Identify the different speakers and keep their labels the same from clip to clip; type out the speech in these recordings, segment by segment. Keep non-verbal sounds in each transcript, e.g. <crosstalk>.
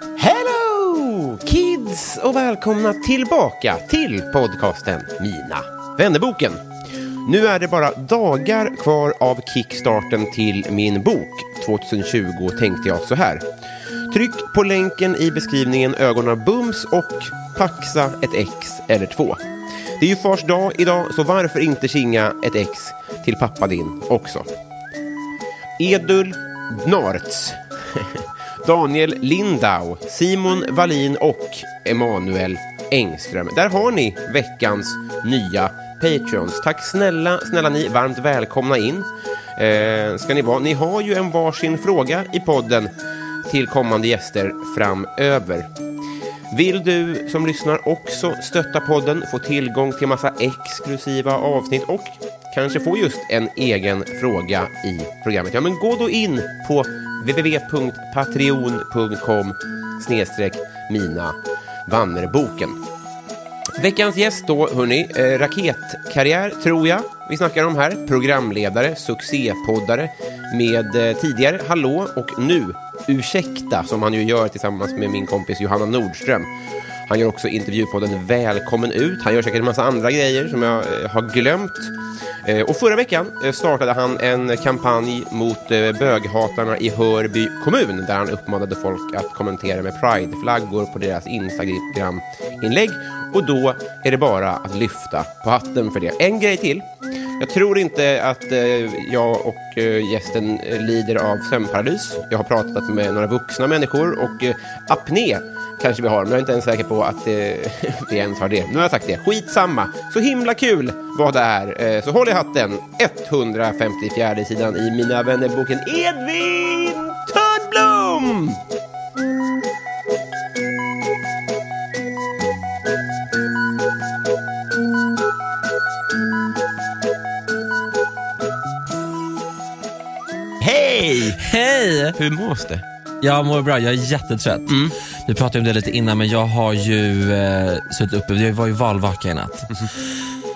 Speaker 1: Hello kids och välkomna tillbaka till podcasten Mina vännerboken. Nu är det bara dagar kvar av kickstarten till min bok 2020 tänkte jag så här. Tryck på länken i beskrivningen ögonen bums och paxa ett ex eller två. Det är ju fars dag idag så varför inte kinga ett ex till pappa din också. Edul Gnarts, <laughs> Daniel Lindau, Simon Wallin och Emanuel Engström. Där har ni veckans nya Patreons. Tack snälla, snälla ni, varmt välkomna in. Eh, ska ni vara. Ni har ju en varsin fråga i podden till kommande gäster framöver. Vill du som lyssnar också stötta podden, få tillgång till massa exklusiva avsnitt och kanske få just en egen fråga i programmet? Ja, men gå då in på www.patreon.com snedstreck mina vannerboken. Veckans gäst då, hörni, eh, raketkarriär tror jag vi snackar om här. Programledare, succépoddare med eh, tidigare Hallå och Nu Ursäkta som han ju gör tillsammans med min kompis Johanna Nordström. Han gör också intervjupodden Välkommen ut. Han gör säkert en massa andra grejer som jag eh, har glömt. Eh, Och förra veckan eh, startade han en kampanj mot eh, böghatarna i Hörby kommun där han uppmanade folk att kommentera med prideflaggor på deras Instagram-inlägg. Och då är det bara att lyfta på hatten för det. En grej till. Jag tror inte att eh, jag och eh, gästen eh, lider av sömnparalys. Jag har pratat med några vuxna människor och eh, apné kanske vi har, men jag är inte ens säker på att eh, <laughs> vi ens har det. Nu har jag sagt det. Skitsamma. Så himla kul vad det är. Eh, så håll i hatten. 154 sidan i Mina vännerboken Edvin Törnblom! Hej!
Speaker 2: Hej!
Speaker 1: Hur mås det?
Speaker 2: Jag mår bra, jag är jättetrött. Vi pratade om det lite innan men jag har ju eh, suttit uppe, jag var ju valvaka i natt.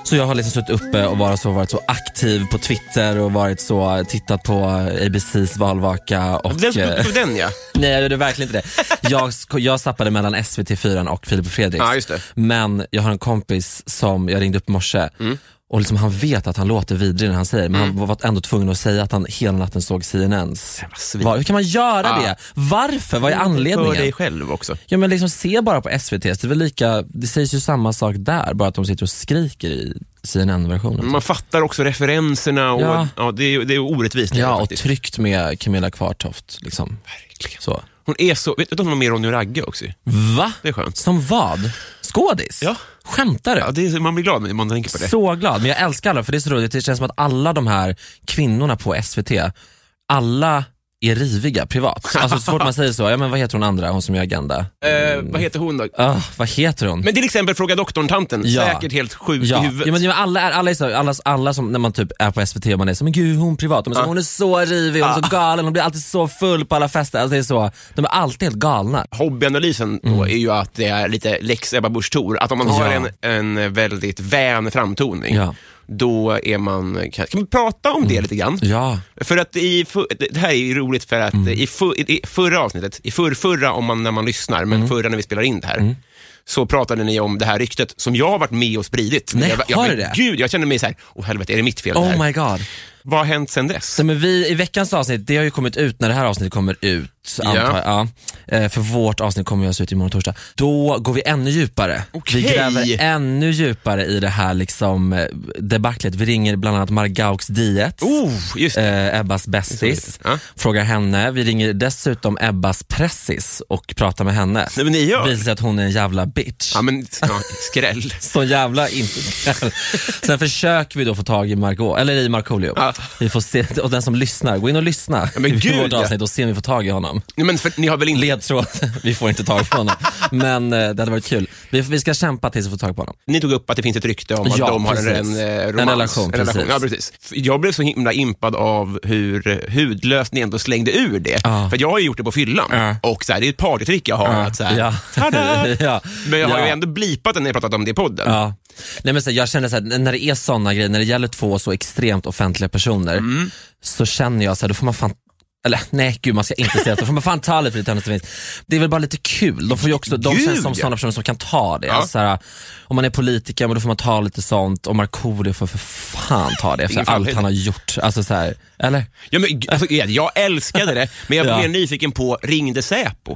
Speaker 2: Så jag har liksom suttit uppe och bara så varit så aktiv på Twitter och varit så tittat på ABCs valvaka. Och,
Speaker 1: Vem stod
Speaker 2: eh,
Speaker 1: på den ja?
Speaker 2: Nej jag gjorde verkligen inte det. Jag, sk- jag zappade mellan SVT4 och Filip och Fredrik.
Speaker 1: Ja, just det.
Speaker 2: Men jag har en kompis som jag ringde upp i morse
Speaker 1: Mm.
Speaker 2: och liksom han vet att han låter vidrig när han säger men han var ändå tvungen att säga att han hela natten såg CNNs.
Speaker 1: svin.
Speaker 2: Var, hur kan man
Speaker 1: alltså,
Speaker 2: göra
Speaker 1: Ja. Mm,
Speaker 2: det? Varför? Vad är
Speaker 1: För dig
Speaker 2: anledningen?
Speaker 1: själv också.
Speaker 2: Ja men liksom se bara på SVT, det, är väl lika, det sägs ju samma sak där, bara att de sitter och skriker i CNN-versionen.
Speaker 1: Man fattar också referenserna och ja.
Speaker 2: Ja.
Speaker 1: det, är, det är orättvist. det
Speaker 2: Ja, och
Speaker 1: faktiskt.
Speaker 2: tryckt med Camilla Kvartoft. Liksom.
Speaker 1: Verkligen.
Speaker 2: Så.
Speaker 1: Hon är så, vet du att hon var med i Ronny och Ragge också?
Speaker 2: Va?
Speaker 1: Det är skönt.
Speaker 2: Som vad? Skådis?
Speaker 1: Ja.
Speaker 2: Skämtar du?
Speaker 1: Ja, det är, man blir glad när man tänker på det.
Speaker 2: Så glad, men jag älskar alla för det är så roligt. Det känns som att alla de här kvinnorna på SVT, alla är riviga privat. Alltså så fort man säger så, ja men vad heter hon andra, hon som gör Agenda?
Speaker 1: Eh, vad heter hon då?
Speaker 2: Ah, vad heter hon?
Speaker 1: Men till exempel Fråga doktorn-tanten.
Speaker 2: Ja.
Speaker 1: Säkert helt sjuk i
Speaker 2: Ja, ja
Speaker 1: huvudet.
Speaker 2: men, ja, men alla, är, alla, är så, alla, alla som när man typ är på SVT och man är så, men gud hon privat, de är så,
Speaker 1: Ah.
Speaker 2: hon är så rivig, hon är så galen, hon blir alltid så full på alla fester. Alltså, det är så, de är alltid helt galna.
Speaker 1: Hobbyanalysen då är ju att det är lite lex Ebba Busch Thor. Att om man har
Speaker 2: Mm. Ja.
Speaker 1: en, en väldigt vän framtoning,
Speaker 2: Ja. Mm.
Speaker 1: då är man... Kan, kan vi prata om det lite grann?
Speaker 2: Ja, Mm.
Speaker 1: För att i, fu- det det här är ju roligt för att
Speaker 2: Mm.
Speaker 1: i, fu, i förra avsnittet, i förr, förra om man, när man lyssnar, men förra när vi spelar in det här, så pratade ni om det här ryktet som jag har varit med och spridit.
Speaker 2: Nej,
Speaker 1: jag, jag,
Speaker 2: har
Speaker 1: men
Speaker 2: du det?
Speaker 1: Gud, jag känner mig så här, åh helvete, är det mitt fel det här?
Speaker 2: Oh my god.
Speaker 1: Vad har hänt sen dess?
Speaker 2: Så, men vi, I veckans avsnitt, det har ju kommit ut när det här avsnittet kommer ut, antar jag. Ja. Eh, För vårt avsnitt kommer ju alltså ut imorgon torsdag. Då går vi ännu djupare.
Speaker 1: Okej.
Speaker 2: Vi gräver ännu djupare i det här liksom, eh, debaclet. Vi ringer bland annat Margaux Diet.
Speaker 1: Oh, just det.
Speaker 2: Eh, Ebbas bästis,
Speaker 1: Ja.
Speaker 2: frågar henne. Vi ringer dessutom Ebbas pressis och pratar med henne.
Speaker 1: Nej, men ni gör.
Speaker 2: Visar sig att hon är en jävla bitch.
Speaker 1: Ja, men, ja, skräll.
Speaker 2: Så jävla inte <laughs> Sen försöker vi då få tag i Margot, eller i Markoolio.
Speaker 1: Ja.
Speaker 2: Vi får se, och den som lyssnar, gå in och lyssna
Speaker 1: Ja, men
Speaker 2: i
Speaker 1: gud,
Speaker 2: vårt
Speaker 1: ja.
Speaker 2: avsnitt och se om vi får tag i honom.
Speaker 1: Nej, men för, ni har väl inte...
Speaker 2: Ledtråd, <laughs> vi får inte tag på honom. Men eh, det hade varit kul. Vi, vi ska kämpa tills vi får tag på honom.
Speaker 1: Ni tog upp att det finns ett rykte om att
Speaker 2: Ja,
Speaker 1: de har en,
Speaker 2: precis.
Speaker 1: en, eh,
Speaker 2: En
Speaker 1: romans,
Speaker 2: relation, precis.
Speaker 1: Ja, precis. F- Jag blev så himla impad av hur eh, hudlöst ni ändå slängde ur det.
Speaker 2: Ja.
Speaker 1: För jag har ju gjort det på fyllan
Speaker 2: Ja.
Speaker 1: och så här, det är ett partytrick jag har. Att så här,
Speaker 2: Ja.
Speaker 1: tada!
Speaker 2: <laughs> ja.
Speaker 1: Men jag har
Speaker 2: ja.
Speaker 1: ju ändå blipat det när jag pratat om det i podden.
Speaker 2: Ja. Nej, men så, här, jag känner så här, när det är sådana grejer, när det gäller två så extremt offentliga personer,
Speaker 1: Mm.
Speaker 2: så känner jag så här, då får man fan eller nej gud man ska inte säga att då får man fan ta lite för det tennis det finns. Det är väl bara lite kul, de, får ju också, de
Speaker 1: Gud,
Speaker 2: känns som
Speaker 1: ja.
Speaker 2: sådana personer som kan ta det. Alltså, så här, om man är politiker men då får man ta lite sånt och Markoolio får för fan ta det efter
Speaker 1: Ingen
Speaker 2: allt
Speaker 1: fallhöjd.
Speaker 2: han har gjort. Alltså, så här, eller?
Speaker 1: Ja, men, g- alltså, Ed, jag älskade det, men jag blev
Speaker 2: <laughs> Ja.
Speaker 1: mer nyfiken på ringde Säpo?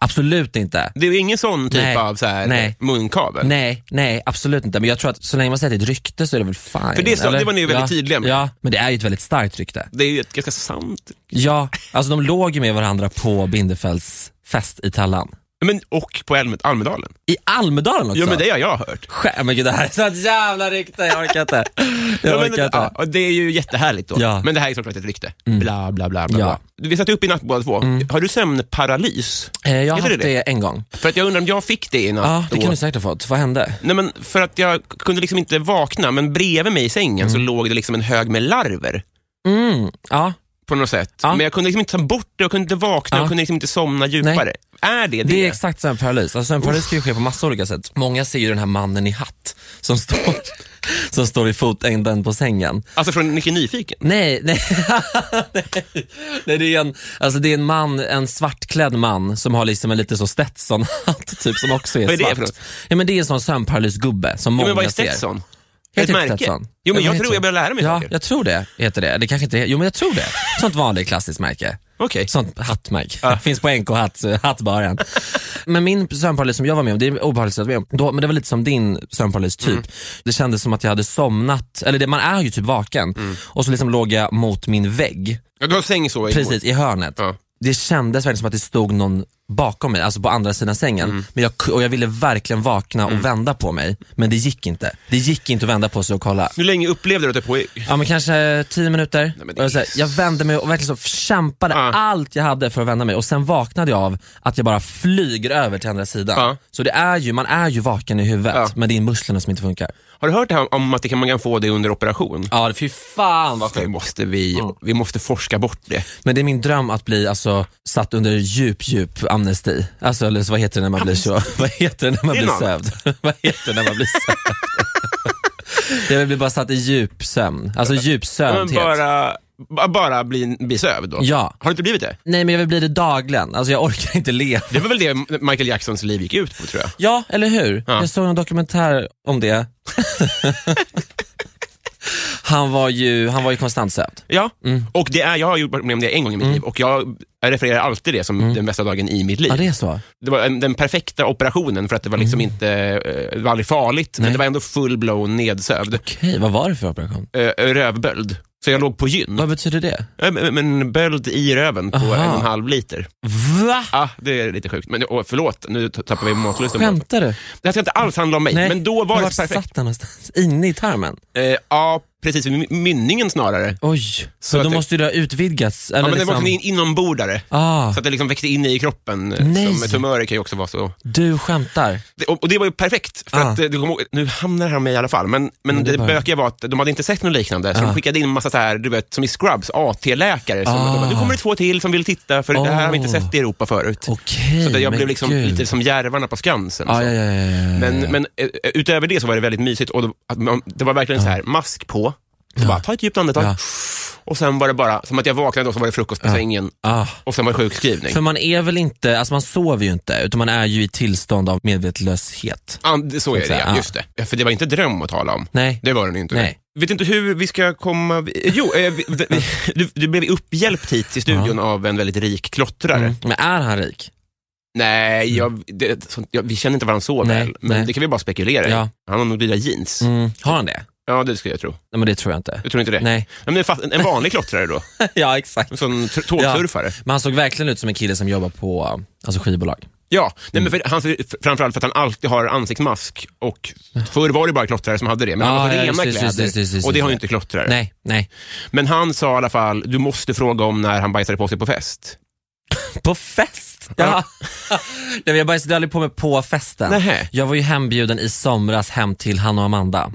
Speaker 2: Absolut inte.
Speaker 1: Det är ingen sån typ
Speaker 2: Nej.
Speaker 1: av så här,
Speaker 2: Nej.
Speaker 1: munkavel.
Speaker 2: Nej, nej absolut inte. Men jag tror att så länge man säger att det är ett rykte så är det väl fine.
Speaker 1: För det är så-
Speaker 2: eller?
Speaker 1: det var ni ju väldigt
Speaker 2: ja.
Speaker 1: tydliga med.
Speaker 2: Ja, men det är ju ett väldigt starkt rykte.
Speaker 1: Det är ju ett ganska sant...
Speaker 2: Ja, alltså de låg ju med varandra på Bindefelds fest i Tallan.
Speaker 1: Men, och på Almed- Almedalen.
Speaker 2: I Almedalen också?
Speaker 1: Ja, men det har jag hört.
Speaker 2: Skä- men gud, det här är sånt jävla rykte, jag orkar inte. Jag
Speaker 1: Ja,
Speaker 2: orkar
Speaker 1: men,
Speaker 2: inte.
Speaker 1: ja, och det är ju jättehärligt då.
Speaker 2: Ja. Mm.
Speaker 1: Men det här är såklart ett rykte. Bla, bla, bla. bla,
Speaker 2: Ja. Mm.
Speaker 1: bla. Vi satt upp i natt båda två. Har du sömnparalys?
Speaker 2: Eh, Jag har
Speaker 1: Heter
Speaker 2: haft
Speaker 1: det
Speaker 2: det en gång.
Speaker 1: För att jag undrar om jag fick det i natt.
Speaker 2: Ja, det
Speaker 1: då.
Speaker 2: kan du säkert ha fått. Vad hände?
Speaker 1: Nej, men för att jag kunde liksom inte vakna, men bredvid mig i sängen så låg det liksom en hög med larver.
Speaker 2: Mm, ja.
Speaker 1: På något sätt.
Speaker 2: Ja.
Speaker 1: Men jag kunde liksom inte ta bort det, jag kunde inte vakna,
Speaker 2: Ja.
Speaker 1: jag kunde liksom inte somna djupare. Är det det?
Speaker 2: Det är exakt sömnparalys. Alltså, sömnparalys kan ju ske på massa olika sätt. Många ser ju den här mannen i hatt som står, <laughs> som står i fotändan på sängen.
Speaker 1: Alltså från Mycket Nyfiken?
Speaker 2: Nej, nej. <laughs> nej. nej det, är en, alltså det är en man, en svartklädd man som har liksom en lite så Stetson-hatt typ som också är
Speaker 1: Vad är det
Speaker 2: svart.
Speaker 1: för något?
Speaker 2: ja, men det är en sån sömnparalysgubbe som
Speaker 1: Jo,
Speaker 2: många
Speaker 1: men vad är
Speaker 2: ser.
Speaker 1: Stetson?
Speaker 2: Heter
Speaker 1: Ett
Speaker 2: det
Speaker 1: märke?
Speaker 2: Stetson?
Speaker 1: Jo, men
Speaker 2: Ja,
Speaker 1: jag
Speaker 2: heter
Speaker 1: tror jag
Speaker 2: det.
Speaker 1: börjar lära mig
Speaker 2: Ja,
Speaker 1: saker.
Speaker 2: jag tror det heter det. Det kanske inte är, jo men jag tror det. Sånt vanligt klassiskt märke.
Speaker 1: Okej.
Speaker 2: Sånt hattmärke. Finns på NK hatt, hattbaren. men min sömnparalys som jag var med om, det är obehagligt att vara med om, då, men det var lite som din sömnparalys
Speaker 1: Mm.
Speaker 2: typ. Det kändes som att jag hade somnat, eller det, man är ju typ vaken.
Speaker 1: Mm.
Speaker 2: Och så liksom låg jag mot min vägg,
Speaker 1: Ja, Du har säng så? i-
Speaker 2: precis i hörnet.
Speaker 1: Ja.
Speaker 2: Det kändes verkligen som att det stod någon bakom mig, alltså på andra sidan sängen.
Speaker 1: Mm.
Speaker 2: Men jag, ku- och jag ville verkligen vakna och vända på mig, men det gick inte. Det gick inte att vända på sig och kolla.
Speaker 1: Hur länge upplevde du att det pågick?
Speaker 2: Ja men kanske tio minuter.
Speaker 1: men det
Speaker 2: Och jag, så här,
Speaker 1: är-
Speaker 2: jag vände mig och verkligen så kämpade
Speaker 1: Ja.
Speaker 2: allt jag hade för att vända mig och sen vaknade jag av att jag bara flyger över till andra sidan.
Speaker 1: Ja.
Speaker 2: Så det är ju, man är ju vaken i huvudet
Speaker 1: Ja.
Speaker 2: men det är musklerna som inte funkar.
Speaker 1: Har du hört det här om att det kan, man kan få det under operation?
Speaker 2: Ja fy fan vad
Speaker 1: Det måste Mm. vi, vi måste forska bort det.
Speaker 2: Men det är min dröm att bli alltså, satt under djup, djup amnesti. Alltså eller så, vad heter det när man blir så? Vad heter det när man
Speaker 1: Det är
Speaker 2: blir
Speaker 1: något.
Speaker 2: sövd? <laughs> vad heter det när man blir sövd? Jag vill bli bara satt i djup sömn, alltså djup
Speaker 1: Men
Speaker 2: sövdhet.
Speaker 1: bara, ba- bara bli, bli sövd då?
Speaker 2: Ja.
Speaker 1: Har du inte blivit det?
Speaker 2: Nej men jag vill bli det dagligen, alltså jag orkar inte leva.
Speaker 1: Det var väl det Michael Jacksons liv gick ut på tror jag.
Speaker 2: Ja, eller hur?
Speaker 1: Ja.
Speaker 2: Jag såg en dokumentär
Speaker 1: <laughs>
Speaker 2: om det. han, var ju, han var ju konstant sövd.
Speaker 1: Ja, och det är, jag har gjort med om det en gång i mitt liv och jag refererar alltid det som den bästa dagen i mitt liv.
Speaker 2: Ja,
Speaker 1: Mm. det...
Speaker 2: det är så.
Speaker 1: var en, den perfekta operationen för att det var liksom inte, eh, det var aldrig farligt, men
Speaker 2: Nej.
Speaker 1: det var ändå full-blown nedsövd.
Speaker 2: Okej, vad var det för operation?
Speaker 1: Eh, Rövböld. Så jag låg på gyn.
Speaker 2: Vad betyder det?
Speaker 1: Eh, Men men böld i röven på
Speaker 2: Aha.
Speaker 1: en och en halv liter.
Speaker 2: Va?
Speaker 1: Ah, det är lite sjukt. Men åh, förlåt, nu t- tappar vi matlusten.
Speaker 2: Skämtar du?
Speaker 1: Det här ska inte alls handla om mig, men då var det
Speaker 2: Vart
Speaker 1: perfekt.
Speaker 2: satt den någonstans? Inne i tarmen?
Speaker 1: Eh, ja, precis. vid my- Mynningen snarare.
Speaker 2: Oj,
Speaker 1: Så
Speaker 2: så
Speaker 1: att
Speaker 2: då
Speaker 1: det-
Speaker 2: mårdare. måste ju det ha utvidgats. Eller
Speaker 1: Ja, men det var
Speaker 2: liksom...
Speaker 1: liksom in- inombordare.
Speaker 2: ah,
Speaker 1: Så att det liksom växte in i kroppen. eh,
Speaker 2: Nej.
Speaker 1: Som tumörer kan ju också vara så.
Speaker 2: du skämtar.
Speaker 1: Det, och, och det var ju perfekt. För
Speaker 2: Ah.
Speaker 1: att, eh, du kommer ihåg, nu hamnar det här om mig i alla fall, men, men
Speaker 2: Men det
Speaker 1: det,
Speaker 2: är bara-
Speaker 1: bökiga var att de hade inte sett något liknande. Så de skickade in en massa så här, du vet, som i Scrubs, AT-läkare. Som,
Speaker 2: Ah.
Speaker 1: de bara, Nu kommer det två till som vill titta, för det här har vi inte
Speaker 2: Oh.
Speaker 1: sett i Europa förut.
Speaker 2: Okej,
Speaker 1: Så att jag
Speaker 2: men
Speaker 1: blev liksom
Speaker 2: gud.
Speaker 1: lite som järvarna på Skansen.
Speaker 2: Ah,
Speaker 1: så.
Speaker 2: ja, ja, ja, ja, ja.
Speaker 1: Men, men eh, utöver det så var det väldigt mysigt och det, att man, det var verkligen så här mask på. Så bara, ta ett djupt andetag.
Speaker 2: Ja.
Speaker 1: Och sen var det bara, som att jag vaknade och så var det frukost på sängen.
Speaker 2: Ah.
Speaker 1: Och sen var det sjukskrivning.
Speaker 2: För man är väl inte, alltså man sover ju inte, utan man är ju i tillstånd av medvetlöshet.
Speaker 1: Ja, det- så är det,
Speaker 2: Ja.
Speaker 1: ja. Just det. Ja, För det var inte dröm att tala om.
Speaker 2: Nej.
Speaker 1: Det var den ju inte.
Speaker 2: Nej.
Speaker 1: Vet inte hur vi ska komma... vi- Jo, eh, vi- vi- du, du blev upphjälpt hit till studion av en väldigt rik klottrare.
Speaker 2: Men är han rik?
Speaker 1: Nej, jag, det, sånt, jag, vi känner inte varandra så
Speaker 2: Mm. Nej,
Speaker 1: väl, men
Speaker 2: nej.
Speaker 1: det kan vi bara spekulera i.
Speaker 2: Ja.
Speaker 1: Han har nog dyra jeans.
Speaker 2: Mm. Har han det?
Speaker 1: Ja, det skulle jag tro.
Speaker 2: Nej men det tror jag inte.
Speaker 1: Du tror inte det?
Speaker 2: Nej.
Speaker 1: Ja, Men fast, en vanlig klottrare då?
Speaker 2: <laughs> ja exakt.
Speaker 1: En sån tr- tågsurfare? Ja,
Speaker 2: Men han såg verkligen ut som en kille som jobbar på alltså skivbolag.
Speaker 1: Nej,
Speaker 2: Mm.
Speaker 1: men för, han, för- framförallt för att han alltid har ansiktsmask. Och förr var det bara klottrare som hade det, men
Speaker 2: Ja,
Speaker 1: han har
Speaker 2: ja,
Speaker 1: rena
Speaker 2: just det, just
Speaker 1: kläder.
Speaker 2: det, just det, just det,
Speaker 1: och det har ju
Speaker 2: just
Speaker 1: inte klottrare.
Speaker 2: Nej, nej.
Speaker 1: Men han sa i alla fall, du måste fråga om när han bajsade på sig på fest.
Speaker 2: På fest? Ja. <laughs> nej, men jag bajsade aldrig på mig på festen.
Speaker 1: Nähä.
Speaker 2: Jag var ju hembjuden i somras hem till Hanna och Amanda.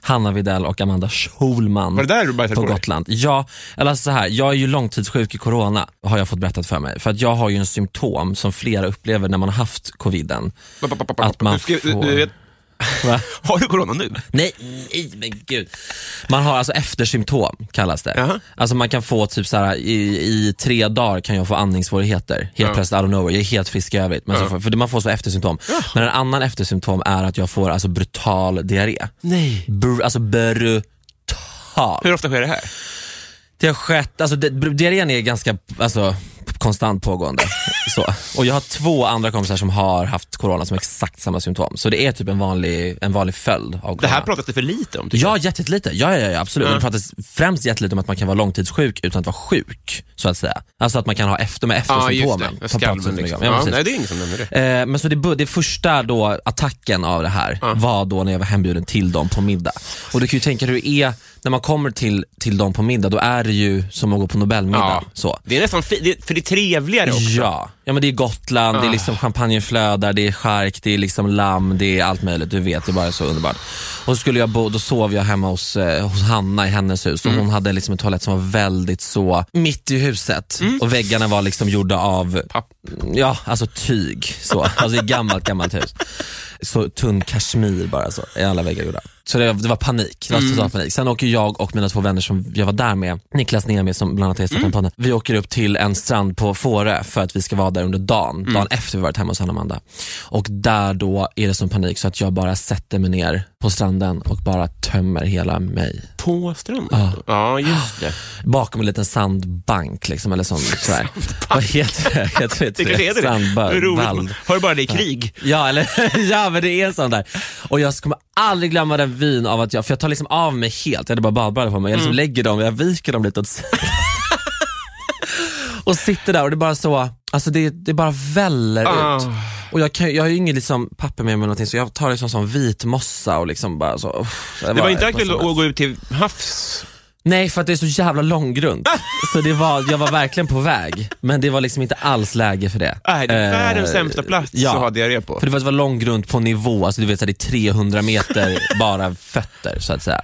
Speaker 2: Hanna Videll och Amanda Schulman.
Speaker 1: Var det där du bajsade
Speaker 2: på
Speaker 1: på dig?
Speaker 2: Gotland. Ja, eller alltså så här, jag är ju långtidssjuk i corona har jag fått berättat för mig. För att jag har ju en symptom som flera upplever när man har haft <laughs> coviden.
Speaker 1: Ba, ba, ba, ba, ba.
Speaker 2: Att man
Speaker 1: du skrev, du-
Speaker 2: får-
Speaker 1: du vet,
Speaker 2: Va?
Speaker 1: har du corona nu?
Speaker 2: Nej, nej men gud. Man har alltså eftersymptom kallas det.
Speaker 1: Jaha.
Speaker 2: Alltså man kan få typ så här i, i tre dagar kan jag få andningssvårigheter. Helt plötsligt out of nowhere. Jag är helt frisk i övrigt. Men så får, för det- man får så eftersymptom. Men en annan eftersymptom är att jag får alltså brutal diarré.
Speaker 1: Nej.
Speaker 2: Br- alltså brutal.
Speaker 1: Hur ofta sker det här?
Speaker 2: Det har skett, alltså det, diarrén är ganska alltså, konstant
Speaker 1: <laughs>
Speaker 2: pågående. så. Och jag har två andra kompisar som har haft corona som har exakt samma symptom. Så det är typ en vanlig, en vanlig följd av corona.
Speaker 1: Det här pratas det för lite om. tycker
Speaker 2: Ja, jättelite. Ja, ja, ja absolut. Men det pratas främst jättelite om att man kan vara långtidssjuk utan att vara sjuk, så att säga. Alltså att man kan ha efter med
Speaker 1: jag. Ja, just
Speaker 2: eftersymptomen.
Speaker 1: det.
Speaker 2: Ta plats
Speaker 1: Skalven
Speaker 2: inte mycket
Speaker 1: liksom.
Speaker 2: om. Ja,
Speaker 1: Ja,
Speaker 2: precis.
Speaker 1: nej, det är ingen som nämner det.
Speaker 2: Eh, Men så det, bu- det första då attacken av det här var då när jag var hembjuden till dem på middag. Och du kan ju tänka dig hur det är när man kommer till, till dem på middag, då är det ju som att gå på Nobelmiddag.
Speaker 1: Ja.
Speaker 2: Så.
Speaker 1: Det är nästan fi- det, för det är trevligare också. Ah.
Speaker 2: Ja. ja, men det är Gotland, det är liksom champagnen flödar, det är chark, det är liksom lamm, det är allt möjligt. Du vet, det är bara så underbart. Och så skulle jag bo, då sov jag hemma hos, eh, hos Hanna i hennes hus och
Speaker 1: Mm.
Speaker 2: hon hade liksom en toalett som var väldigt så mitt i huset och väggarna var liksom gjorda av
Speaker 1: Mm. Papp.
Speaker 2: Ja, alltså tyg. Så. Alltså i gammalt, gammalt hus. Så tunn kashmir bara så, i alla väggar gjorda. Så det, det var panik, det var
Speaker 1: Mm.
Speaker 2: total panik. Sen åker jag och mina två vänner som jag var där med, Niklas Niemi som bland annat har gästat
Speaker 1: Mm.
Speaker 2: den podden. Vi åker upp till en strand på Fårö för att vi ska vara där under dagen,
Speaker 1: Mm.
Speaker 2: dagen efter vi varit hemma hos Hanna och Amanda. Och där då är det sån panik så att jag bara sätter mig ner på stranden och bara tömmer hela mig
Speaker 1: På stranden? då? Ja, just det.
Speaker 2: bakom en liten sandbank. Liksom, eller sån, sådär. Vad heter det? Jag tror
Speaker 1: Det kanske heter det. Hur
Speaker 2: Sandband.
Speaker 1: roligt. Har du bara det i krig?
Speaker 2: Ja, eller, <laughs> ja men det är sån där. Och jag kommer aldrig glömma den vyn av att jag, för jag tar liksom av mig helt, jag hade bara badbrallor på mig, jag liksom
Speaker 1: Mm.
Speaker 2: lägger dem, jag viker dem lite åt sidan. och sitter där och det är bara så, alltså det, det bara väller ut.
Speaker 1: Ah.
Speaker 2: Och jag, kan, jag har ju inget liksom papper med mig eller någonting så jag tar liksom sån vit mossa och liksom bara så. uff,
Speaker 1: Det var inte
Speaker 2: bara-
Speaker 1: aktuellt att gå ut till havs?
Speaker 2: Nej, för att det är så
Speaker 1: <laughs>
Speaker 2: jävla långgrunt. så det var, jag var verkligen på väg, men det var liksom inte alls läge för det.
Speaker 1: Nej, Äh, det är
Speaker 2: Eh,
Speaker 1: världens sämsta plats
Speaker 2: ja.
Speaker 1: att ha diarré på.
Speaker 2: För det var, det var långgrunt på nivå, alltså du vet så här, det är
Speaker 1: <laughs>
Speaker 2: 300 meter bara fötter så att säga.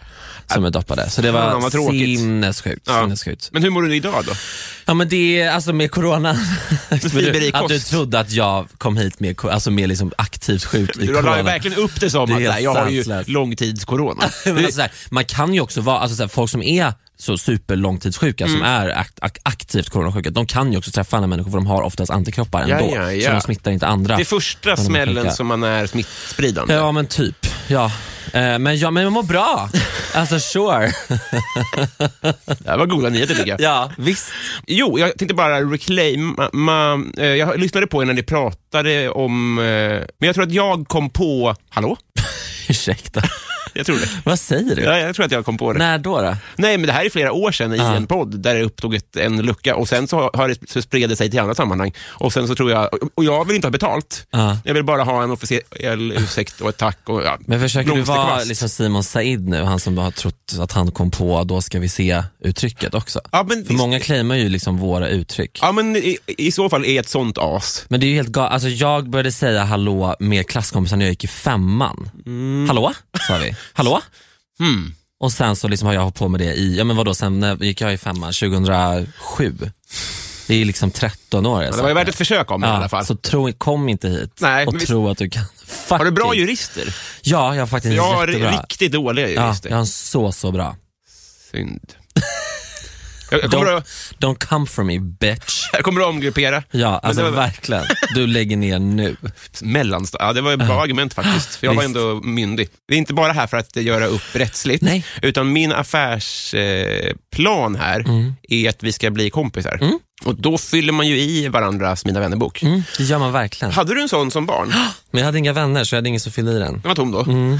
Speaker 2: Som är doppade. Så det var
Speaker 1: Fan, vad tråkigt.
Speaker 2: sinnessjukt.
Speaker 1: Ja.
Speaker 2: sinnessjukt.
Speaker 1: Men hur mår du idag då?
Speaker 2: Ja men det är alltså med corona, <laughs>
Speaker 1: fiber i
Speaker 2: att du
Speaker 1: kost.
Speaker 2: trodde att jag kom hit med, ko- alltså med liksom aktivt sjuk i
Speaker 1: Du la ju
Speaker 2: corona.
Speaker 1: verkligen upp det som
Speaker 2: Det är
Speaker 1: att
Speaker 2: helt
Speaker 1: så här, jag har ju
Speaker 2: sanslöst.
Speaker 1: långtidscorona.
Speaker 2: <laughs> Men alltså, så här, man kan ju också vara, alltså, så här, folk som är så superlångtidssjuka, som
Speaker 1: Mm.
Speaker 2: är akt, ak- aktivt coronasjuka, de kan ju också träffa andra människor för de har oftast antikroppar
Speaker 1: Ja,
Speaker 2: ändå.
Speaker 1: ja,
Speaker 2: Så
Speaker 1: ja.
Speaker 2: de smittar inte andra.
Speaker 1: Det är första
Speaker 2: de är
Speaker 1: smällen
Speaker 2: sjuka.
Speaker 1: som man är smittspridande.
Speaker 2: Ja men typ, ja. Eh, Men, ja, men jag mår bra. Alltså sure.
Speaker 1: Det här var goda nyheter tycker jag.
Speaker 2: Ja, visst.
Speaker 1: Jo, jag tänkte bara reclaima... eh, Jag lyssnade på er när ni pratade om... eh, Men jag tror att jag kom på... Hallå?
Speaker 2: Ursäkta.
Speaker 1: Jag tror
Speaker 2: <laughs>
Speaker 1: det.
Speaker 2: Vad säger du?
Speaker 1: Ja, jag tror att jag kom på det. Nej,
Speaker 2: När då? då?
Speaker 1: men det här är flera år sedan i en podd där det uppstod ett, en lucka och sen så, har det, så spred det sig till andra sammanhang. Och sen så tror jag... och- Och jag vill inte ha betalt.
Speaker 2: Ja.
Speaker 1: Jag vill bara ha en officiell ursäkt och ett tack och ja,
Speaker 2: Men försöker du vara
Speaker 1: blomsterkvast.
Speaker 2: liksom Simon Said nu, han som har trott att han kom på då ska vi se-uttrycket också?
Speaker 1: Ja, men
Speaker 2: För
Speaker 1: visst-
Speaker 2: många claimar ju liksom våra uttryck.
Speaker 1: Ja, men i, i så fall är jag ett sånt as.
Speaker 2: Men det är ju helt galet. Alltså jag började säga hallå med klasskompisar när jag gick i femman. Hallå, sa vi. Hallå?
Speaker 1: Mm. Hmm.
Speaker 2: Och sen så liksom har jag hållit på med det i, ja men vadå, sen när gick jag i femman? 2007. Det är liksom 13 år.
Speaker 1: Det var ju värt ett försök av mig i alla fall.
Speaker 2: Så tro, kom inte hit
Speaker 1: Nej,
Speaker 2: och
Speaker 1: men vi-
Speaker 2: tro att du kan.
Speaker 1: Har du bra
Speaker 2: Fucking-
Speaker 1: jurister?
Speaker 2: Ja, jag har faktiskt
Speaker 1: Jag har
Speaker 2: jättebra.
Speaker 1: riktigt dåliga
Speaker 2: ja,
Speaker 1: jurister.
Speaker 2: jag har en så, så bra.
Speaker 1: Synd. Jag, jag, kommer,
Speaker 2: Don't,
Speaker 1: att,
Speaker 2: don't come for me bitch.
Speaker 1: jag kommer att omgruppera.
Speaker 2: Ja, alltså
Speaker 1: det var-
Speaker 2: verkligen. Du lägger ner nu.
Speaker 1: Mellansta- ja, det var ett bra argument faktiskt, för jag var
Speaker 2: Visst.
Speaker 1: ändå myndig. Det är inte bara här för att göra upp rättsligt,
Speaker 2: Nej.
Speaker 1: utan min affärsplan eh, plan här
Speaker 2: Mm.
Speaker 1: är att vi ska bli kompisar. Och då fyller man ju i varandras Mina vännerbok.
Speaker 2: Mm, det gör man verkligen.
Speaker 1: Hade du en sån som barn?
Speaker 2: Men jag hade inga vänner så jag hade ingen som fyllde i den.
Speaker 1: Den var tom då.
Speaker 2: Mm.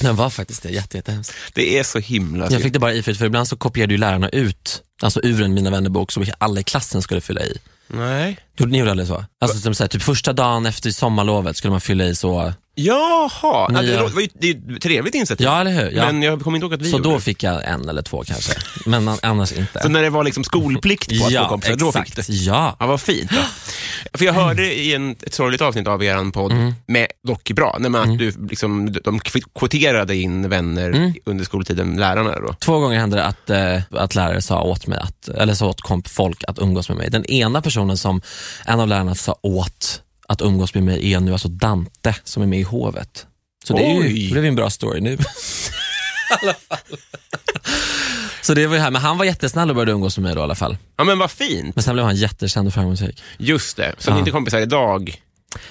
Speaker 2: Den var faktiskt det, jätte, jättehemskt.
Speaker 1: Det är så himla
Speaker 2: Jag
Speaker 1: synd.
Speaker 2: fick det bara ifyllt för ibland så kopierade ju lärarna ut, alltså ur en Mina vännerbok som alla i klassen skulle fylla i.
Speaker 1: Nej.
Speaker 2: Gjorde- Ni gjorde aldrig så? Alltså som så här, typ första dagen efter sommarlovet skulle man fylla i så,
Speaker 1: Jaha, ja,
Speaker 2: Nya-
Speaker 1: det, var ju, det är ju ett trevligt initiativ.
Speaker 2: ja eller hur? Ja.
Speaker 1: Men jag kommer inte ihåg att vi
Speaker 2: så
Speaker 1: gjorde
Speaker 2: då
Speaker 1: det.
Speaker 2: fick jag en eller två kanske, men an- annars inte.
Speaker 1: Så när det var liksom skolplikt på att få
Speaker 2: ja,
Speaker 1: kompisar, då fick du.
Speaker 2: exakt. Ja.
Speaker 1: Ja, vad fint. Då. För jag hörde i en, ett sorgligt avsnitt av er podd,
Speaker 2: Mm.
Speaker 1: med dock bra, nej, men att du, liksom, de kv- kvoterade in vänner
Speaker 2: Mm.
Speaker 1: under skoltiden, lärarna. Då.
Speaker 2: Två gånger hände det att, eh, att lärare sa åt mig, att, eller sa åt komp folk att umgås med mig. Den ena personen som en av lärarna sa åt att umgås med mig är nu alltså Dante som är med i hovet. Så det, är
Speaker 1: Oj.
Speaker 2: ju, det blev ju en bra
Speaker 1: <laughs>
Speaker 2: story nu. I alla fall. Så det var ju här, men han var jättesnäll och började umgås med mig då i alla fall.
Speaker 1: Ja, men vad fint.
Speaker 2: Men sen blev han jättekänd och framgångsrik.
Speaker 1: Just det, så ni är
Speaker 2: Ja.
Speaker 1: inte kompisar idag.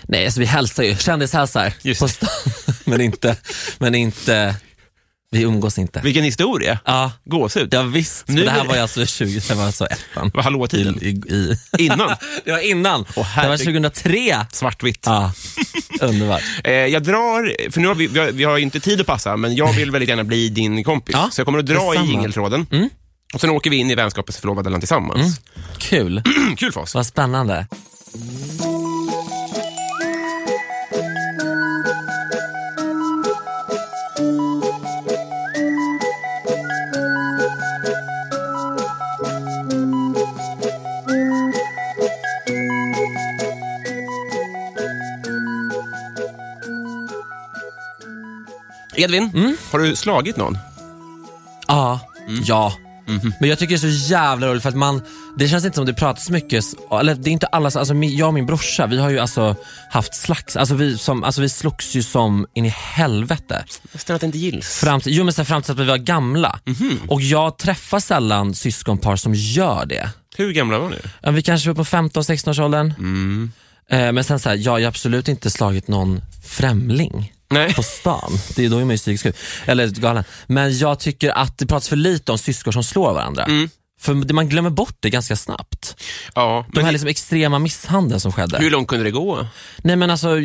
Speaker 2: Nej, alltså vi hälsar ju, kändishälsar
Speaker 1: Just
Speaker 2: på
Speaker 1: det.
Speaker 2: stan. <laughs> men, inte, men inte, vi umgås inte.
Speaker 1: Vilken historia.
Speaker 2: Ja,
Speaker 1: Gåshud.
Speaker 2: ja visst.
Speaker 1: Nu-
Speaker 2: det här var ju alltså 20, det här var alltså ettan.
Speaker 1: Vad, Hallåtiden.
Speaker 2: I, i.
Speaker 1: Innan.
Speaker 2: Det var innan. det var
Speaker 1: herregud.
Speaker 2: 2003.
Speaker 1: Svartvitt.
Speaker 2: Ja, underbart.
Speaker 1: Eh, jag drar, för nu har vi, vi, har, vi har ju inte tid att passa, men jag vill väldigt gärna bli din kompis.
Speaker 2: Ja,
Speaker 1: så jag kommer att dra i
Speaker 2: detsamma. Mm.
Speaker 1: jingeltråden. Och sen åker vi in i vänskapens förlovade land tillsammans.
Speaker 2: Kul.
Speaker 1: <clears throat> Kul för oss.
Speaker 2: Vad spännande.
Speaker 1: Edvin,
Speaker 2: Mm.
Speaker 1: har du slagit någon?
Speaker 2: Ja. Ja. Men jag tycker det är så jävla roligt för att man, det känns inte som det pratas mycket, s- eller det är inte alla, som- alltså min- jag och min brorsa vi har ju alltså haft slags, alltså vi, som, alltså vi slogs ju som in i helvete.
Speaker 1: Nästan att det inte gills.
Speaker 2: Fram till, jo men sen fram till att vi var gamla. Och jag träffar sällan syskonpar som gör det.
Speaker 1: Hur gamla var ni?
Speaker 2: Ja, vi kanske var på 15-16 års åldern.
Speaker 1: Mm.
Speaker 2: Eh, men sen så här, jag har ju absolut inte slagit någon främling
Speaker 1: Nej.
Speaker 2: på stan. Det är då är man ju psykiskt sjuk. Eller galen. Men jag tycker att det pratas för lite om syskon som slår varandra.
Speaker 1: Mm.
Speaker 2: För det- man glömmer bort det ganska snabbt.
Speaker 1: Ja,
Speaker 2: De
Speaker 1: men
Speaker 2: här liksom extrema misshandeln som skedde.
Speaker 1: hur långt kunde det gå?
Speaker 2: Nej men alltså,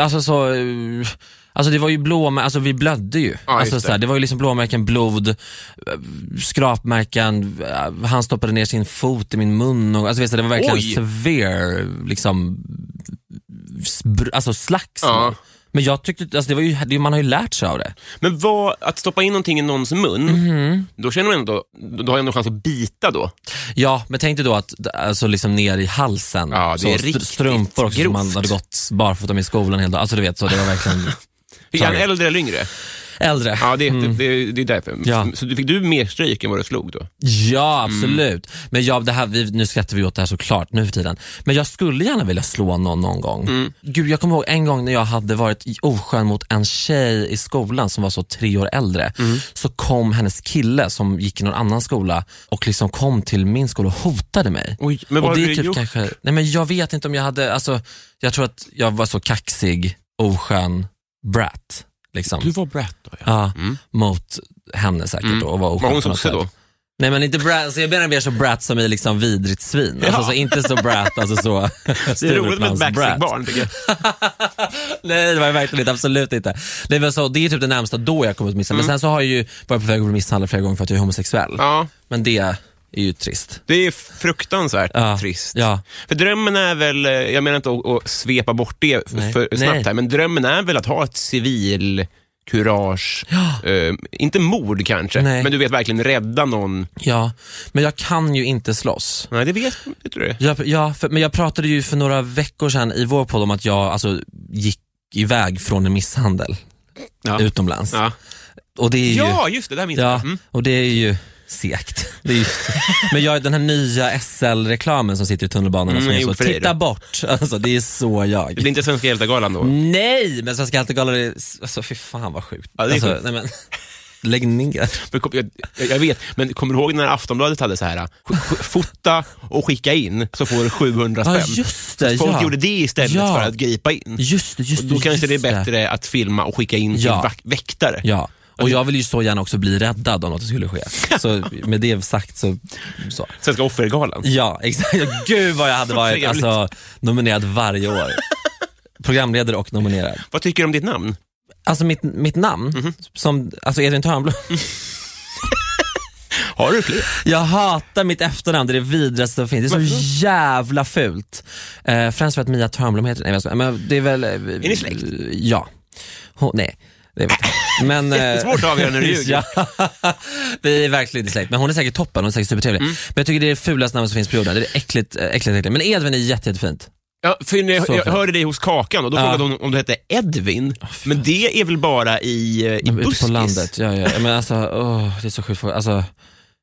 Speaker 2: alltså så... Alltså det var ju blåmärken, alltså vi blödde ju.
Speaker 1: Ja, just
Speaker 2: alltså så här,
Speaker 1: det.
Speaker 2: det var ju liksom blåmärken, blod, eh, skrapmärken, eh, han stoppade ner sin fot i min mun. Och, alltså vet du, det var verkligen
Speaker 1: Oj!
Speaker 2: severe liksom, sbr- alltså slagsmål.
Speaker 1: Ja.
Speaker 2: Men jag tyckte, alltså det var ju, det, man har ju lärt sig av det.
Speaker 1: Men vad, att stoppa in någonting i någons mun, då känner man ändå, då har jag ändå chans att bita då.
Speaker 2: Ja, men tänk dig då att alltså liksom ner i halsen,
Speaker 1: Ja, det
Speaker 2: så
Speaker 1: är
Speaker 2: str-
Speaker 1: riktigt
Speaker 2: strumpor också, som man
Speaker 1: grovt.
Speaker 2: hade gått barfota med i skolan hela dagen. Alltså du vet, så det var
Speaker 1: <laughs>
Speaker 2: verkligen
Speaker 1: Är han
Speaker 2: Taget.
Speaker 1: äldre eller yngre?
Speaker 2: äldre.
Speaker 1: Ja, det, det, det, det är därför.
Speaker 2: Ja.
Speaker 1: Så du- fick du mer stryk än vad du slog då?
Speaker 2: Ja,
Speaker 1: Mm.
Speaker 2: absolut. Men jag, det här, vi, nu skrattar vi åt det här såklart nu för tiden. Men jag skulle gärna vilja slå någon någon gång.
Speaker 1: Mm.
Speaker 2: Gud, jag kommer ihåg en gång när jag hade varit oskön mot en tjej i skolan som var så tre år äldre.
Speaker 1: Mm.
Speaker 2: Så kom hennes kille som gick i någon annan skola och liksom kom till min skola och hotade mig.
Speaker 1: Oj, men vad
Speaker 2: och
Speaker 1: hade
Speaker 2: det är
Speaker 1: du
Speaker 2: typ
Speaker 1: gjort?
Speaker 2: kanske, nej men Jag vet inte om jag hade, alltså, jag tror att jag var så kaxig, oskön brat. Liksom.
Speaker 1: var Brett då, ja.
Speaker 2: Ja, mot henne säkert då och var oskön
Speaker 1: Mm. Var hon
Speaker 2: på något
Speaker 1: sosse
Speaker 2: sätt.
Speaker 1: då?
Speaker 2: Nej men inte brat, så jag menar mer så brat som är liksom vidrigt svin. Alltså
Speaker 1: Ja.
Speaker 2: så inte så brat, alltså så
Speaker 1: <laughs> Det är roligt med ett
Speaker 2: Stureplan's brat.
Speaker 1: backstreet-barn, tycker jag.
Speaker 2: <laughs> Nej det var det verkligen inte, absolut inte. Det, var så, det är typ det närmsta då jag kommer att misshandla. Men sen så har jag ju varit på väg att bli misshandlad flera gånger för att jag är homosexuell.
Speaker 1: Mm. Ja,
Speaker 2: Men det är ju trist.
Speaker 1: det är fruktansvärt
Speaker 2: Ja.
Speaker 1: trist.
Speaker 2: Ja.
Speaker 1: För drömmen är väl, eh, jag menar inte att, att svepa bort det f-
Speaker 2: Nej.
Speaker 1: för snabbt
Speaker 2: Nej.
Speaker 1: här, men drömmen är väl att ha ett civil kurage, eh, inte mord kanske,
Speaker 2: Nej.
Speaker 1: men du vet verkligen rädda någon.
Speaker 2: ja, men jag kan ju inte slåss.
Speaker 1: Nej, det vet vet du det.
Speaker 2: Jag, ja, för, men jag pratade ju för några veckor sedan i vår podd om att jag alltså, gick iväg från en misshandel
Speaker 1: Ja.
Speaker 2: utomlands.
Speaker 1: Ja.
Speaker 2: Och det är ju...
Speaker 1: ja, just det, det här minns
Speaker 2: Ja,
Speaker 1: jag. Mm.
Speaker 2: och det är ju segt.
Speaker 1: <laughs>
Speaker 2: Det är ju, men jag, den här nya SL-reklamen som sitter i tunnelbanan
Speaker 1: Mm,
Speaker 2: som är
Speaker 1: jo,
Speaker 2: så,
Speaker 1: för dig då.
Speaker 2: titta bort. Alltså, det är så
Speaker 1: Det är
Speaker 2: jag.
Speaker 1: inte Svenska
Speaker 2: Mm.
Speaker 1: hjältar-galan då?
Speaker 2: Nej, men Svenska Alltegalan är, alltså fy fan vad sjukt.
Speaker 1: Ja, det är
Speaker 2: alltså,
Speaker 1: sjukt.
Speaker 2: nej, men, Lägg ner.
Speaker 1: Men kom, jag, jag vet, men kommer du ihåg när Aftonbladet hade så här, eh, sk- sk- fota och skicka in så får du 700 spänn?
Speaker 2: Ja, just det,
Speaker 1: Så folk
Speaker 2: ja.
Speaker 1: gjorde det istället
Speaker 2: Ja.
Speaker 1: för att gripa in.
Speaker 2: Just det, just
Speaker 1: och
Speaker 2: det.
Speaker 1: då kanske det är
Speaker 2: just
Speaker 1: bättre att filma och skicka in till
Speaker 2: Ja.
Speaker 1: vak- väktare.
Speaker 2: Ja. Och jag vill ju så gärna också bli räddad om något skulle ske. Så med det sagt så... så.
Speaker 1: Svenska Offergalan.
Speaker 2: Ja, exakt. Gud vad jag hade varit
Speaker 1: Trevligt.
Speaker 2: alltså, nominerad varje år. Programledare och nominerad.
Speaker 1: Vad tycker du om ditt namn?
Speaker 2: Alltså mitt, mitt namn,
Speaker 1: Mhm.
Speaker 2: som, alltså Edvin Törnblom.
Speaker 1: Mm. Har du fler?
Speaker 2: <laughs> Jag hatar mitt efternamn, det är det vidraste som finns. Det är så jävla fult. Eh, främst för att Mia Törnblom heter nej, jag skojar. men det. Är, väl, är
Speaker 1: ni släkt?
Speaker 2: Ja. Hon, nej, det vet jag
Speaker 1: <laughs>
Speaker 2: men, eh,
Speaker 1: Jättesvårt att avgöra när du ljuger.
Speaker 2: <laughs> ja, Vi är verkligen inte släkt, men hon är säkert toppen. Hon är säkert supertrevlig.
Speaker 1: Mm.
Speaker 2: Men jag tycker det är det fulaste namnet som finns på jorden. Det är äckligt, eh, äckligt, äckligt. Men Edvin är jätte, jättefint.
Speaker 1: Ja, för när jag,
Speaker 2: Så
Speaker 1: jag
Speaker 2: fint.
Speaker 1: hörde dig hos Kakan och då
Speaker 2: Ja.
Speaker 1: frågade hon om du hette Edvin. men det är väl bara i, eh, i
Speaker 2: Men Ute
Speaker 1: buskis?
Speaker 2: på landet. Ja, ja. Men alltså, åh, det är så sjukt. Alltså,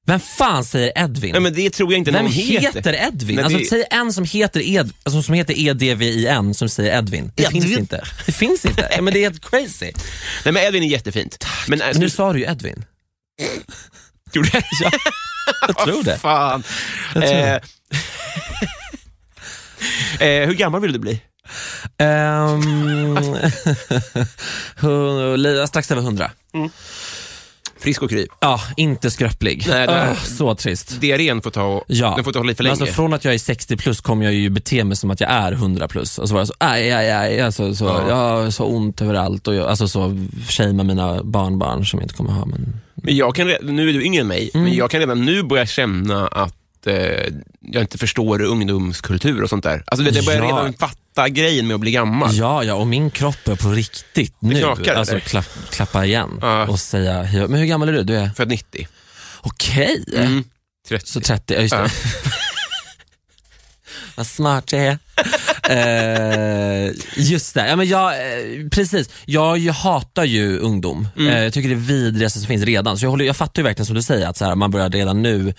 Speaker 2: vem fan säger Edvin?
Speaker 1: Nej, men det tror jag inte
Speaker 2: Vem
Speaker 1: någon
Speaker 2: heter, Edvin?
Speaker 1: Nej,
Speaker 2: alltså,
Speaker 1: det-
Speaker 2: Säg en som heter, Ed, alltså, som heter EDVIN som säger Edvin. Det
Speaker 1: Edvin.
Speaker 2: finns inte. Det
Speaker 1: <laughs>
Speaker 2: finns inte. Ja, men det är helt crazy.
Speaker 1: Nej, men Edvin är jättefint. Men, äh,
Speaker 2: Men nu sa du ju Edvin.
Speaker 1: Gjorde jag? <laughs>
Speaker 2: Ja, jag tror det.
Speaker 1: Fan.
Speaker 2: Jag tror
Speaker 1: Eh, eh, <laughs> hur gammal vill du bli?
Speaker 2: Eh, Ehm, <laughs> hun- li- strax över 100.
Speaker 1: Frisk och kry.
Speaker 2: Ja, inte skröplig.
Speaker 1: Nej, det-
Speaker 2: Åh, så trist.
Speaker 1: Diarrén får ta,
Speaker 2: Ja.
Speaker 1: den får ta lite för
Speaker 2: Men
Speaker 1: länge.
Speaker 2: Alltså, från att jag är 60 plus kommer jag ju bete mig som att jag är 100 plus. Och så var jag så, aj, aj, aj, alltså, så,
Speaker 1: Ja.
Speaker 2: jag har så ont överallt och jag, alltså, så shamea mina barnbarn som jag inte kommer ha. Men...
Speaker 1: men jag kan, re- nu är du yngre än mig,
Speaker 2: Mm.
Speaker 1: men jag kan redan nu börja känna att eh, jag inte förstår ungdomskultur och sånt där. Alltså, det, det börjar
Speaker 2: Ja.
Speaker 1: redan fatta grejen med att bli gammal.
Speaker 2: Ja, ja, och min kropp är på riktigt nu.
Speaker 1: knakar,
Speaker 2: alltså
Speaker 1: eller?
Speaker 2: klapp, klappa igen
Speaker 1: Ja.
Speaker 2: och säga, hej, men hur gammal är du? Du är,
Speaker 1: Född 90.
Speaker 2: okej.
Speaker 1: Mm. 30.
Speaker 2: Så 30, ja
Speaker 1: <laughs>
Speaker 2: just det.
Speaker 1: Ja.
Speaker 2: Vad smart jag är. eh, just det, ja, men jag, eh, precis. Jag ju hatar ju ungdom.
Speaker 1: Mm.
Speaker 2: Eh, jag tycker det är vidrigaste som finns redan. Så jag, håller, jag fattar ju verkligen som du säger, att så här, man börjar redan nu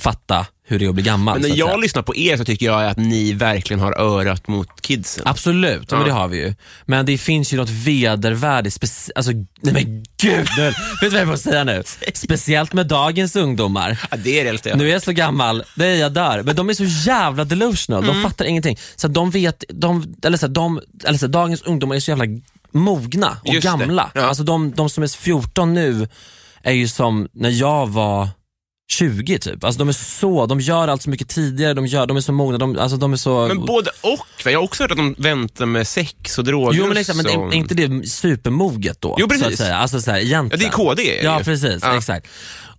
Speaker 2: fatta hur det är att bli gammal.
Speaker 1: Men när
Speaker 2: så att
Speaker 1: jag
Speaker 2: säga.
Speaker 1: lyssnar på er så tycker jag att ni verkligen har örat mot kidsen.
Speaker 2: Absolut, ja. men det har vi ju. Men det finns ju något vedervärdigt, speci- alltså, nej men gud, nu, vet du vad jag får
Speaker 1: <laughs>
Speaker 2: säga nu? Speciellt med dagens ungdomar.
Speaker 1: Ja, det är det äldsta jag
Speaker 2: Nu är jag så gammal, det är jag där. Men de är så jävla delusional,
Speaker 1: Mm.
Speaker 2: de fattar ingenting. Så att de vet, de, eller så här, de, eller så här, dagens ungdomar är så jävla mogna och
Speaker 1: Just det.
Speaker 2: gamla.
Speaker 1: Ja.
Speaker 2: Alltså de, de som är 14 nu är ju som när jag var 20 typ. Alltså de är så, de gör allt så mycket tidigare, de, gör, de är så mogna, de, alltså de är så...
Speaker 1: Men både och. va? Jag har också hört att de väntar med sex och droger.
Speaker 2: Jo men, liksom, men
Speaker 1: och-
Speaker 2: är är inte det supermoget då?
Speaker 1: Jo, precis.
Speaker 2: Så att säga. Alltså, så här, egentligen.
Speaker 1: Ja, det är KD ju.
Speaker 2: Ja precis,
Speaker 1: Ja.
Speaker 2: exakt.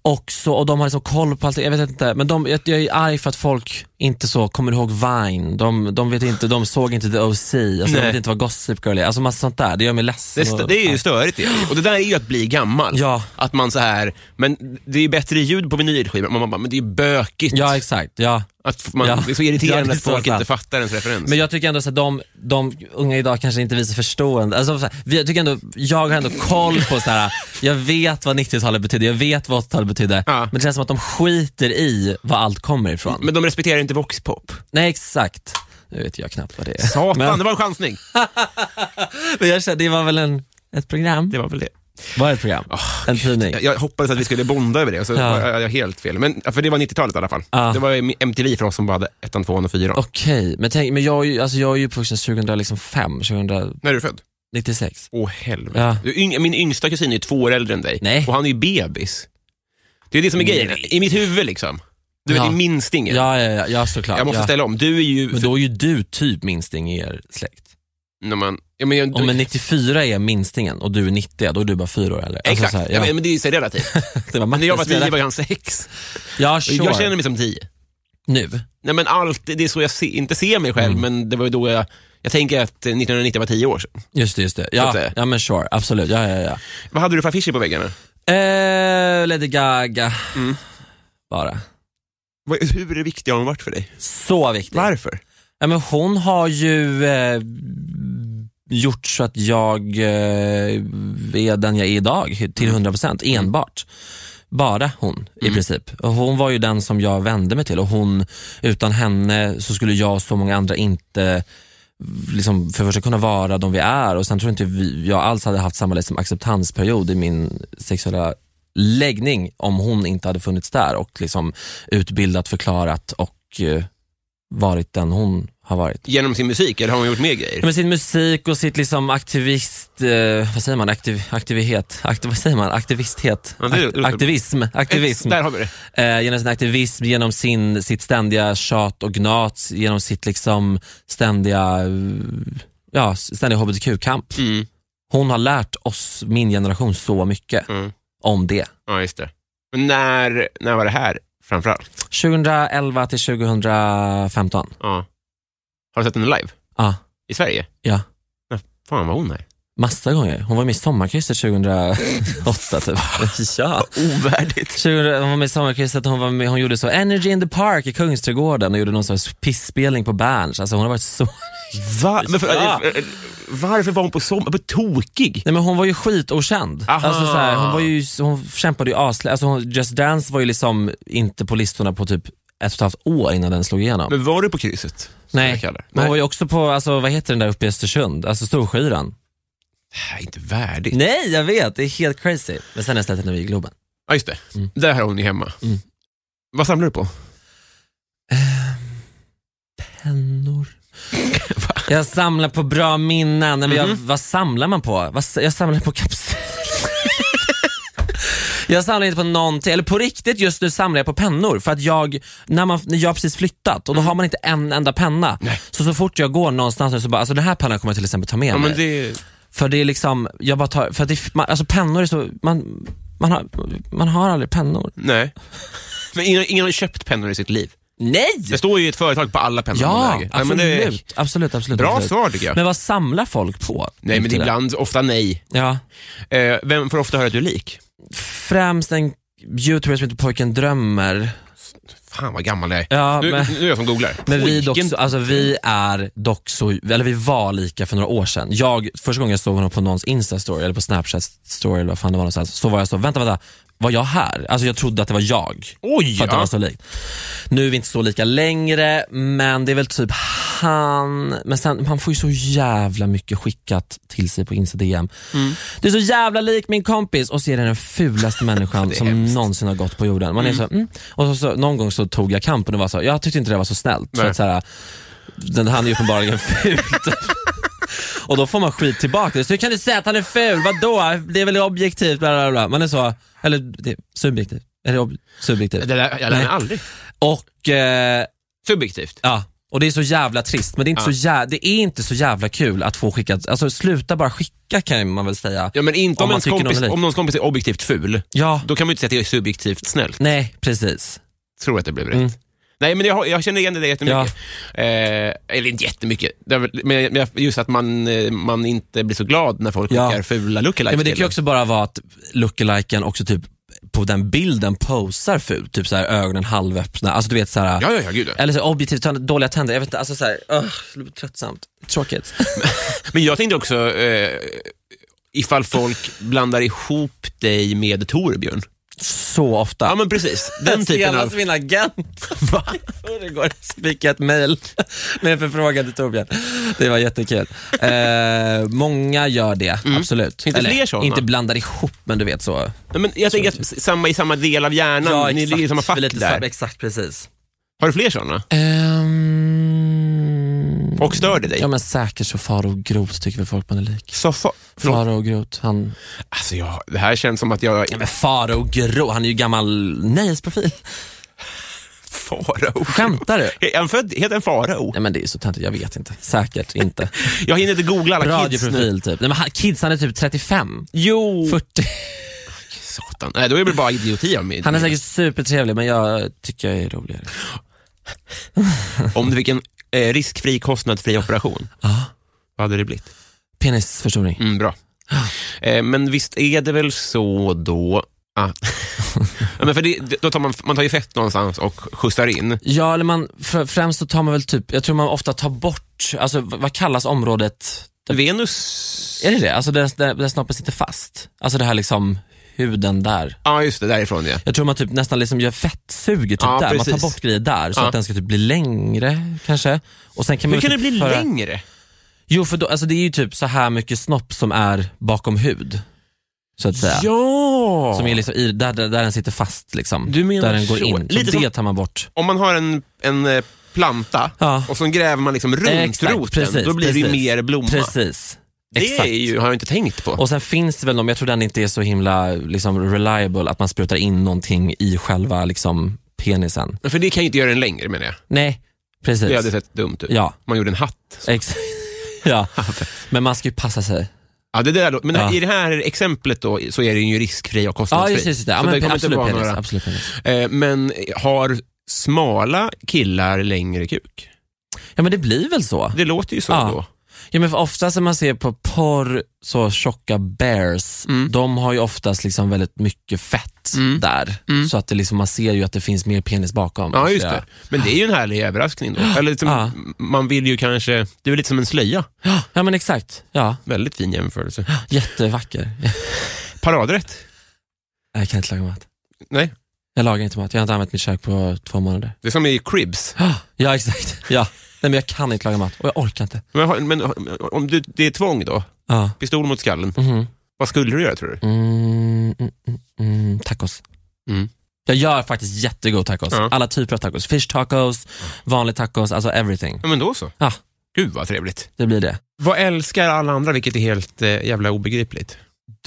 Speaker 2: Och, så, och de har liksom koll på allt, jag vet inte, men de, jag, jag är arg för att folk inte så kommer ihåg Vine, de, de vet inte, de såg inte The OC, alltså, de
Speaker 1: Nej.
Speaker 2: vet inte vad Gossip Girl är, alltså massa sånt där, det gör mig ledsen.
Speaker 1: Det, st-
Speaker 2: och-
Speaker 1: det är ju störigt det. Och det där är ju att bli gammal.
Speaker 2: Ja.
Speaker 1: Att man så här, men det är bättre ljud på vinylskivor. Man bara, men det är ju bökigt.
Speaker 2: Ja exakt, ja.
Speaker 1: Att man,
Speaker 2: Ja.
Speaker 1: Det är så irriterande
Speaker 2: Ja, det är
Speaker 1: att folk
Speaker 2: så sant.
Speaker 1: inte fattar ens referens.
Speaker 2: Men jag tycker ändå att de, de unga idag kanske inte visar förstående. Alltså, så här, vi- jag, tycker ändå, jag har ändå koll på så här. jag vet vad 90-talet betydde, jag vet vad 80-talet betydde,
Speaker 1: Ja.
Speaker 2: men det känns som att de skiter i var allt kommer ifrån.
Speaker 1: men de respekterar inte voxpop.
Speaker 2: Nej, exakt. Nu vet jag knappt vad det är.
Speaker 1: Satan,
Speaker 2: Men,
Speaker 1: det var en chansning.
Speaker 2: men jag kände, det var väl en, ett program?
Speaker 1: Det var väl det.
Speaker 2: Var det ett program? en tidning?
Speaker 1: Jag, jag hoppades att vi skulle bonda över det och så
Speaker 2: Ja.
Speaker 1: var jag, jag helt fel. Men, för det var 90-talet i alla fall.
Speaker 2: Ja.
Speaker 1: Det var ju MTV för oss som bara hade ettan, tvåan och fyran.
Speaker 2: Okej, men, tänk, men jag, är ju- alltså, jag är ju uppvuxen 2005, 2096.
Speaker 1: När är du född? Åh helvete.
Speaker 2: Ja.
Speaker 1: Du, yng, min yngsta kusin är två år äldre än dig
Speaker 2: Nej.
Speaker 1: och han är ju bebis. Det är det som är grejen,
Speaker 2: Nej.
Speaker 1: i mitt huvud liksom. Du vet,
Speaker 2: Ja.
Speaker 1: det är minst inget.
Speaker 2: Ja, ja, ja, ja, såklart.
Speaker 1: Jag måste
Speaker 2: ja.
Speaker 1: ställa om. Du är ju...
Speaker 2: Men då är ju du typ minsting i er släkt.
Speaker 1: när man, ja, men, jag-
Speaker 2: Om en 94 är minstingen och du är 90, då är du bara fyra år äldre. Alltså,
Speaker 1: Exakt,
Speaker 2: så här,
Speaker 1: ja.
Speaker 2: ja.
Speaker 1: men- men det är ju så relativt.
Speaker 2: <laughs> Det var
Speaker 1: När jag var tio var
Speaker 2: Martin.
Speaker 1: han sex.
Speaker 2: Ja,
Speaker 1: Och
Speaker 2: sure.
Speaker 1: Jag känner mig som tio.
Speaker 2: Nu.
Speaker 1: Nej, men allt, det är så jag se, inte ser mig
Speaker 2: Mm.
Speaker 1: själv, men det var ju då jag... Jag tänker att eh, 1990 var tio år sedan.
Speaker 2: Just det, just det.
Speaker 1: Så att
Speaker 2: Ja,
Speaker 1: säga.
Speaker 2: ja men sure. Absolut. Ja, ja, ja.
Speaker 1: Vad hade du för affischer på väggarna?
Speaker 2: Eh, Lady Gaga.
Speaker 1: Mm.
Speaker 2: Bara.
Speaker 1: Vad- Hur är viktig har hon varit för dig?
Speaker 2: Så viktigt.
Speaker 1: Varför?
Speaker 2: Ja, men hon har ju eh, gjort så att jag eh, är den jag är idag till 100% enbart. Bara hon i princip. Och hon var ju den som jag vände mig till och hon, utan henne så skulle jag och så många andra inte liksom, för det första kunna vara de vi är och sen tror jag inte vi, jag alls hade haft samma liksom, acceptansperiod i min sexuella läggning om hon inte hade funnits där och liksom utbildat, förklarat och eh, varit den hon har varit.
Speaker 1: Genom sin musik, eller har hon gjort mer
Speaker 2: Ja,
Speaker 1: grejer?
Speaker 2: men sin musik och sitt liksom aktivist, eh, vad säger man, Aktiv, aktivitet, Aktiv, vad säger man, aktivisthet,
Speaker 1: Ja, det
Speaker 2: Ak-
Speaker 1: låter-
Speaker 2: aktivism, aktivism.
Speaker 1: Där har vi det.
Speaker 2: Eh, genom sin aktivism, genom sin, sitt ständiga tjat och gnat, genom sitt liksom ständiga, eh, ja, ständiga hbtq-kamp.
Speaker 1: Mm.
Speaker 2: Hon har lärt oss, min generation, så mycket
Speaker 1: Mm.
Speaker 2: om det.
Speaker 1: Ja, just det. Men när, när var det här framförallt?
Speaker 2: 2011 till 2015.
Speaker 1: Ja. Har du sett henne live?
Speaker 2: Ja,
Speaker 1: I Sverige?
Speaker 2: ja.
Speaker 1: Fan vad hon är.
Speaker 2: Massa gånger. Hon var med i Sommarkrysset 2008
Speaker 1: <laughs>
Speaker 2: typ. ja.
Speaker 1: Ovärdigt.
Speaker 2: 2000, hon var med i Sommarkrysset, hon, var med- hon gjorde så Energy in the Park i Kungsträdgården och gjorde någon sorts pissspelning på Berns. Alltså hon har varit så... <laughs>
Speaker 1: Va? Men för, eh,
Speaker 2: Ja.
Speaker 1: Varför var hon på sommar? På tokig?
Speaker 2: Nej men hon var ju skitokänd.
Speaker 1: Aha.
Speaker 2: Alltså, så här, hon, var ju, hon kämpade ju aslä... Alltså, hon, Just Dance var ju liksom inte på listorna på typ ett och ett halvt år innan den slog igenom.
Speaker 1: Men var du på krysset? Som jag
Speaker 2: Nej,
Speaker 1: kallar det.
Speaker 2: hon
Speaker 1: Nej.
Speaker 2: var ju också på, alltså, vad heter den där uppe i Östersund? Alltså Storskyran.
Speaker 1: Det här är inte värdigt.
Speaker 2: Nej jag vet, det är helt crazy. Men sen har jag släppt henne vid Globen.
Speaker 1: Ja, just det. Där har hon ju hemma.
Speaker 2: Mm.
Speaker 1: Vad samlar du på?
Speaker 2: <laughs> pennor. jag samlar på bra minnen. Nej, men jag,
Speaker 1: Mhm.
Speaker 2: vad samlar man på? Vad, s- jag samlar på kapsyler. <laughs> Jag samlar inte på någonting, eller på riktigt just nu samlar jag på pennor för att jag, när man, när jag har precis flyttat och då har man inte en enda penna. Så så fort jag går någonstans nu så bara, alltså den här pennan kommer jag till exempel ta med
Speaker 1: Ja,
Speaker 2: mig.
Speaker 1: men det...
Speaker 2: För det är liksom, jag bara tar, för att det, är- man, alltså pennor är så, man, man, har, man har aldrig pennor.
Speaker 1: Nej. Men ingen, ingen har ju köpt pennor i sitt liv.
Speaker 2: Nej!
Speaker 1: Det står ju ett företag på alla pennor man
Speaker 2: Ja,
Speaker 1: äger. Nej, men
Speaker 2: absolut.
Speaker 1: det-
Speaker 2: absolut, absolut.
Speaker 1: Bra
Speaker 2: absolut.
Speaker 1: svar tycker jag.
Speaker 2: Men vad samlar folk på?
Speaker 1: Nej, men
Speaker 2: Inte det.
Speaker 1: ibland, ofta nej.
Speaker 2: Ja.
Speaker 1: Eh, vem får ofta höra att du är lik?
Speaker 2: Främst en youtuber som heter Pojken Drömmer.
Speaker 1: Fan vad gammal jag är.
Speaker 2: Ja,
Speaker 1: nu,
Speaker 2: men-
Speaker 1: nu är jag som googlar.
Speaker 2: Men vi, dock,
Speaker 1: Vilken-
Speaker 2: så- alltså, vi är dock så, eller vi var lika för några år sedan. Jag, första gången jag såg honom på någons Insta-story eller på Snapchat-story eller vad fan det var någonstans, så var jag så, vänta, vänta, var jag här? Alltså jag trodde att det var jag.
Speaker 1: Oj!
Speaker 2: För att det
Speaker 1: ja.
Speaker 2: var så likt. Nu är vi inte så lika längre, men det är väl typ han, men sen, han får ju så jävla mycket skickat till sig på Insta-DM.
Speaker 1: Mm.
Speaker 2: Du är så jävla lik min kompis och ser den den
Speaker 1: <laughs>
Speaker 2: fulaste människan som någonsin har gått på jorden. Man är så, mm. Och så, så, någon gång så tog jag kampen och var så, jag tyckte inte det var så snällt. För
Speaker 1: Nej.
Speaker 2: att, så här, den, han är ju uppenbarligen ful. <laughs> och då får man skit tillbaka. Så hur kan du säga att han är ful? Vadå? Det är väl objektivt? Bla, bla, bla. Man är så, eller det, subjektivt. Är det ob- subjektivt?
Speaker 1: Det där, jag lär mig
Speaker 2: Nej.
Speaker 1: aldrig.
Speaker 2: Och, eh,
Speaker 1: Subjektivt.
Speaker 2: ja, och det är så jävla trist, men det är, inte
Speaker 1: Ja.
Speaker 2: så jävla, det är inte så jävla kul att få skickat, alltså sluta bara skicka kan man väl säga.
Speaker 1: Ja, men inte
Speaker 2: Om
Speaker 1: om,
Speaker 2: man
Speaker 1: ens
Speaker 2: tycker någon
Speaker 1: kompis,
Speaker 2: är lik.
Speaker 1: om någons kompis är objektivt ful.
Speaker 2: Ja,
Speaker 1: Då kan man ju inte säga att jag är subjektivt snäll.
Speaker 2: nej precis.
Speaker 1: Tror att det blev rätt.
Speaker 2: Mm.
Speaker 1: Nej, men jag, har- jag känner igen det där jättemycket. Eh, eller inte jättemycket, det är väl- men men jag- just att man, eh, man inte blir så glad när folk
Speaker 2: Ja.
Speaker 1: skickar fula lookalikes.
Speaker 2: Ja, men det kan
Speaker 1: till
Speaker 2: ju
Speaker 1: en.
Speaker 2: också bara vara att lookaliken också typ på den bilden posar fult, typ så här ögonen halvöppna, alltså du vet så här.
Speaker 1: Ja, ja, ja, gud ja.
Speaker 2: Eller så objektivt tänder- dåliga tänder, jag vet inte, alltså såhär, uh, tröttsamt,
Speaker 1: <laughs>
Speaker 2: tråkigt.
Speaker 1: Men jag tänkte också eh, ifall folk blandar ihop dig med Torbjörn.
Speaker 2: Så ofta.
Speaker 1: Ja, men precis. Den typen
Speaker 2: <laughs> Senast
Speaker 1: av...
Speaker 2: min agent
Speaker 1: <laughs>
Speaker 2: Va? förrgår fick jag ett mail med en förfrågan till Torbjörn. Det var jättekul. Eh, många gör det, absolut.
Speaker 1: Inte Mm. fler såna?
Speaker 2: Inte blandar ihop, men du vet så.
Speaker 1: Nej, men jag tänker att s- samma, i samma del av hjärnan, ni ligger i samma fack
Speaker 2: Vi är lite
Speaker 1: där.
Speaker 2: sam- exakt, precis.
Speaker 1: Har du fler sådana?
Speaker 2: Ehm,
Speaker 1: Och stör det dig?
Speaker 2: ja men säkert så Faro Groth tycker väl folk man är lik.
Speaker 1: Så fa- förlåt.
Speaker 2: Faro Groth, han...
Speaker 1: Alltså, jag, det här känns som att jag...
Speaker 2: Ja, men Faro Groth, han är ju gammal nöjesprofil.
Speaker 1: Farao.
Speaker 2: Skämtar
Speaker 1: <laughs>
Speaker 2: du?
Speaker 1: Är han född, heter han Farao?
Speaker 2: Nej men det är så töntigt, jag vet inte. Säkert inte.
Speaker 1: Jag hinner inte googla alla kids nu.
Speaker 2: Radioprofil typ. Nej, men han, kids, han är typ 35.
Speaker 1: Jo.
Speaker 2: 40.
Speaker 1: Satan. Nej, då är det bara idioti av mig.
Speaker 2: Han är säkert supertrevlig men jag tycker jag är roligare.
Speaker 1: Om du fick en eh, riskfri, kostnadsfri operation, vad hade det blivit?
Speaker 2: Penisförstoring.
Speaker 1: Mm, bra. Eh, men visst är det väl så då
Speaker 2: <laughs>
Speaker 1: att... ja, men för det, då tar man, man tar ju fett någonstans och skjutsar in.
Speaker 2: Ja, eller man, fr- främst så tar man väl typ, jag tror man ofta tar bort, alltså v- vad kallas området? Där-
Speaker 1: Venus...
Speaker 2: Är det det? Alltså där, där, där snoppen sitter fast? Alltså det här liksom huden där.
Speaker 1: Ja, just det. Därifrån, ja.
Speaker 2: Jag tror man typ nästan liksom gör fettsuger typ
Speaker 1: Ja,
Speaker 2: där. Man
Speaker 1: precis.
Speaker 2: tar bort grejer där så
Speaker 1: Ja.
Speaker 2: att den ska typ bli längre kanske. Och sen kan man
Speaker 1: Hur
Speaker 2: väl
Speaker 1: kan det
Speaker 2: typ
Speaker 1: bli
Speaker 2: föra-
Speaker 1: längre?
Speaker 2: Jo, för då, alltså det är ju typ så här mycket snopp som är bakom hud. Så att säga.
Speaker 3: Ja!
Speaker 2: Som är liksom i, där, där, där den sitter fast liksom.
Speaker 3: Du menar
Speaker 2: där den går
Speaker 3: så.
Speaker 2: in. Så
Speaker 1: Lite
Speaker 2: det
Speaker 1: som-
Speaker 2: tar man bort.
Speaker 1: Om man har en, en eh, planta
Speaker 2: Ja.
Speaker 1: och så gräver man liksom runt
Speaker 2: Exakt,
Speaker 1: roten,
Speaker 2: precis,
Speaker 1: då blir det
Speaker 2: precis.
Speaker 1: ju mer blomma.
Speaker 2: Precis.
Speaker 1: Det
Speaker 2: Exakt.
Speaker 1: är ju, har jag inte tänkt på.
Speaker 2: Och sen finns det väl de, jag tror den inte är så himla liksom, reliable, att man sprutar in någonting i själva liksom, penisen.
Speaker 1: För det kan ju inte göra den längre menar jag.
Speaker 2: Nej, precis.
Speaker 1: Det hade sett dumt ut.
Speaker 2: Ja,
Speaker 1: Man gjorde en hatt.
Speaker 2: exakt. <laughs>
Speaker 1: <laughs>
Speaker 2: ja. Men man ska ju passa sig.
Speaker 1: Ja, det där, då- men
Speaker 2: Ja.
Speaker 1: i det här exemplet då så är den ju riskfri och
Speaker 2: Ja,
Speaker 1: kostnadsfri.
Speaker 2: just, just det. Ja,
Speaker 1: så
Speaker 2: men,
Speaker 1: det kommer inte
Speaker 2: absolut,
Speaker 1: vara
Speaker 2: penis,
Speaker 1: några...
Speaker 2: absolut penis.
Speaker 1: Eh, Men har smala killar längre kuk?
Speaker 2: Ja, men det blir väl så.
Speaker 1: Det låter ju så
Speaker 2: Ja.
Speaker 1: då.
Speaker 2: Ja, men för oftast när man ser på porr, så tjocka bears,
Speaker 1: Mm.
Speaker 2: de har ju oftast liksom väldigt mycket fett där. Så att det liksom, man ser ju att det finns mer penis bakom.
Speaker 1: Mm. Ja, just
Speaker 2: Så jag-
Speaker 1: det. Men det är ju en härlig överraskning då. Eller liksom,
Speaker 2: Ja.
Speaker 1: Man vill ju kanske... Det är lite som en slöja.
Speaker 2: <gasps> Ja, men exakt. Ja,
Speaker 1: Väldigt fin jämförelse.
Speaker 2: jättevacker. <laughs>
Speaker 1: Paradrätt?
Speaker 2: Jag kan inte laga mat.
Speaker 1: Nej.
Speaker 2: Jag lagar inte mat. Jag har inte använt mitt kök på två månader. <gasps>
Speaker 1: Det är som i cribs.
Speaker 2: Ja, exakt. Ja. Nej, men jag kan inte laga mat och jag orkar inte.
Speaker 1: Men, har- men har- om du, det är tvång då?
Speaker 2: Ja.
Speaker 1: Pistol mot skallen.
Speaker 2: Mhm.
Speaker 1: Vad skulle du göra tror du?
Speaker 2: Mm, mm, mm, mm. Tacos.
Speaker 1: Mm.
Speaker 2: Jag gör faktiskt jättegod tacos.
Speaker 1: Ja.
Speaker 2: Alla typer av tacos. Fish tacos, vanlig tacos, alltså everything.
Speaker 1: Ja, men då så.
Speaker 2: Ja,
Speaker 1: Gud vad trevligt.
Speaker 2: det blir det.
Speaker 1: Vad älskar alla andra, vilket är helt eh, jävla obegripligt?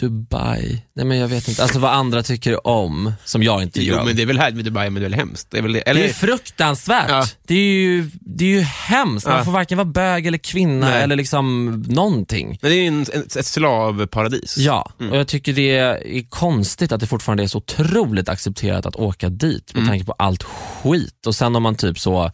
Speaker 2: Dubai. Nej men jag vet inte. Alltså vad andra tycker om, som jag inte gör.
Speaker 1: Jo,
Speaker 2: om.
Speaker 1: men det är väl här med Dubai, men det är väl hemskt? Det är väl det,
Speaker 2: Det
Speaker 1: eller,
Speaker 2: är ju fruktansvärt.
Speaker 1: Ja.
Speaker 2: Det, är ju, det är ju hemskt. Man
Speaker 1: Ja.
Speaker 2: får varken vara bög eller kvinna
Speaker 1: Nej.
Speaker 2: eller liksom någonting.
Speaker 1: men det är ju en, en, ett slavparadis.
Speaker 2: Ja, och jag tycker det är konstigt att det fortfarande är så otroligt accepterat att åka dit
Speaker 1: Mm.
Speaker 2: med tanke på allt skit. Och sen om man typ så,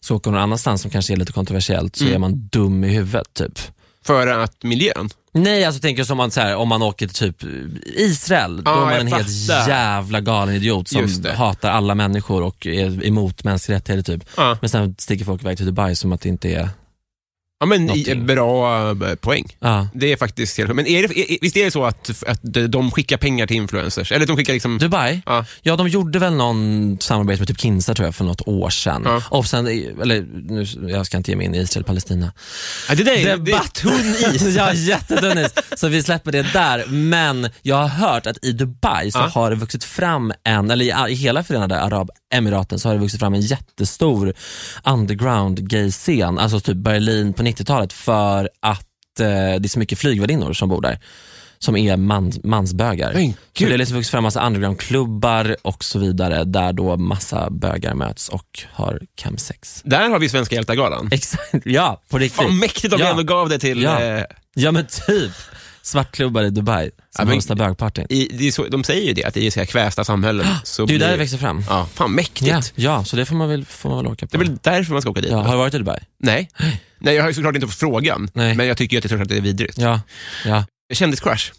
Speaker 2: så åker någon annanstans som kanske är lite kontroversiellt
Speaker 1: Mm.
Speaker 2: så är man dum i huvudet typ.
Speaker 1: För att miljön.
Speaker 2: Nej, alltså tänker jag som man, så här, om man åker till typ Israel, då
Speaker 1: Ja,
Speaker 2: är man
Speaker 1: jag
Speaker 2: en helt
Speaker 1: fattar.
Speaker 2: jävla galen idiot
Speaker 1: Just
Speaker 2: som
Speaker 1: det.
Speaker 2: hatar alla människor och är emot mänskliga rättigheter typ.
Speaker 1: Ja.
Speaker 2: Men sen sticker folk iväg till Dubai som att det inte är...
Speaker 1: Ja, men i,
Speaker 2: Någonting.
Speaker 1: bra eh, poäng.
Speaker 2: Ja.
Speaker 1: Det är faktiskt helt... Men är det, är, visst är det så att, att de skickar pengar till influencers? Eller de skickar liksom...
Speaker 2: Dubai?
Speaker 1: Ja.
Speaker 2: Ja, de gjorde väl någon samarbete med typ Kinsa tror jag för något år sedan.
Speaker 1: Ja.
Speaker 2: Och sen, eller nu, jag ska inte ge mig in i Israel-Palestina.
Speaker 1: Ja, det där är, det är
Speaker 2: Debatt.
Speaker 1: tunn is.
Speaker 2: <laughs> ja, jättetunn is. Så vi släpper det där. Men jag har hört att i Dubai så
Speaker 1: Ja.
Speaker 2: har det vuxit fram en, eller i, i hela Förenade Arabemiraten så har det vuxit fram en jättestor underground gay-scen, alltså typ Berlin på 90-talet för att eh, det är så mycket flygvärdinnor som bor där som är man, mansbögar.
Speaker 1: Men
Speaker 2: Så
Speaker 1: gud.
Speaker 2: det har liksom vuxit fram massa undergroundklubbar och så vidare där då massa bögar möts och har chemsex.
Speaker 1: Där har vi Svenska hjältar-galan.
Speaker 2: Exakt, ja på riktigt.
Speaker 1: Fan mäktigt om vi
Speaker 2: Ja.
Speaker 1: ändå gav det till...
Speaker 2: Ja.
Speaker 1: Eh,
Speaker 2: Ja men typ. Svartklubbar i Dubai
Speaker 1: Ja,
Speaker 2: som
Speaker 1: men-
Speaker 2: hostar bögpartyn.
Speaker 1: i, det är så, de säger ju det, att i så här kvästa
Speaker 2: <gasps>
Speaker 1: samhällen så
Speaker 2: Det är ju där det
Speaker 1: blir-
Speaker 2: växer fram.
Speaker 1: Ja, fan mäktigt.
Speaker 2: Ja, ja, så det får man väl, får man väl åka
Speaker 1: Det
Speaker 2: på.
Speaker 1: är väl därför man ska åka dit?
Speaker 2: Ja, har du varit i Dubai?
Speaker 1: Nej. Nej, jag har ju såklart inte fått frågan,
Speaker 2: Nej.
Speaker 1: men jag tycker ju att det är såklart att det är vidrigt.
Speaker 2: Ja, ja.
Speaker 1: Kändiscrush?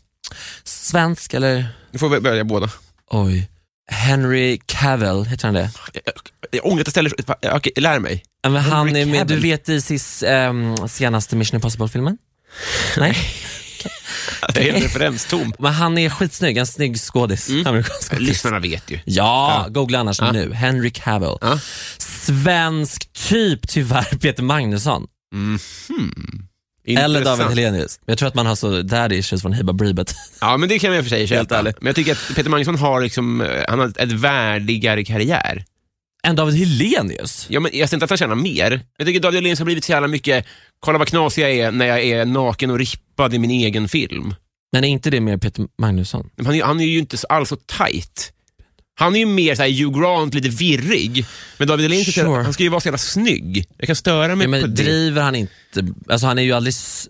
Speaker 2: Svensk eller?
Speaker 1: Du får vi börja båda.
Speaker 2: Oj. Henry Cavill, heter han det?
Speaker 1: Jag, jag, jag ångrar att jag ställer... Okej, lär mig. <laughs>
Speaker 2: Ja, Men han
Speaker 1: Henry
Speaker 2: är med, du
Speaker 1: Cavill.
Speaker 2: vet i sis, ehm, senaste Mission Impossible-filmen? Nej?
Speaker 1: Det är helt referenstom.
Speaker 2: Men han är skitsnygg, en snygg skådis. Amerikansk skådis.
Speaker 1: Lyssnarna vet ju.
Speaker 2: Mm. Ja, googla annars nu. Henry Cavill.
Speaker 1: Ja.
Speaker 2: Svensk typ tyvärr Peter Magnusson. Eller
Speaker 1: Intressant.
Speaker 2: David Hellenius. Jag tror att man har så daddy issues från Hiba <laughs> Breebet.
Speaker 1: Ja, men det kan jag i och för sig
Speaker 2: Helt
Speaker 1: köpa.
Speaker 2: ärligt.
Speaker 1: Men jag tycker att Peter Magnusson har liksom, eh, han har ett värdigare karriär.
Speaker 2: Än David Hellenius?
Speaker 1: Ja, men jag ser inte att han tjänar mer. Jag tycker David Hellenius har blivit så jävla mycket, kolla vad knasig jag är när jag är naken och rippad i min egen film.
Speaker 2: Men är inte det mer Peter Magnusson?
Speaker 1: Men han, är- han är ju inte så- alls så tight. Han är ju mer såhär Hugh Grant, lite virrig. Men David Hellenius, är så-
Speaker 2: Sure.
Speaker 1: han ska ju vara så jävla snygg. Jag kan störa mig
Speaker 2: Ja,
Speaker 1: på
Speaker 2: men
Speaker 1: det.
Speaker 2: driver han inte... Alltså han är ju aldrig... s-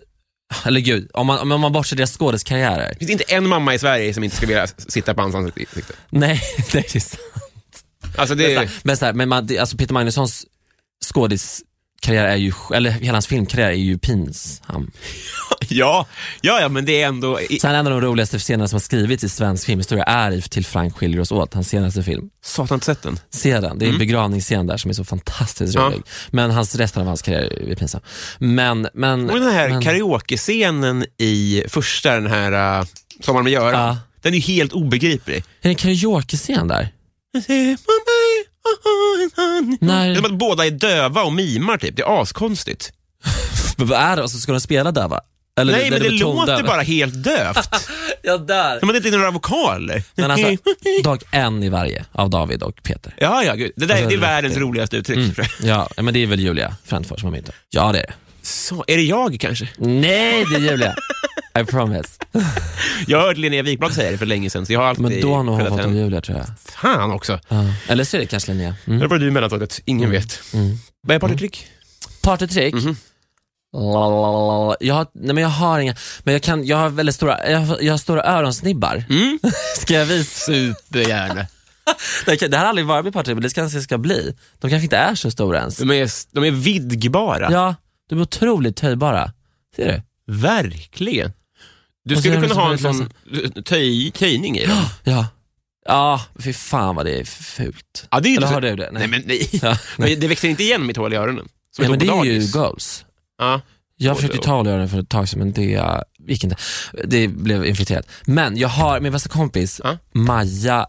Speaker 2: Eller gud, om man, om man bortser deras skådiskarriärer.
Speaker 1: Det finns inte en mamma i Sverige som inte skulle vilja s- sitta på hans ansikte.
Speaker 2: Nej, <laughs> det är sant.
Speaker 1: Alltså det är...
Speaker 2: Men, så här, men man, det, alltså Peter Magnussons skådiskarriär är ju... Eller hela hans filmkarriär är ju pinsam.
Speaker 1: Ja, ja, ja, men det är ändå... i-
Speaker 2: Sen en av de roligaste scenerna som har skrivits i svensk filmhistoria är i Till Frank skiljer oss åt, hans senaste film.
Speaker 1: Satan, inte sett den.
Speaker 2: Se den, det är en begravningsscen där som är så fantastiskt
Speaker 1: Mm. Ja.
Speaker 2: rolig. Men hans, resten av hans karriär är pinsam. Men, men...
Speaker 1: Och den här
Speaker 2: men,
Speaker 1: karaoke-scenen i första, den här uh, Sommaren med Göran.
Speaker 2: Ja.
Speaker 1: Den är ju helt obegriplig.
Speaker 2: Är det en karaoke-scen där?
Speaker 1: Det
Speaker 2: När...
Speaker 1: är som att båda är döva och mimar typ. Det är askonstigt.
Speaker 2: Men vad är det? Alltså, ska de spela där va? Eller
Speaker 1: Nej, men det låter
Speaker 2: tondöva?
Speaker 1: bara helt
Speaker 2: <laughs>
Speaker 1: dövt.
Speaker 2: Ja, där.
Speaker 1: De hade inte några <laughs> vokaler.
Speaker 2: Men alltså, dag en i varje av David och Peter.
Speaker 1: ja, ja, gud. Det, där,
Speaker 2: Alltså,
Speaker 1: det är
Speaker 2: det- Mm.
Speaker 1: världens roligaste uttryck. tror jag.
Speaker 2: Ja, men det är väl Julia Frändfors som har myntat? Ja, det är det.
Speaker 1: Så, är det jag kanske?
Speaker 2: Nej, det är Julia. I promise.
Speaker 1: Jag hörde Linnea Wikblad säga det för länge sedan, så jag har alltid
Speaker 2: Men då har nog hon
Speaker 1: skällt
Speaker 2: fått av
Speaker 1: henne.
Speaker 2: Julia tror jag.
Speaker 1: Fan också.
Speaker 2: Ja. Eller så är det kanske Linnea. Mm.
Speaker 1: Det var du i mellanstadiet. Ingen vet. Vad är partytrick?
Speaker 2: Partytrick?
Speaker 1: Mhm.
Speaker 2: Lalalala. Jag, har, nej men jag har inga, men jag, kan, jag har väldigt stora, jag har, jag har stora öronsnibbar.
Speaker 1: Mm.
Speaker 2: <laughs> Ska jag visa?
Speaker 1: Supergärna.
Speaker 2: Det, kan, det här har aldrig varit mitt partytrick, men det kanske ska bli. De kanske inte är så stora ens.
Speaker 1: De är, de är vidgbara.
Speaker 2: Ja, de är otroligt töjbara. Ser du?
Speaker 1: Verkligen. Du
Speaker 2: Och så
Speaker 1: skulle
Speaker 2: är de
Speaker 1: kunna
Speaker 2: så
Speaker 1: ha en sån
Speaker 2: värdelösa.
Speaker 1: töj, töjning i dem.
Speaker 2: Ja. Ja, fy fan vad det är fult.
Speaker 1: Ja, det är ju
Speaker 2: Eller
Speaker 1: inte
Speaker 2: har
Speaker 1: så-
Speaker 2: du det?
Speaker 1: Nej, men nej.
Speaker 2: Ja, nej.
Speaker 1: Men det växer inte igen mitt hål i öronen. Som
Speaker 2: Nej,
Speaker 1: ett
Speaker 2: men det
Speaker 1: hål på
Speaker 2: är ju
Speaker 1: dagis.
Speaker 2: goals.
Speaker 1: Ja.
Speaker 2: Jag försökte
Speaker 1: Och-
Speaker 2: ta och göra det för ett tag sedan men det eh, gick inte. Det blev infekterat. Men jag har, min bästa kompis
Speaker 1: Ja.
Speaker 2: Maja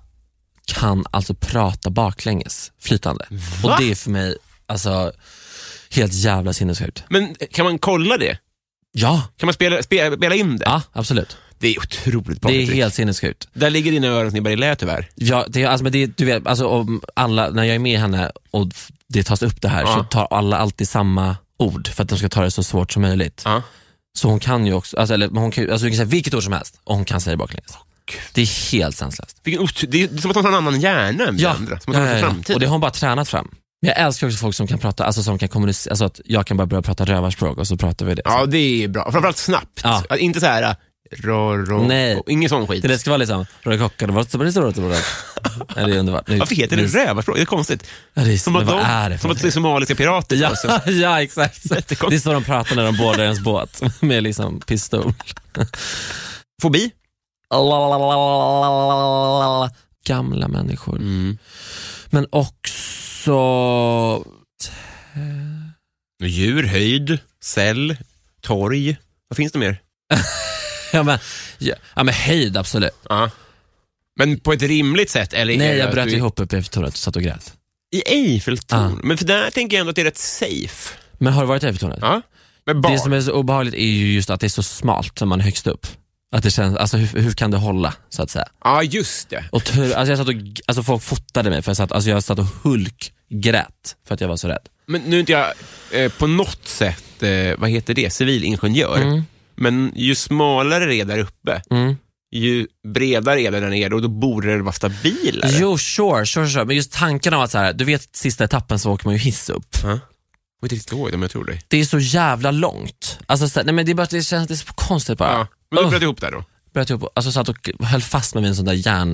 Speaker 2: kan alltså prata baklänges flytande. Och det är för mig alltså helt jävla sinnessjukt.
Speaker 1: Men kan man kolla det?
Speaker 2: Ja,
Speaker 1: Kan man spela, spela, spela in det?
Speaker 2: ja absolut.
Speaker 1: Det är otroligt bra
Speaker 2: Det är
Speaker 1: uttryck.
Speaker 2: helt sinnessjukt.
Speaker 1: Där ligger dina öronsnibbar i lä tyvärr.
Speaker 2: Ja, det, är- alltså, men det, är- du vet, alltså, om alla, när jag är med henne och f- det tas upp det här
Speaker 1: Ja.
Speaker 2: så tar alla alltid samma ord för att de ska ta det så svårt som möjligt.
Speaker 1: Ja.
Speaker 2: Så hon kan ju också, alltså, eller, men hon kan, ju- alltså, du kan säga vilket ord som helst och hon kan säga det baklänges. det är helt senslöst.
Speaker 1: Vilken ot- det är som att han har en annan hjärna än vi andra. Som att han har ja, framtid.
Speaker 2: Och det har hon bara tränat fram. Men jag älskar också folk som kan prata, alltså som kan kommunicera, alltså att jag kan bara börja prata rövarspråk och så pratar vi det.
Speaker 1: Ja, det är bra. Framförallt snabbt.
Speaker 2: Ja.
Speaker 1: Att Inte så här... äh, Rå, rå,
Speaker 2: Nej.
Speaker 1: och Ingen sån skit.
Speaker 2: Det där ska vara liksom, rörkocka, det var så bra, det var så bra. Ja, det är underbart. Nu-
Speaker 1: Varför heter det
Speaker 2: nu-
Speaker 1: rövarspråk? Det är konstigt.
Speaker 2: Mm. Ja, det är,
Speaker 1: Som
Speaker 2: men
Speaker 1: att,
Speaker 2: vad
Speaker 1: de,
Speaker 2: är det
Speaker 1: som
Speaker 2: för
Speaker 1: att det är somaliska pirater.
Speaker 2: Ja,
Speaker 1: Alltså.
Speaker 2: <laughs> ja, exakt.
Speaker 1: Jättekonstigt.
Speaker 2: Det är så de pratar när de boardar ens båt <laughs> med liksom pistol.
Speaker 1: Fobi?
Speaker 2: Gamla människor.
Speaker 1: Mm.
Speaker 2: Men också...
Speaker 1: Djur, höjd, cell, torg. Vad finns det mer?
Speaker 2: Ja men, ja, ja, men höjd absolut.
Speaker 1: Ja. Men på ett rimligt sätt? Eller är
Speaker 2: Nej
Speaker 1: det
Speaker 2: jag
Speaker 1: att
Speaker 2: bröt
Speaker 1: du-
Speaker 2: ihop uppe i Eiffeltornet och satt och grät.
Speaker 1: I Eiffeltorn?
Speaker 2: Ja.
Speaker 1: Men för där tänker jag ändå att det är rätt safe.
Speaker 2: Men har du varit i Eiffeltornet?
Speaker 1: Ja. Med barn.
Speaker 2: Det som är så obehagligt är ju just att det är så smalt som man är högst upp. Att det känns, alltså hur, hur kan det hålla så att säga?
Speaker 1: Ja, just det.
Speaker 2: Och tur, alltså jag satt och, g- alltså folk fotade mig för jag satt, alltså jag satt och hulkgrät för att jag var så rädd.
Speaker 1: Men nu är inte jag eh, på något sätt, eh, vad heter det, civilingenjör.
Speaker 2: Mm.
Speaker 1: Men ju smalare det är där uppe, ju bredare är det där nere och då borde det vara stabilare.
Speaker 2: Jo, sure, sure, sure. Men just tanken om att så här, du vet sista etappen så åker man ju hiss upp.
Speaker 1: Jag vet inte riktigt ihåg det, men jag tror det.
Speaker 2: Det är så jävla långt. Alltså, så här, nej, men det, är bara, att det känns det är så konstigt bara.
Speaker 1: Ja. Men då
Speaker 2: Ugh.
Speaker 1: bröt jag ihop där då.
Speaker 2: bröt ihop, alltså satt och höll fast med min sån där järn...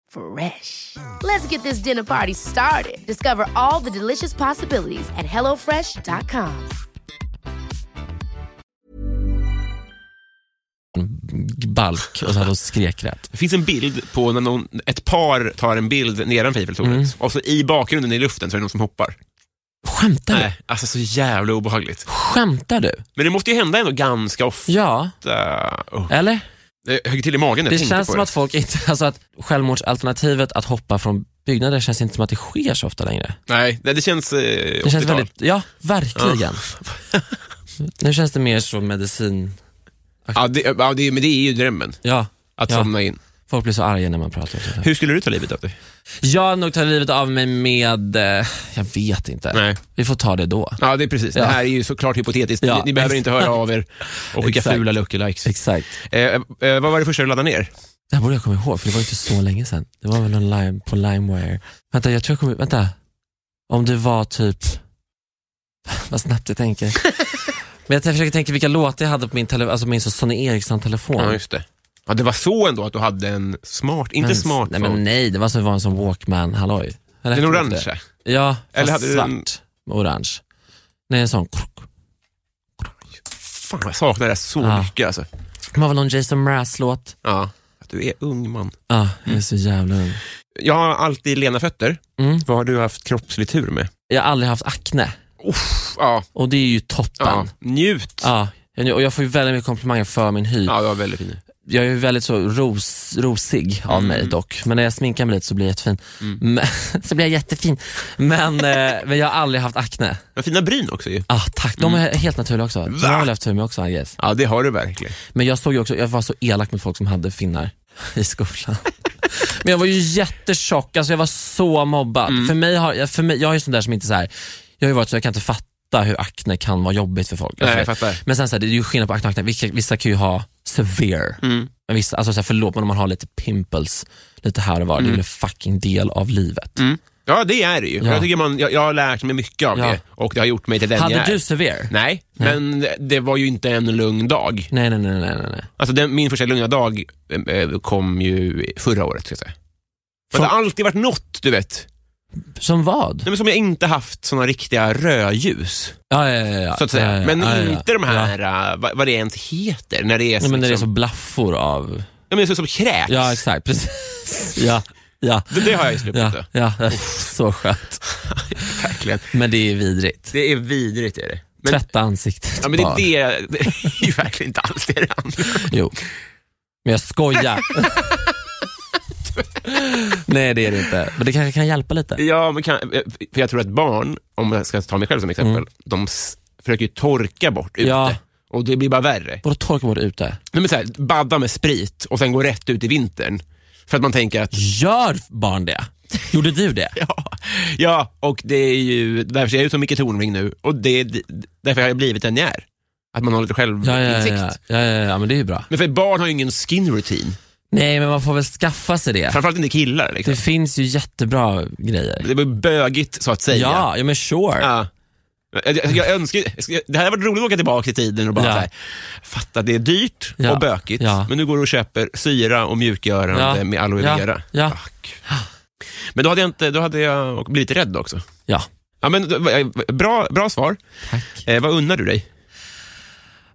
Speaker 4: Fresh. Let's get this dinner party started. Discover all the delicious possibilities at hellofresh.com.
Speaker 2: balk och satt och skrekgrät.
Speaker 1: Det finns en bild på när någon, ett par tar en bild nedanför Eiffeltornet
Speaker 2: Mm.
Speaker 1: och så i bakgrunden i luften så är det någon som hoppar.
Speaker 2: Skämtar du?
Speaker 1: Nej, alltså så jävla obehagligt.
Speaker 2: Skämtar du?
Speaker 1: Men det måste ju hända ändå ganska ofta.
Speaker 2: Ja,
Speaker 1: Oh,
Speaker 2: eller?
Speaker 1: det högg till i magen när
Speaker 2: Det
Speaker 1: jag tänkte
Speaker 2: känns
Speaker 1: på
Speaker 2: som
Speaker 1: det.
Speaker 2: att folk inte, alltså att självmordsalternativet att hoppa från byggnader känns inte som att det sker så ofta längre.
Speaker 1: Nej, nej, det känns eh,
Speaker 2: Det känns
Speaker 1: 80-tal.
Speaker 2: väldigt, ja
Speaker 1: <laughs>
Speaker 2: verkligen. nu känns det mer som medicin,
Speaker 1: Ja, det, ja det, men det är ju drömmen.
Speaker 2: ja.
Speaker 1: Att
Speaker 2: ja.
Speaker 1: somna in.
Speaker 2: Folk blir så arga när man pratar om det.
Speaker 1: Hur skulle du ta livet av dig?
Speaker 2: Jag har nog tagit livet av mig med, eh, jag vet inte.
Speaker 1: Nej.
Speaker 2: Vi får ta det då.
Speaker 1: Ja, det är precis.
Speaker 2: Ja.
Speaker 1: Det här är ju såklart hypotetiskt.
Speaker 2: Ja,
Speaker 1: ni, ni behöver
Speaker 2: exakt.
Speaker 1: inte höra av
Speaker 2: <laughs>
Speaker 1: er och skicka
Speaker 2: Exakt.
Speaker 1: fula lucky likes.
Speaker 2: Exakt.
Speaker 1: Eh, eh, vad var det första du laddade ner?
Speaker 2: Det här borde jag komma ihåg, för det var ju inte så länge sedan. Det var väl någon lime på LimeWire. Vänta, jag tror jag kommer... Vänta. Om det var typ... <laughs> Vad snabbt
Speaker 1: <laughs>
Speaker 2: jag tänker. Men jag försöker tänka vilka låtar jag hade på min, tele... alltså min så Sonny Eriksson-telefon.
Speaker 1: Ja, just det. Ja, det var så ändå att du hade en smart, inte
Speaker 2: Men-
Speaker 1: smart.
Speaker 2: Nej, men nej, det var som, var en sån Walkman, halloj. Eller
Speaker 1: Den
Speaker 2: hette det
Speaker 1: orangea?
Speaker 2: inte? Ja,
Speaker 1: Eller hade
Speaker 2: Eller hade
Speaker 1: du
Speaker 2: svart.
Speaker 1: den-
Speaker 2: med Orange. Nej, en sån. krok.
Speaker 1: Fan, jag saknar det här så
Speaker 2: Ja.
Speaker 1: mycket alltså.
Speaker 2: Det var väl någon Jason Mraz-låt.
Speaker 1: Ja. Att du är ung man.
Speaker 2: Ja, jag är så jävla ung.
Speaker 1: Jag har alltid lena fötter.
Speaker 2: Mm.
Speaker 1: Vad har du haft kroppslig tur med?
Speaker 2: Jag har aldrig haft akne
Speaker 1: Uff, ja,
Speaker 2: och det är ju
Speaker 1: ja.
Speaker 2: toppen.
Speaker 1: Njut. Ja.
Speaker 2: Ja. och jag får ju väldigt mycket komplimanger för min hy.
Speaker 1: det var väldigt fint.
Speaker 2: Jag är ju väldigt så ros, rosig av mig dock, men när jag sminkar mig lite så blir jag jättefin. Men, <laughs> så blir jag jättefin. Men, eh, men jag har aldrig haft akne.
Speaker 1: Men fina bryn också ju.
Speaker 2: Ah, tack, de är helt naturliga också. De
Speaker 1: Va?
Speaker 2: har väl haft tur med också I guess.
Speaker 1: Ja, det har du verkligen.
Speaker 2: Men jag såg ju också, jag var så elak mot folk som hade finnar <laughs> i skolan. Men jag var ju jättetjock, alltså jag var så mobbad.
Speaker 1: Mm.
Speaker 2: För mig har, jag- för mig, jag är ju sån där som inte så här, jag har ju varit så, jag kan inte fatta hur akne kan vara jobbigt för folk.
Speaker 1: Nej, jag
Speaker 2: Alltså,
Speaker 1: fattar.
Speaker 2: Men sen så här, det är ju skillnad på akne och akne, vissa, vissa kan ju ha severe.
Speaker 1: Mm.
Speaker 2: Men vissa, alltså så här, förlåt men om man har lite pimples lite här och var,
Speaker 1: Mm.
Speaker 2: det är väl en fucking del av livet.
Speaker 1: Ja, det är det ju.
Speaker 2: Ja.
Speaker 1: Jag, tycker man, jag, jag har lärt mig mycket av
Speaker 2: Ja.
Speaker 1: det och det har gjort mig till den jag
Speaker 2: Hade
Speaker 1: är.
Speaker 2: du severe?
Speaker 1: Nej, men det- det var ju inte en lugn dag.
Speaker 2: Nej, nej, nej, nej, nej. nej.
Speaker 1: Alltså den, min första lugna dag eh, kom ju förra året. Ska jag säga. Men
Speaker 2: Från-
Speaker 1: det har alltid varit något, du vet.
Speaker 2: Som vad?
Speaker 1: Nej, men som jag inte haft såna riktiga rödljus,
Speaker 2: Ja, ja, ja, ja.
Speaker 1: så att säga.
Speaker 2: Ja, ja,
Speaker 1: men
Speaker 2: ja, ja,
Speaker 1: inte de
Speaker 2: ja.
Speaker 1: här, eh, vad, vad det ens heter, när det är,
Speaker 2: Nej, men när det är så
Speaker 1: liksom,
Speaker 2: blaffor av...
Speaker 1: ja, men det ser ut som kräks.
Speaker 2: Ja, exakt. Precis. <laughs> ja, ja,
Speaker 1: det, det har jag ju sluppit.
Speaker 2: ja,
Speaker 1: då. <laughs>
Speaker 2: ja. Så skönt.
Speaker 1: Verkligen.
Speaker 2: Men det är vidrigt.
Speaker 1: Det är vidrigt. Är det. Men,
Speaker 2: Tvätta ansiktet
Speaker 1: ja, men det,
Speaker 2: bara.
Speaker 1: är det, <laughs> det är ju verkligen inte alls det det handlar om.
Speaker 2: Jo. Men
Speaker 1: <laughs>
Speaker 2: jag skojar. Nej, det är det inte. Men det kanske kan hjälpa lite.
Speaker 1: Ja, men kan, eh, för jag tror att barn, om jag ska ta mig själv som exempel, de s- försöker ju torka bort ute.
Speaker 2: Mm. Ja.
Speaker 1: Och det blir bara värre.
Speaker 2: Vadå torka bort ute?
Speaker 1: Nej, men så här, badda med sprit och sen gå rätt ut i vintern. För att man tänker
Speaker 2: <laughs>
Speaker 1: att,
Speaker 2: Gör barn det? Gjorde du det?
Speaker 1: ja, ja och det är ju, därför ser jag ut som Micke Tornving nu och det, är- därför har jag blivit den jag är. Att man har lite
Speaker 2: Ja,
Speaker 1: självinsikt.
Speaker 2: ja, ja, ja, ja, ja, ja men det är ju bra.
Speaker 1: Men för barn har ju ingen skin routine.
Speaker 2: Nej, men man får väl skaffa sig det.
Speaker 1: Framförallt inte killar.
Speaker 2: Det
Speaker 1: Liksom.
Speaker 2: finns ju jättebra grejer.
Speaker 1: Det blir bögigt så att säga.
Speaker 2: Ja, ja men sure.
Speaker 1: Ja. Jag, jag, jag önskar, jag ska- det här hade varit roligt att åka tillbaka i tiden och bara
Speaker 2: Ja.
Speaker 1: så här, fatta det är dyrt
Speaker 2: Ja.
Speaker 1: och bökigt,
Speaker 2: Ja.
Speaker 1: men nu går du och köper syra och mjukgörande
Speaker 2: Ja.
Speaker 1: med aloe
Speaker 2: Ja.
Speaker 1: vera.
Speaker 2: Ja.
Speaker 1: Ah, gud. men då hade jag, inte, då hade jag blivit lite rädd också.
Speaker 2: Ja.
Speaker 1: Ja, men, det var- eh, bra, bra svar.
Speaker 2: Tack.
Speaker 1: Eh, vad unnar du dig?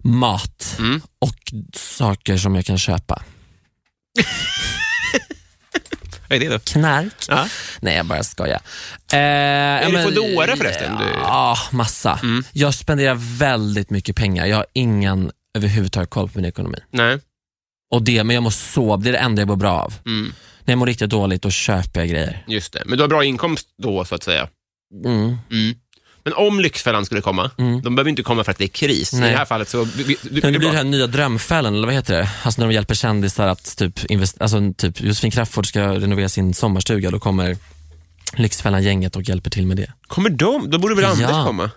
Speaker 2: mat
Speaker 1: Mm.
Speaker 2: och saker som jag kan köpa.
Speaker 1: Vad är det då?
Speaker 2: Knark?
Speaker 1: Ja.
Speaker 2: Nej, jag bara skojar. Eh, är
Speaker 1: det Foodora förresten, du- Mm.
Speaker 2: Ja, massa. Jag spenderar väldigt mycket pengar. Jag har ingen överhuvudtaget koll på min ekonomi.
Speaker 1: Nej.
Speaker 2: Och det, men jag mår så, det är det enda jag mår bra av.
Speaker 1: Mm,
Speaker 2: När jag mår riktigt dåligt, då köper jag grejer.
Speaker 1: just det. Men du har bra inkomst då, så att säga.
Speaker 2: Mm.
Speaker 1: Men om Lyxfällan skulle komma, de behöver inte komma för att det är kris.
Speaker 2: Nej.
Speaker 1: I det här fallet så... Vi, vi, du,
Speaker 2: Men
Speaker 1: det
Speaker 2: det
Speaker 1: är
Speaker 2: blir
Speaker 1: bra.
Speaker 2: den här nya drömfällan, eller vad heter det? Alltså när de hjälper kändisar att typ, invest- alltså, typ Josefin Crafoord ska renovera sin sommarstuga, då kommer Lyxfällan-gänget och hjälper till med det.
Speaker 1: Kommer de? Då borde väl Anders
Speaker 2: Ja.
Speaker 1: komma?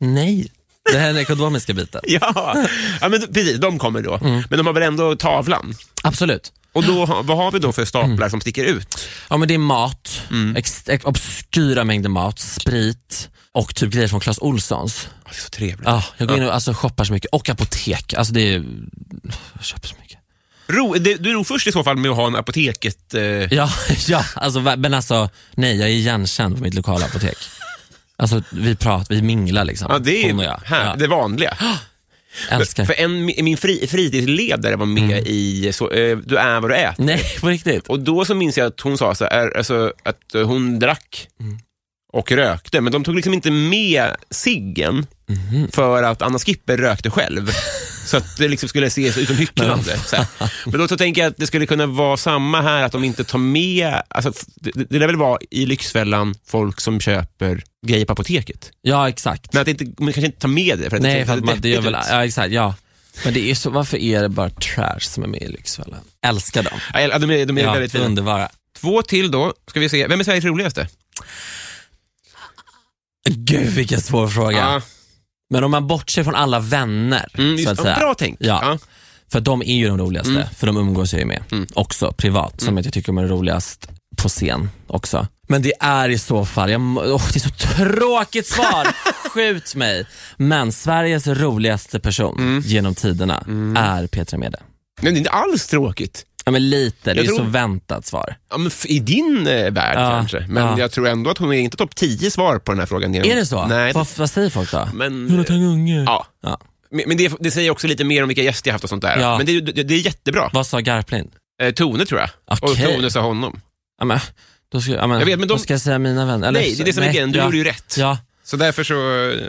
Speaker 2: Nej, det här är den ekonomiska
Speaker 1: <laughs>
Speaker 2: biten.
Speaker 1: Ja, ja men precis. De kommer då.
Speaker 2: Mm.
Speaker 1: Men de har väl ändå tavlan?
Speaker 2: Absolut.
Speaker 1: Och då, har- vad har vi då för staplar
Speaker 2: Mm.
Speaker 1: som sticker ut?
Speaker 2: Ja, men det är mat,
Speaker 1: Mm.
Speaker 2: ex, ex, obskyra mängder mat, sprit och typ grejer från Clas Ohlsons.
Speaker 1: Det är så trevligt.
Speaker 2: Ja, jag går in och alltså, shoppar så mycket. Och apotek. Alltså, det är, jag köper så mycket.
Speaker 1: Ro, det, du är nog först i så fall med att ha en apoteket... Eh,
Speaker 2: Ja, <laughs> ja alltså, va- men alltså, nej, jag är igenkänd på mitt lokala apotek. Alltså, vi pratar, vi minglar liksom.
Speaker 1: ja, det är
Speaker 2: Hon
Speaker 1: ju
Speaker 2: och jag.
Speaker 1: här,
Speaker 2: Ja,
Speaker 1: det vanliga.
Speaker 2: <gasps> älskar. Mm.
Speaker 1: För en, min fri, fritidsledare var med i så, eh, Du är vad du äter.
Speaker 2: Nej, <laughs> på riktigt.
Speaker 1: Och då så minns jag att hon sa så här, alltså, att eh, hon drack och rökte, men de tog liksom inte med ciggen för att Anna Skipper rökte själv. Så att det liksom skulle se ut som hycklande. Så här. Men då så tänker jag att det skulle kunna vara samma här, att de inte tar med... Alltså, f- det, det- det lär väl vara i Lyxfällan folk som köper grejer på apoteket.
Speaker 2: Ja, exakt.
Speaker 1: Men att det inte, man kanske inte tar med det för att
Speaker 2: nej,
Speaker 1: det
Speaker 2: för att man, det gör väl,
Speaker 1: deppigt ut.
Speaker 2: ja, exakt, ja. Men det är ju så, varför är det bara trash som är med i Lyxfällan? Älskar dem.
Speaker 1: Ja, de är, de är
Speaker 2: Ja,
Speaker 1: väldigt fina.
Speaker 2: underbara.
Speaker 1: Två till då, ska vi se. Vem är Sveriges roligaste?
Speaker 2: Gud vilken svår fråga.
Speaker 1: Ja.
Speaker 2: Men om man bortser från alla vänner,
Speaker 1: Mm, just,
Speaker 2: så att säga.
Speaker 1: Bra tänkt.
Speaker 2: Ja.
Speaker 1: Ja. Mm.
Speaker 2: För de är ju de roligaste, för de umgås jag ju med också privat, som jag tycker de är roligast på scen också. Men det är i så fall, jag, må- åh, det är så
Speaker 1: <laughs>
Speaker 2: tråkigt svar, skjut mig. Men Sveriges roligaste person
Speaker 1: Mm.
Speaker 2: genom tiderna är Petra Mede.
Speaker 1: Men det är inte alls tråkigt.
Speaker 2: Ja men lite, det är
Speaker 1: tror-
Speaker 2: så väntat svar.
Speaker 1: Ja, men f- I din eh, värld
Speaker 2: Ja,
Speaker 1: kanske. Men
Speaker 2: ja.
Speaker 1: jag tror ändå att hon är inte topp 10 svar på den här frågan. genom-
Speaker 2: Är det så?
Speaker 1: Nej.
Speaker 2: vad, vad säger folk då?
Speaker 1: Men,
Speaker 2: Jonathan Unge.
Speaker 1: ja.
Speaker 2: Ja.
Speaker 1: Men men det, det säger också lite mer om vilka gäster jag haft och sånt där.
Speaker 2: Ja.
Speaker 1: Men det, det, det är jättebra.
Speaker 2: Vad sa Garplind?
Speaker 1: Eh, Tone tror jag. Och
Speaker 2: Okej.
Speaker 1: Tone sa honom.
Speaker 2: Ja, men, då ska, ja, men,
Speaker 1: Jag vet, men de-
Speaker 2: då ska jag säga mina vänner. Eller-
Speaker 1: nej, det är det som är grejen. Du
Speaker 2: ja.
Speaker 1: gjorde ju rätt.
Speaker 2: Ja,
Speaker 1: Så därför så...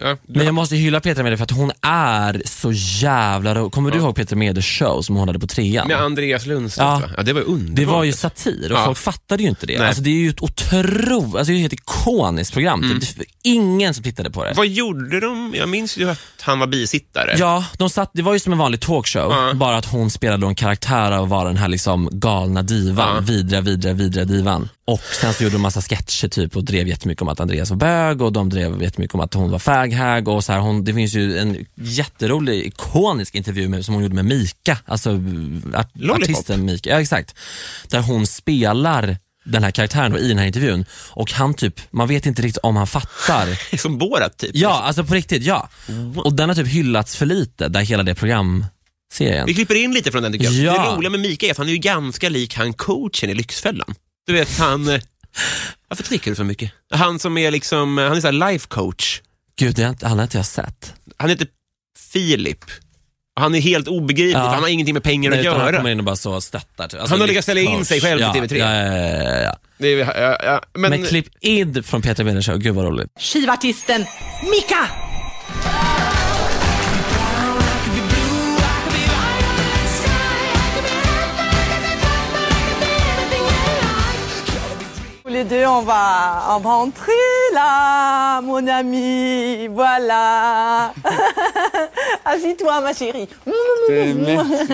Speaker 1: Ja, du,
Speaker 2: men jag måste hylla Petra Mede för att hon är så jävla rolig. Kommer du ihåg Petra Medes show som hon hade på trean?
Speaker 1: Med Andreas Lundstedt
Speaker 2: Ja.
Speaker 1: va? ja, det var ju underbart.
Speaker 2: Det var ju satir och
Speaker 1: Ja.
Speaker 2: folk fattade ju inte det.
Speaker 1: Nej.
Speaker 2: Alltså, det är ju ett otroligt, alltså, det är ju ett ikoniskt program. Det är ingen som tittade på det.
Speaker 1: Mm. Vad gjorde de? Jag minns ju att han var bisittare.
Speaker 2: Ja, de satt, det var ju som en vanlig talkshow, bara att hon spelade då en karaktär av att vara den här liksom galna divan, vidra, vidra, vidra divan. Och sen så gjorde de massa sketcher typ och drev jättemycket om att Andreas var bög och de drev jättemycket om att hon var faghag och så här, hon, det finns ju en jätterolig, ikonisk intervju med, som hon gjorde med Mika, alltså art,
Speaker 1: Lollipop.
Speaker 2: artisten Mika, ja exakt. Där hon spelar den här karaktären då, i den här intervjun och han typ, man vet inte riktigt om han fattar
Speaker 1: Som Borat typ.
Speaker 2: Ja, alltså på riktigt, ja. Och den har typ hyllats för lite, där hela det programserien.
Speaker 1: Vi klipper in lite från den tycker jag.
Speaker 2: Ja.
Speaker 1: Det roliga med Mika är att han är ju ganska lik han coachen i Lyxfällan. Du vet han... eh, Varför dricker du så mycket? Han som är liksom, eh, han är så här life coach.
Speaker 2: Gud, det har inte- han har inte jag sett.
Speaker 1: Han heter Filip. Han är helt obegriplig,
Speaker 2: Ja.
Speaker 1: för han har ingenting med pengar att
Speaker 2: utan han
Speaker 1: göra.
Speaker 2: kommer in och bara så och stöttar. Typ.
Speaker 1: Han har lyckats ställa in sig själv till TV3.
Speaker 2: ja, Ja, ja, ja, ja, ja.
Speaker 1: Det är, ja, ja, men,
Speaker 2: Men, klipp in från Petra Mede Show, gud vad roligt.
Speaker 5: skivartisten Mika.
Speaker 6: Les deux, on va en rentrer là, mon ami, voilà. <laughs> Assis-toi, ma chérie. Euh, <laughs> Thanks.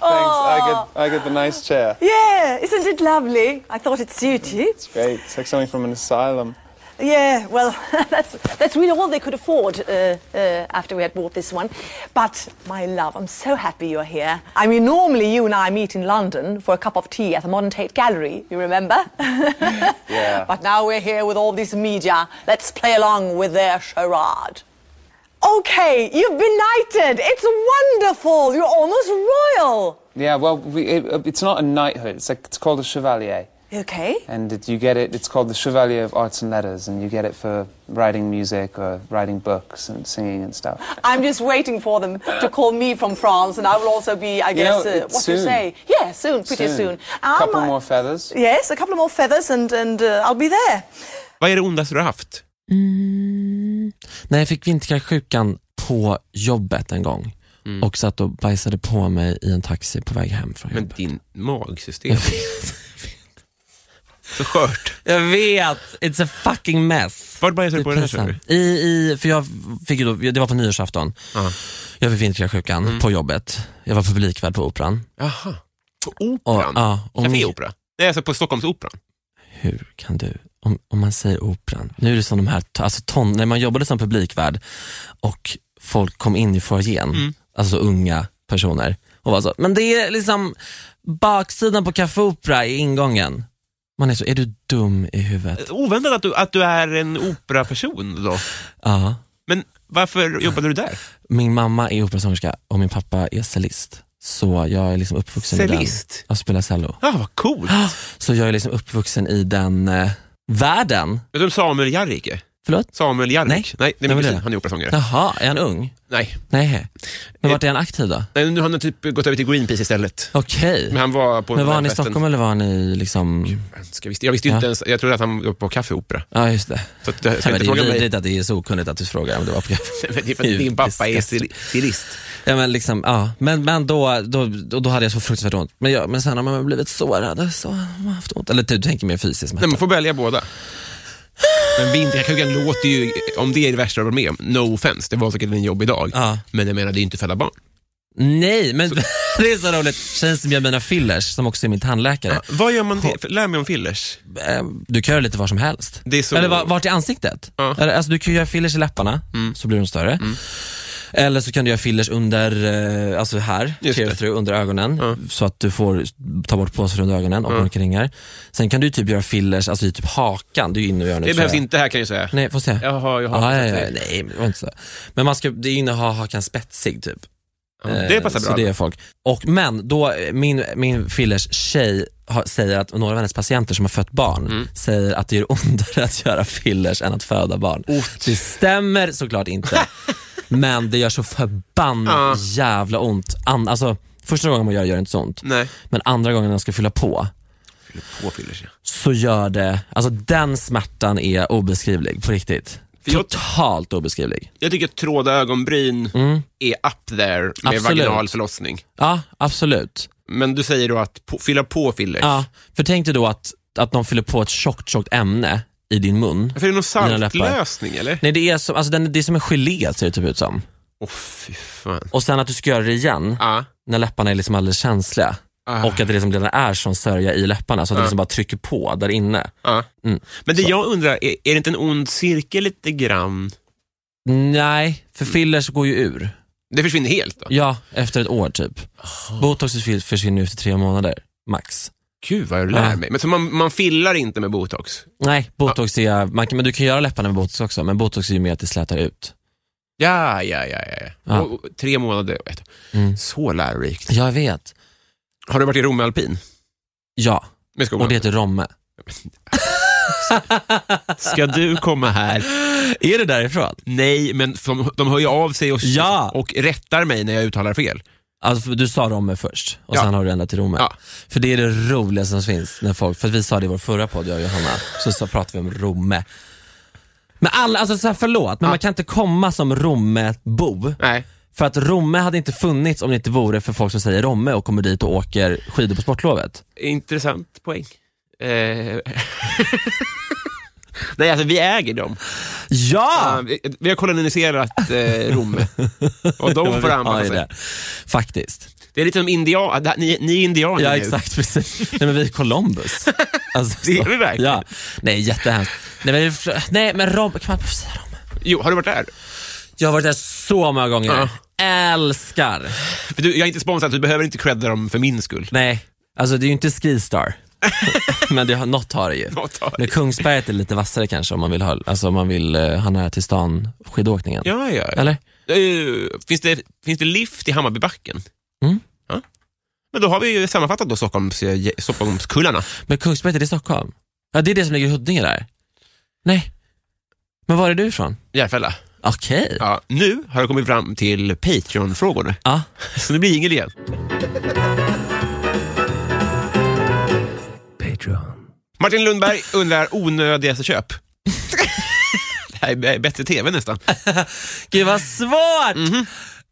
Speaker 6: Thanks. I get, I get the nice chair. Oh. Yeah, isn't it lovely? I thought it suited you. It's great. It's like something from an asylum. Yeah, well, <laughs> that's that's really all they could afford uh, uh, after we had bought this one. But my love, I'm so happy you're here. I mean, normally you and I meet in London for a cup of tea at the Modern Tate Gallery. You remember? yeah. <laughs> But now we're here with all this media. Let's play along with their charade. Okay, you've been knighted. It's wonderful. You're almost royal.
Speaker 7: Yeah, well, we, it, uh, it's not a knighthood. It's like it's called a chevalier,
Speaker 6: Okay.
Speaker 7: and it, you get it. It's called the Chevalier of Arts and Letters, and you get it for writing music or writing books and singing and stuff.
Speaker 6: I'm just waiting for them to call me from France, and I will also be, I guess,
Speaker 7: know,
Speaker 6: uh,
Speaker 7: it's
Speaker 6: what do you
Speaker 7: soon.
Speaker 6: say? Yeah, soon, pretty soon. Um,
Speaker 7: couple
Speaker 6: I-
Speaker 7: more feathers.
Speaker 6: Yes, a couple of more feathers, and and uh, I'll be there.
Speaker 1: vad är det ondaste du har haft? Mm.
Speaker 2: När jag fick vinterkräksjukan på jobbet en gång och satt och bajsade på mig i en taxi på väg hem från
Speaker 1: Mm. Men
Speaker 2: jobbet.
Speaker 1: din
Speaker 2: <laughs>
Speaker 1: magsystem. Så skört.
Speaker 2: Jag vet, it's a fucking mess.
Speaker 1: Vart bajsade du på den här? sa du?
Speaker 2: pinsamt. I, i, för jag fick ju då, det var på nyårsafton. Jag fick vinterkräksjukan
Speaker 1: Mm.
Speaker 2: på jobbet. Jag var publikvärd på Operan.
Speaker 1: Jaha. På
Speaker 2: Och,
Speaker 1: Operan?
Speaker 2: ja, och
Speaker 1: Café
Speaker 2: min-
Speaker 1: Opera? Nej, alltså på Stockholmsoperan.
Speaker 2: Hur kan du, om, om man säger Operan, nu är det som de här, alltså ton, när man jobbade som publikvärd och folk kom in i foajén,
Speaker 1: Mm.
Speaker 2: alltså unga personer och var så, men det är liksom baksidan på Café Opera i ingången. Man är så, är du dum i
Speaker 1: Eh,
Speaker 2: huvudet?
Speaker 1: Oväntat att du, att du är en operaperson då.
Speaker 2: Ja.
Speaker 1: Men varför jobbade du där?
Speaker 2: Min mamma är operasångerska och min pappa är cellist. Så jag är liksom uppvuxen i den.
Speaker 1: Cellist?
Speaker 2: Jag spelar cello.
Speaker 1: Ja, ah, vad
Speaker 2: <gasps>
Speaker 1: coolt.
Speaker 2: Så jag är liksom uppvuxen i den eh, världen.
Speaker 1: Vet du om Samuel Jarrike?
Speaker 2: Förlåt?
Speaker 1: Samuel Jarrik?
Speaker 2: Nej.
Speaker 1: Nej, det är
Speaker 2: Vem är
Speaker 1: min
Speaker 2: det?
Speaker 1: kusin. Han är operasångare.
Speaker 2: Jaha, är han ung?
Speaker 1: Nej.
Speaker 2: Nej. Men vart är han aktiv då?
Speaker 1: Nej, nu har han typ gått över till Greenpeace istället.
Speaker 2: Okej.
Speaker 1: Men han var på
Speaker 2: Men var han i
Speaker 1: festen.
Speaker 2: Stockholm eller var han i liksom...
Speaker 1: Ska, visst, jag visste ju
Speaker 2: Ja.
Speaker 1: inte ens, jag trodde att han var på
Speaker 2: <laughs>
Speaker 1: kaffeopera.
Speaker 2: Ja, just det.
Speaker 1: Så att, jag
Speaker 2: Nej,
Speaker 1: ska
Speaker 2: men
Speaker 1: inte
Speaker 2: det är
Speaker 1: fråga mig.
Speaker 2: vidrigt att det är så okunnigt att du frågar om det
Speaker 1: <laughs>
Speaker 2: var på
Speaker 1: Men Det är för att din pappa är stil- stilist.
Speaker 2: Ja, men liksom, ja. Men, men då, då, då, då hade jag så fruktansvärt ont. Men, jag, men sen har man blivit sårad, så har man haft ont. Eller du tänker mer fysiskt.
Speaker 1: Nej, man får välja båda. Men vinterkakugan låter ju, om det är det värsta jag varit med om, no offense, det var säkert en jobbig dag.
Speaker 2: Ja.
Speaker 1: Men jag menar, det är ju inte för alla barn.
Speaker 2: Nej, men <laughs> det är så roligt. Tjejen som gör mina fillers, som också är min tandläkare,
Speaker 1: Vad gör man? Till? Lär mig om fillers.
Speaker 2: eh, du kan göra lite var som helst.
Speaker 1: Det är så-
Speaker 2: Eller va- vart i ansiktet.
Speaker 1: Ja. Mm.
Speaker 2: Eller, alltså, du kan göra fillers i läpparna, så blir de större. Eller så kan du göra fillers under, eh, alltså här,
Speaker 1: Just
Speaker 2: tear
Speaker 1: det.
Speaker 2: through, under ögonen. Så att du får ta bort påsar under ögonen och mörka ringar. Sen kan du typ göra fillers alltså, i typ hakan, du är inne och gör nu.
Speaker 1: Det
Speaker 2: tror
Speaker 1: behövs
Speaker 2: jag.
Speaker 1: inte här kan jag säga.
Speaker 2: Nej, får se.
Speaker 1: Jaha, jag har
Speaker 2: Ah, ja,
Speaker 1: inte
Speaker 2: ja,
Speaker 1: sett det.
Speaker 2: nej, men det var inte så. Men man ska, det är inne att ha hakan spetsig typ.
Speaker 1: Ja, Det
Speaker 2: Eh,
Speaker 1: passar
Speaker 2: så
Speaker 1: bra.
Speaker 2: det är folk. Och, men då, eh, min, min fillers tjej har, säger att, och några av hennes patienter som har fött barn
Speaker 1: Mm.
Speaker 2: säger att det gör ondare att göra fillers än att föda barn. Det stämmer
Speaker 1: <laughs>
Speaker 2: såklart inte, men det gör så förbannat jävla ont. An, alltså, första gången man gör det gör det inte så ont,
Speaker 1: Nej.
Speaker 2: men andra gången när man ska fylla på
Speaker 1: På fillers, ja.
Speaker 2: så gör det, alltså den smärtan är obeskrivlig på riktigt.
Speaker 1: För jag-
Speaker 2: Totalt obeskrivlig.
Speaker 1: Jag tycker att tråda ögonbryn är up there med
Speaker 2: Mm. Absolut.
Speaker 1: vaginal förlossning.
Speaker 2: Ja, absolut.
Speaker 1: Men du säger då att på, fylla på fillers.
Speaker 2: Ja, för tänk dig då att, att de fyller på ett tjockt, tjockt ämne i din mun.
Speaker 1: För är det någon
Speaker 2: Dina läppar.
Speaker 1: saltlösning eller?
Speaker 2: Nej, det är som, alltså den, det är som en gelé ser det typ ut som.
Speaker 1: Åh fy fan.
Speaker 2: Och sen att du ska göra det igen
Speaker 1: Ja.
Speaker 2: när läpparna är liksom alldeles känsliga.
Speaker 1: Ah.
Speaker 2: Och att det liksom redan är som sörja i läpparna, så att det liksom bara trycker på där inne.
Speaker 1: Ja.
Speaker 2: Mm.
Speaker 1: Men det jag undrar, är, är det inte en ond cirkel lite grann?
Speaker 2: Nej, för fillers går ju ur.
Speaker 1: Det försvinner helt då?
Speaker 2: Ja, efter ett år typ.
Speaker 1: Ah.
Speaker 2: Botox försvinner- försvinner efter tre månader, max.
Speaker 1: Gud vad du lär
Speaker 2: Ja.
Speaker 1: mig. Men så man, man fillar inte med botox?
Speaker 2: Nej, botox är, man, kan- men du kan göra läpparna med botox också, men botox är ju mer att det slätar ut.
Speaker 1: Ja, ja, ja. ja.
Speaker 2: Ja.
Speaker 1: Och, och, tre månader och ett.
Speaker 2: Mm.
Speaker 1: Så lärorikt.
Speaker 2: Jag vet.
Speaker 1: Har du varit i Romme alpin?
Speaker 2: Ja,
Speaker 1: Med skolan?
Speaker 2: och det typ- heter Romme.
Speaker 1: Ska du komma här?
Speaker 2: Är det därifrån?
Speaker 1: Nej, men de, de hör ju av sig och,
Speaker 2: Ja.
Speaker 1: och rättar mig när jag uttalar fel.
Speaker 2: Alltså, för du sa Romme först och
Speaker 1: Ja.
Speaker 2: sen har du ändrat till Romme.
Speaker 1: Ja.
Speaker 2: För det är det roligaste som finns när folk, för att vi sa det i vår förra podd jag och Johanna, så, så pratade vi om Romme. Men alla, alltså så här, förlåt, men man kan inte komma som Romme-bo.
Speaker 1: Nej.
Speaker 2: För att Romme hade inte funnits om det inte vore för folk som säger Romme och kommer dit och åker skidor på sportlovet.
Speaker 1: Intressant poäng. Eh. <laughs> Nej, alltså vi äger dem.
Speaker 2: Ja!
Speaker 1: Ja, vi, vi har koloniserat eh, Rom. Och de får
Speaker 2: <laughs> Ja,
Speaker 1: anpassa
Speaker 2: det är
Speaker 1: sig.
Speaker 2: det. Faktiskt.
Speaker 1: Det är lite som indian, det här- ni, ni är indianer
Speaker 2: Ja
Speaker 1: nu. <laughs>
Speaker 2: exakt, precis. Nej men vi är Columbus. Alltså,
Speaker 1: Det är
Speaker 2: så-
Speaker 1: vi verkligen.
Speaker 2: Ja. Nej jättehemskt. Nej men, nej, men Romme, kan man säga Romme?
Speaker 1: Jo, har du varit där?
Speaker 2: Jag har varit där så många gånger.
Speaker 1: Ja.
Speaker 2: Älskar.
Speaker 1: För du, jag är inte sponsrad, så du behöver inte credda dem för min skull.
Speaker 2: Nej, alltså det är ju inte Skistar. <laughs> Men det har, något har det ju.
Speaker 1: Något har det.
Speaker 2: Men Kungsberget är lite vassare kanske om man vill ha, alltså om man vill eh, ha nära till stan skidåkningen.
Speaker 1: Ja, ja. ja.
Speaker 2: Eller?
Speaker 1: Eh, finns, det, finns det lift i Hammarbybacken?
Speaker 2: Mm.
Speaker 1: Ja. Men då har vi ju sammanfattat då Stockholms, eh, Stockholmskullarna.
Speaker 2: Men Kungsberget, är det Stockholm? Ja, det är det som ligger i Huddinge där. Nej. Men var är du ifrån?
Speaker 1: Järfälla.
Speaker 2: Okej.
Speaker 1: Ja, nu har jag kommit fram till Patreon-frågorna.
Speaker 2: Ja.
Speaker 1: Så det blir jingel igen.
Speaker 2: Patreon.
Speaker 1: Martin Lundberg undrar onödigaste <laughs> köp. det här är b- bättre tv nästan.
Speaker 2: Gud vad svårt!
Speaker 1: Mhm.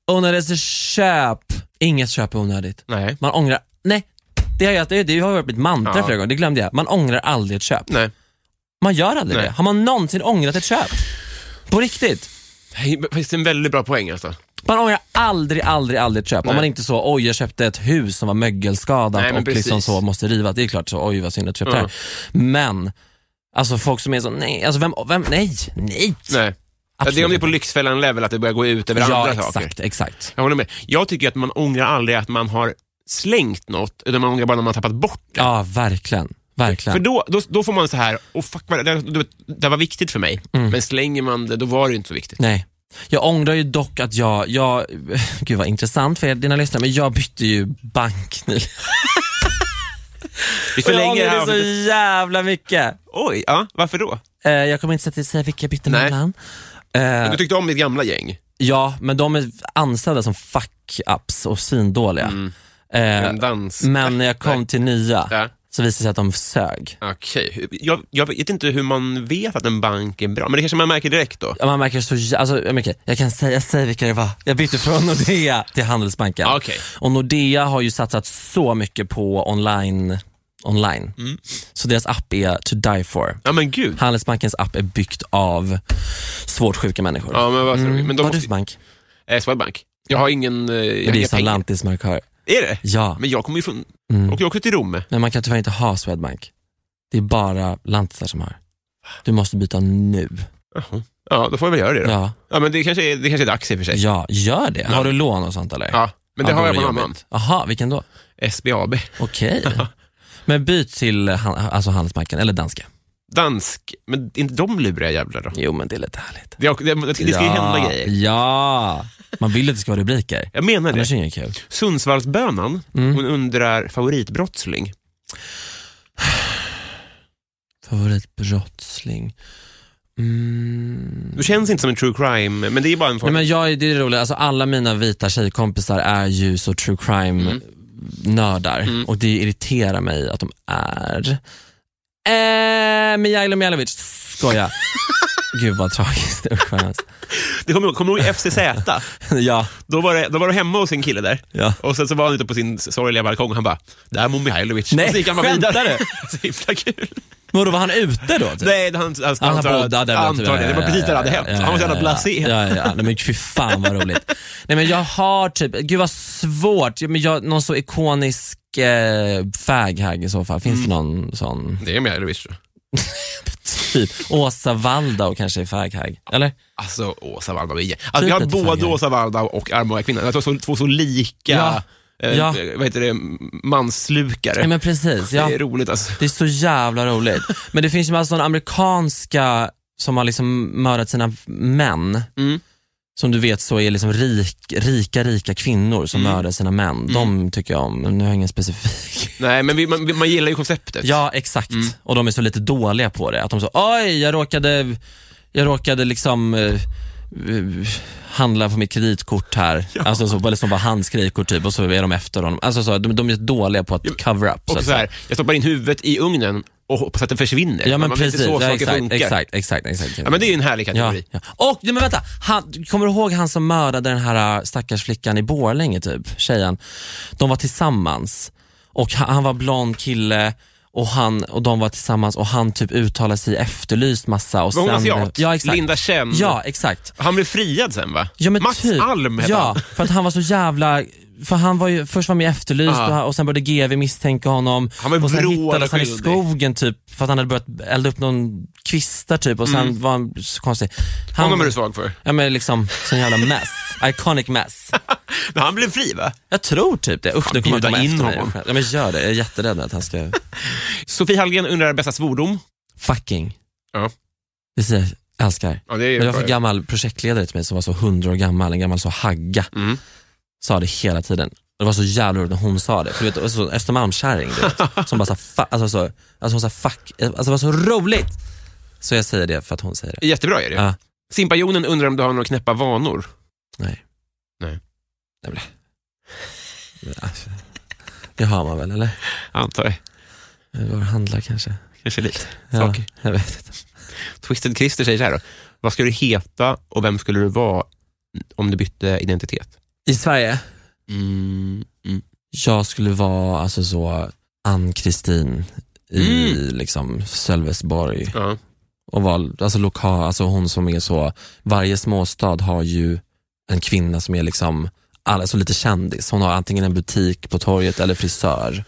Speaker 2: Onödigt köp. Inget köp är onödigt.
Speaker 1: Nej.
Speaker 2: Man ångrar, nej, det har, jag, det, det har varit mitt mantra
Speaker 1: Ja.
Speaker 2: flera gånger, det glömde jag. Man ångrar aldrig ett köp.
Speaker 1: Nej.
Speaker 2: Man gör aldrig
Speaker 1: Nej.
Speaker 2: det. Har man någonsin ångrat ett köp? På riktigt.
Speaker 1: Nej, men Faktiskt en väldigt bra poäng alltså.
Speaker 2: Man ångrar aldrig, aldrig, aldrig ett köp.
Speaker 1: Nej.
Speaker 2: Om man inte så, oj jag köpte ett hus som var mögelskadat
Speaker 1: Nej, men
Speaker 2: och liksom
Speaker 1: precis.
Speaker 2: så måste rivas. Det är klart, så, oj vad synd att jag köpte
Speaker 1: Ja.
Speaker 2: det här. Men, alltså folk som är så, nej, alltså vem, vem nej, nej.
Speaker 1: Nej. Ja, Det är om det är på Lyxfällan-level, att det börjar gå ut över
Speaker 2: Ja,
Speaker 1: andra saker.
Speaker 2: exakt, exakt.
Speaker 1: Jag håller med. Jag tycker att man ångrar aldrig att man har slängt något, utan man ångrar bara när man har tappat bort det.
Speaker 2: Ja, verkligen. Verkligen.
Speaker 1: För då, då, då får man så här, oh fuck, vad- det, det, det var viktigt för mig. Men slänger man det, då var det ju inte så viktigt.
Speaker 2: Nej. Jag ångrar ju dock att jag, jag, <laughs> gud vad intressant för er, dina lyssnare, men jag bytte ju bank nyligen.
Speaker 1: Vi
Speaker 2: Och <laughs> Jag
Speaker 1: förlänger det här
Speaker 2: ångrar det
Speaker 1: avsnittet.
Speaker 2: så jävla mycket.
Speaker 1: Oj, ja, varför då?
Speaker 2: Eh, jag kommer inte säga- säga vilka jag bytte
Speaker 1: Nej.
Speaker 2: mellan. Eh,
Speaker 1: Du tyckte om ditt gamla gäng.
Speaker 2: ja, men de är anställda som fuck-ups och svindåliga. Eh,
Speaker 1: En dans.
Speaker 2: men när jag kom till nya
Speaker 1: Mm. Ja.
Speaker 2: så visade det sig att de sög.
Speaker 1: Okej. Jag, jag vet inte hur man vet att en bank är bra, men det kanske man märker direkt då?
Speaker 2: Ja, Man märker så jä- alltså, jag märker- jag kan säga, jag säger vilka det var. Jag bytte från Nordea till Handelsbanken.
Speaker 1: Ja, okej.
Speaker 2: Och Nordea har ju satsat så mycket på online online.
Speaker 1: Mm.
Speaker 2: Så deras app är To Die For.
Speaker 1: Ja, men gud.
Speaker 2: Handelsbankens app är byggt av svårt sjuka människor.
Speaker 1: Ja, men vad
Speaker 2: Mm.
Speaker 1: mm. Men de
Speaker 2: Vad har du
Speaker 1: måste,
Speaker 2: för bank?
Speaker 1: eh, Swedbank. Jag har ingen... Eh, jag har
Speaker 2: Men det är
Speaker 1: inga pengar.
Speaker 2: Stellantis man har.
Speaker 1: Är det?
Speaker 2: Ja,
Speaker 1: Men jag kommer ju från...
Speaker 2: Mm.
Speaker 1: Och jag åker till Rom.
Speaker 2: men man kan tyvärr inte ha Swedbank. Det är bara lantisar som har. Du måste byta nu.
Speaker 1: Jaha. Ja, då får jag väl göra det då. Ja.
Speaker 2: Ja,
Speaker 1: men det kanske, är, det kanske är dags i och för sig.
Speaker 2: ja gör det.
Speaker 1: Ja.
Speaker 2: Har du lån och sånt eller?
Speaker 1: Ja, men det
Speaker 2: Ja,
Speaker 1: har
Speaker 2: då
Speaker 1: jag
Speaker 2: är
Speaker 1: på en
Speaker 2: jobbigt.
Speaker 1: annan.
Speaker 2: Jaha, vilken då?
Speaker 1: SBAB.
Speaker 2: Okej. <laughs> Men byt till eh, han- alltså Handelsbanken eller Danske.
Speaker 1: Dansk. Men inte de luriga jävlar då?
Speaker 2: Jo, men det är lite härligt.
Speaker 1: Det, det, det ska ju hända grejer.
Speaker 2: Ja, man vill att det ska vara rubriker.
Speaker 1: Jag menar det.
Speaker 2: Annars är det inget kul.
Speaker 1: Sundsvallsbönan,
Speaker 2: Mm.
Speaker 1: hon undrar favoritbrottsling.
Speaker 2: Favoritbrottsling. Mm.
Speaker 1: Du känns inte som en true crime, men det är bara en
Speaker 2: Nej,
Speaker 1: form.
Speaker 2: men jag, är- det är roligt, alltså, alla mina vita tjejkompisar är ju så true Mm. crime-nördar och det irriterar mig att de är. Eh, Mijailo Mijailovic, <laughs> skoja. Gud vad tragiskt, usch vad hemskt.
Speaker 1: Det kommer jag- kommer du ihåg FCZ?
Speaker 2: Ja,
Speaker 1: Då var, det, då var du hemma hos en kille där.
Speaker 2: ja.
Speaker 1: Och sen så var han ute på sin sorgliga balkong och han bara, där mår Mihailovic.
Speaker 2: Nej,
Speaker 1: och så gick han bara
Speaker 2: skämtar
Speaker 1: vidare. <laughs>
Speaker 2: du?
Speaker 1: Så himla kul.
Speaker 2: Men då var han ute då? Typ?
Speaker 1: Nej, han, han,
Speaker 2: Ja,
Speaker 1: han,
Speaker 2: han bodde där.
Speaker 1: antar
Speaker 2: typ.
Speaker 1: det. Det var
Speaker 2: Ja,
Speaker 1: precis där det hade
Speaker 2: ja,
Speaker 1: hänt.
Speaker 2: ja,
Speaker 1: Han var så jävla
Speaker 2: ja,
Speaker 1: blasé.
Speaker 2: Ja, ja, ja. Nej, men fy fan vad roligt. Nej, men jag har typ, gud vad svårt. Men jag, någon så ikonisk eh, fag här i så fall. Finns det
Speaker 1: Mm.
Speaker 2: någon sån?
Speaker 1: Det är Mihailovic. tror jag.
Speaker 2: Typ Åsa Waldau kanske är fag här. Eller?
Speaker 1: Alltså, Åsa Waldau igen. Alltså,
Speaker 2: Typ
Speaker 1: vi har
Speaker 2: lite
Speaker 1: både
Speaker 2: färger.
Speaker 1: Åsa Waldau och Arboga kvinnan. Jag tror två så lika
Speaker 2: Ja.
Speaker 1: Eh,
Speaker 2: Ja.
Speaker 1: Vad heter det? manslukare.
Speaker 2: Nej, men precis. Ja.
Speaker 1: Det är roligt alltså.
Speaker 2: Det är så jävla roligt. Men det finns ju massa sådana amerikanska som har liksom mördat sina män.
Speaker 1: Mm.
Speaker 2: Som du vet så är liksom rik, rika, rika kvinnor som
Speaker 1: Mm.
Speaker 2: mördar sina män. De tycker jag om, men nu har jag ingen specifik.
Speaker 1: Nej, men vi, man, vi- man gillar ju konceptet.
Speaker 2: <laughs> Ja, exakt. Och de är så lite dåliga på det. Att de så, oj, jag råkade, jag råkade liksom eh, eh, handla på mitt kreditkort här. Alltså så, eller som var hans kreditkort typ och så är de efter honom. Alltså så, de, de är dåliga på att cover up.
Speaker 1: och
Speaker 2: att
Speaker 1: så
Speaker 2: säga.
Speaker 1: här, jag stoppar in huvudet i ugnen och hoppas att den försvinner.
Speaker 2: Ja men
Speaker 1: man
Speaker 2: precis,
Speaker 1: vet inte så
Speaker 2: ja,
Speaker 1: saker
Speaker 2: exakt,
Speaker 1: funkar.
Speaker 2: exakt, exakt, exakt.
Speaker 1: Ja, men det är ju en härlig
Speaker 2: Ja,
Speaker 1: kategori.
Speaker 2: ja. Och, ja, men vänta, han, kommer du ihåg han som mördade den här äh, stackars flickan i Borlänge typ, tjejen? De var tillsammans och han, han var blond kille och, han, och de var tillsammans och han typ uttalade sig i efterlyst massa. Och
Speaker 1: Var hon
Speaker 2: sen,
Speaker 1: asiat?
Speaker 2: Ja exakt.
Speaker 1: Linda Chen?
Speaker 2: Ja exakt.
Speaker 1: Han blev friad sen va?
Speaker 2: Ja, men
Speaker 1: Mats
Speaker 2: typ.
Speaker 1: Alm hette
Speaker 2: Ja,
Speaker 1: han.
Speaker 2: för att han var så jävla för han var ju, först var han ju efterlyst
Speaker 1: Ja.
Speaker 2: och, och sen började GV misstänka honom
Speaker 1: Han var ju
Speaker 2: och sen
Speaker 1: vrål
Speaker 2: hittades han i
Speaker 1: skyldig.
Speaker 2: skogen typ för att han hade börjat elda upp någon kvistar typ och sen var han så konstig. Han,
Speaker 1: Mm. Honom är du svag för.
Speaker 2: Ja men liksom, sån jävla mess. Iconic mess.
Speaker 1: Men han blev fri va?
Speaker 2: Jag tror typ det. Usch, nu kommer han
Speaker 1: bjuda
Speaker 2: komma
Speaker 1: in
Speaker 2: efter
Speaker 1: honom.
Speaker 2: mig. Ja, men gör det, jag är jätterädd att han ska...
Speaker 1: Sofie Hallgren undrar bästa svordom.
Speaker 2: Fucking.
Speaker 1: Ja.
Speaker 2: Det säger jag, älskar.
Speaker 1: Ja, det är ju
Speaker 2: Men jag
Speaker 1: bra.
Speaker 2: fick en gammal projektledare till mig som var så hundra år gammal, en gammal så hagga.
Speaker 1: Mm.
Speaker 2: Sa det hela tiden. Och Det var så jävla roligt när hon sa det. För du vet, och så Östermalmskärring du
Speaker 1: <laughs>
Speaker 2: vet, som bara sa fa- alltså, så, alltså hon sa fuck, alltså det var så roligt. Så jag säger det för att hon säger det.
Speaker 1: Jättebra är det.
Speaker 2: Ja.
Speaker 1: Simpajonen undrar om du har några knäppa vanor.
Speaker 2: Nej.
Speaker 1: Nej.
Speaker 2: Nej men det- alltså, Det har man väl eller?
Speaker 1: Antar jag.
Speaker 2: Går och handlar kanske.
Speaker 1: Kanske lite.
Speaker 2: Ja,
Speaker 1: Saker.
Speaker 2: jag vet inte.
Speaker 1: Twisted Christer säger så här då. Vad skulle du heta och vem skulle du vara om du bytte identitet?
Speaker 2: I Sverige?
Speaker 1: Mm. Mm.
Speaker 2: Jag skulle vara alltså så Ann-Kristin i liksom Sölvesborg
Speaker 1: Mm. Ja.
Speaker 2: och vara alltså lokal, alltså hon som är så, varje småstad har ju en kvinna som är liksom alla, så lite kändis. Hon har antingen en butik på torget eller frisör.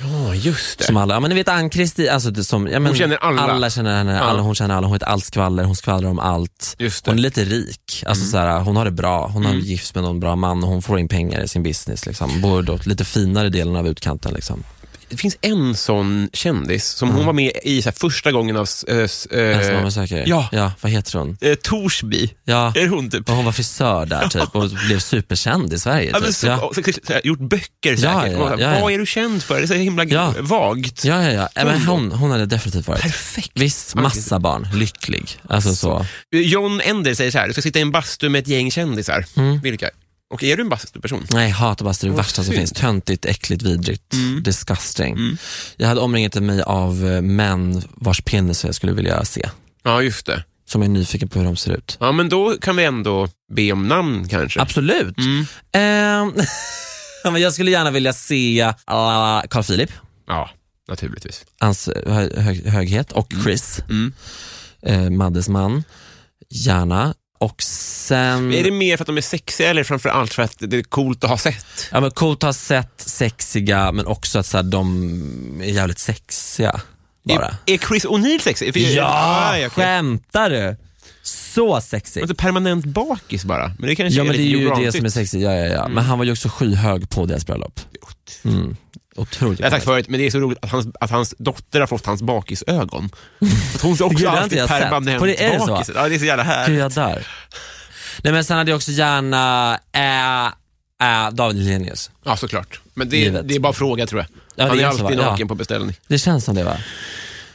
Speaker 1: ja, just
Speaker 2: Som alla, ja men ni vet Ann-Kristin, alltså det som, ja, men
Speaker 1: känner alla.
Speaker 2: Alla känner henne,
Speaker 1: Ja.
Speaker 2: alla, hon känner alla, hon heter allt skvaller, hon skvallrar om allt.
Speaker 1: Just det. Mm.
Speaker 2: Hon är lite rik, alltså såhär, hon har det bra, hon har gift med någon bra man och hon får in pengar i sin business. Liksom. Bor då lite finare delen av utkanten. Liksom.
Speaker 1: Det finns en sån kändis som
Speaker 2: Mm.
Speaker 1: hon var med i så här, första gången av s- eh, s- eh,
Speaker 2: Ensam mamma söker.
Speaker 1: ja.
Speaker 2: ja. Vad heter hon?
Speaker 1: eh, Torsby.
Speaker 2: Ja.
Speaker 1: Är det hon typ?
Speaker 2: Och hon var frisör där typ och blev superkänd i Sverige.
Speaker 1: Ja, men
Speaker 2: Typ.
Speaker 1: så,
Speaker 2: Ja.
Speaker 1: och så, så här, gjort böcker
Speaker 2: Ja,
Speaker 1: säkert.
Speaker 2: ja,
Speaker 1: Och så här,
Speaker 2: ja, ja.
Speaker 1: Vad är du känd för? Det är så himla
Speaker 2: Ja.
Speaker 1: vagt.
Speaker 2: Ja, ja, ja. Äh, Men hon, hon hade definitivt varit.
Speaker 1: Perfekt.
Speaker 2: Visst, massa barn. Lycklig. Alltså så.
Speaker 1: John Ender säger så här, du ska sitta i en bastu med ett gäng kändisar.
Speaker 2: Mm.
Speaker 1: Vilka? Och är du en bastuperson?
Speaker 2: Nej, hatar bastu. Det
Speaker 1: Vad
Speaker 2: värsta som
Speaker 1: synd.
Speaker 2: finns. Töntigt, äckligt, vidrigt. Disgusting.
Speaker 1: Mm.
Speaker 2: Jag hade omringat mig av eh, män vars penis jag skulle vilja se.
Speaker 1: Ja, just det.
Speaker 2: Som är nyfiken på hur de ser ut.
Speaker 1: Ja, men då kan vi ändå be om namn kanske.
Speaker 2: Absolut.
Speaker 1: Mm.
Speaker 2: <laughs> Ehm, ja, men jag skulle gärna vilja se ah, Carl Philip.
Speaker 1: Ja. Naturligtvis.
Speaker 2: hans hö- hö- höghet och Chris,
Speaker 1: Mm.
Speaker 2: eh, Maddes man, gärna. Och sen...
Speaker 1: Är det mer för att de är sexiga eller framför allt för att det är coolt att ha sett?
Speaker 2: Ja, men coolt har sett sexiga, men också att så här, de är jävligt sexiga. Bara.
Speaker 1: Är, är Chris O'Neill sexig? För- Ah,
Speaker 2: Ja,
Speaker 1: jag kan-
Speaker 2: skämtar du? Så
Speaker 1: Han
Speaker 2: sexig.
Speaker 1: är inte Alltså, permanent bakis bara. Men det kanske
Speaker 2: Ja, men det är
Speaker 1: lite
Speaker 2: ju
Speaker 1: Hugh
Speaker 2: det
Speaker 1: Grant-igt. Mm.
Speaker 2: som är sexigt. Ja, ja, ja. Men han var ju också skyhög på deras bröllop. Mm. Otroligt.
Speaker 1: Jag har sagt förut, men det är så roligt att hans, att hans dotter har fått hans bakisögon. För att
Speaker 2: <laughs>
Speaker 1: hon är
Speaker 2: Gud,
Speaker 1: också
Speaker 2: det har inte
Speaker 1: alltid
Speaker 2: jag sett.
Speaker 1: permanent
Speaker 2: På det- är det så?
Speaker 1: bakis. Ja, det är så jävla
Speaker 2: Gud,
Speaker 1: härligt.
Speaker 2: jag där. Nej, men sen hade jag också gärna äh, äh, David Hellenius.
Speaker 1: Ja, såklart. Men det,
Speaker 2: Givet.
Speaker 1: det är bara fråga tror jag.
Speaker 2: Ja, det
Speaker 1: Han
Speaker 2: är
Speaker 1: är
Speaker 2: så,
Speaker 1: alltid
Speaker 2: va? Ja.
Speaker 1: naken på beställning.
Speaker 2: Det känns som det va?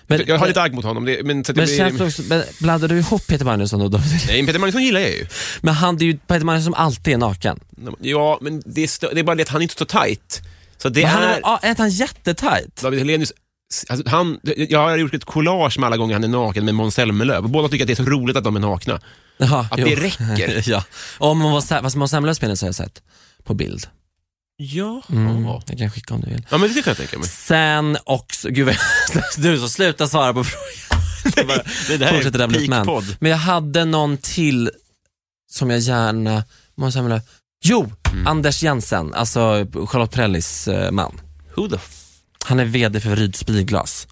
Speaker 2: Men,
Speaker 1: Jag har lite agg mot honom. Det, men, så att
Speaker 2: men,
Speaker 1: det
Speaker 2: känns det
Speaker 1: blir,
Speaker 2: också, men blandar du ihop Peter Magnusson och David Hellenius?
Speaker 1: nej, Peter Magnusson gillar jag ju.
Speaker 2: Men han, det är ju Peter Magnusson som alltid är naken.
Speaker 1: Ja, men det är, stö- det är bara det att han är inte så tight. Så det
Speaker 2: Men han är,
Speaker 1: är...
Speaker 2: väl- ja, är inte han jättetajt?
Speaker 1: David Hellenius, alltså, han, jag har gjort ett collage med alla gånger han är naken med Måns Zelmerlöw. Och Båda tycker att det är så roligt att de är nakna.
Speaker 2: Ja,
Speaker 1: Att det räcker.
Speaker 2: <laughs> ja. Om man var, sä- fast Måns Zelmerlöws penis har jag sett på bild.
Speaker 1: Ja.
Speaker 2: Mm. Jag kan skicka om du vill.
Speaker 1: Ja, men det kan jag tänka mig.
Speaker 2: Sen också, gud vad- <laughs> du så sluta svara på frågan.
Speaker 1: <laughs> Det, det
Speaker 2: Fortsätter där blir man.
Speaker 1: peak-podd.
Speaker 2: Men jag hade någon till som jag gärna, Måns Zelmerlöw. Jo,
Speaker 1: Mm.
Speaker 2: Anders Jensen, alltså Charlotte Prellis eh, man.
Speaker 1: Who <laughs> the f-
Speaker 2: Han är VD för Ryds Bilglas.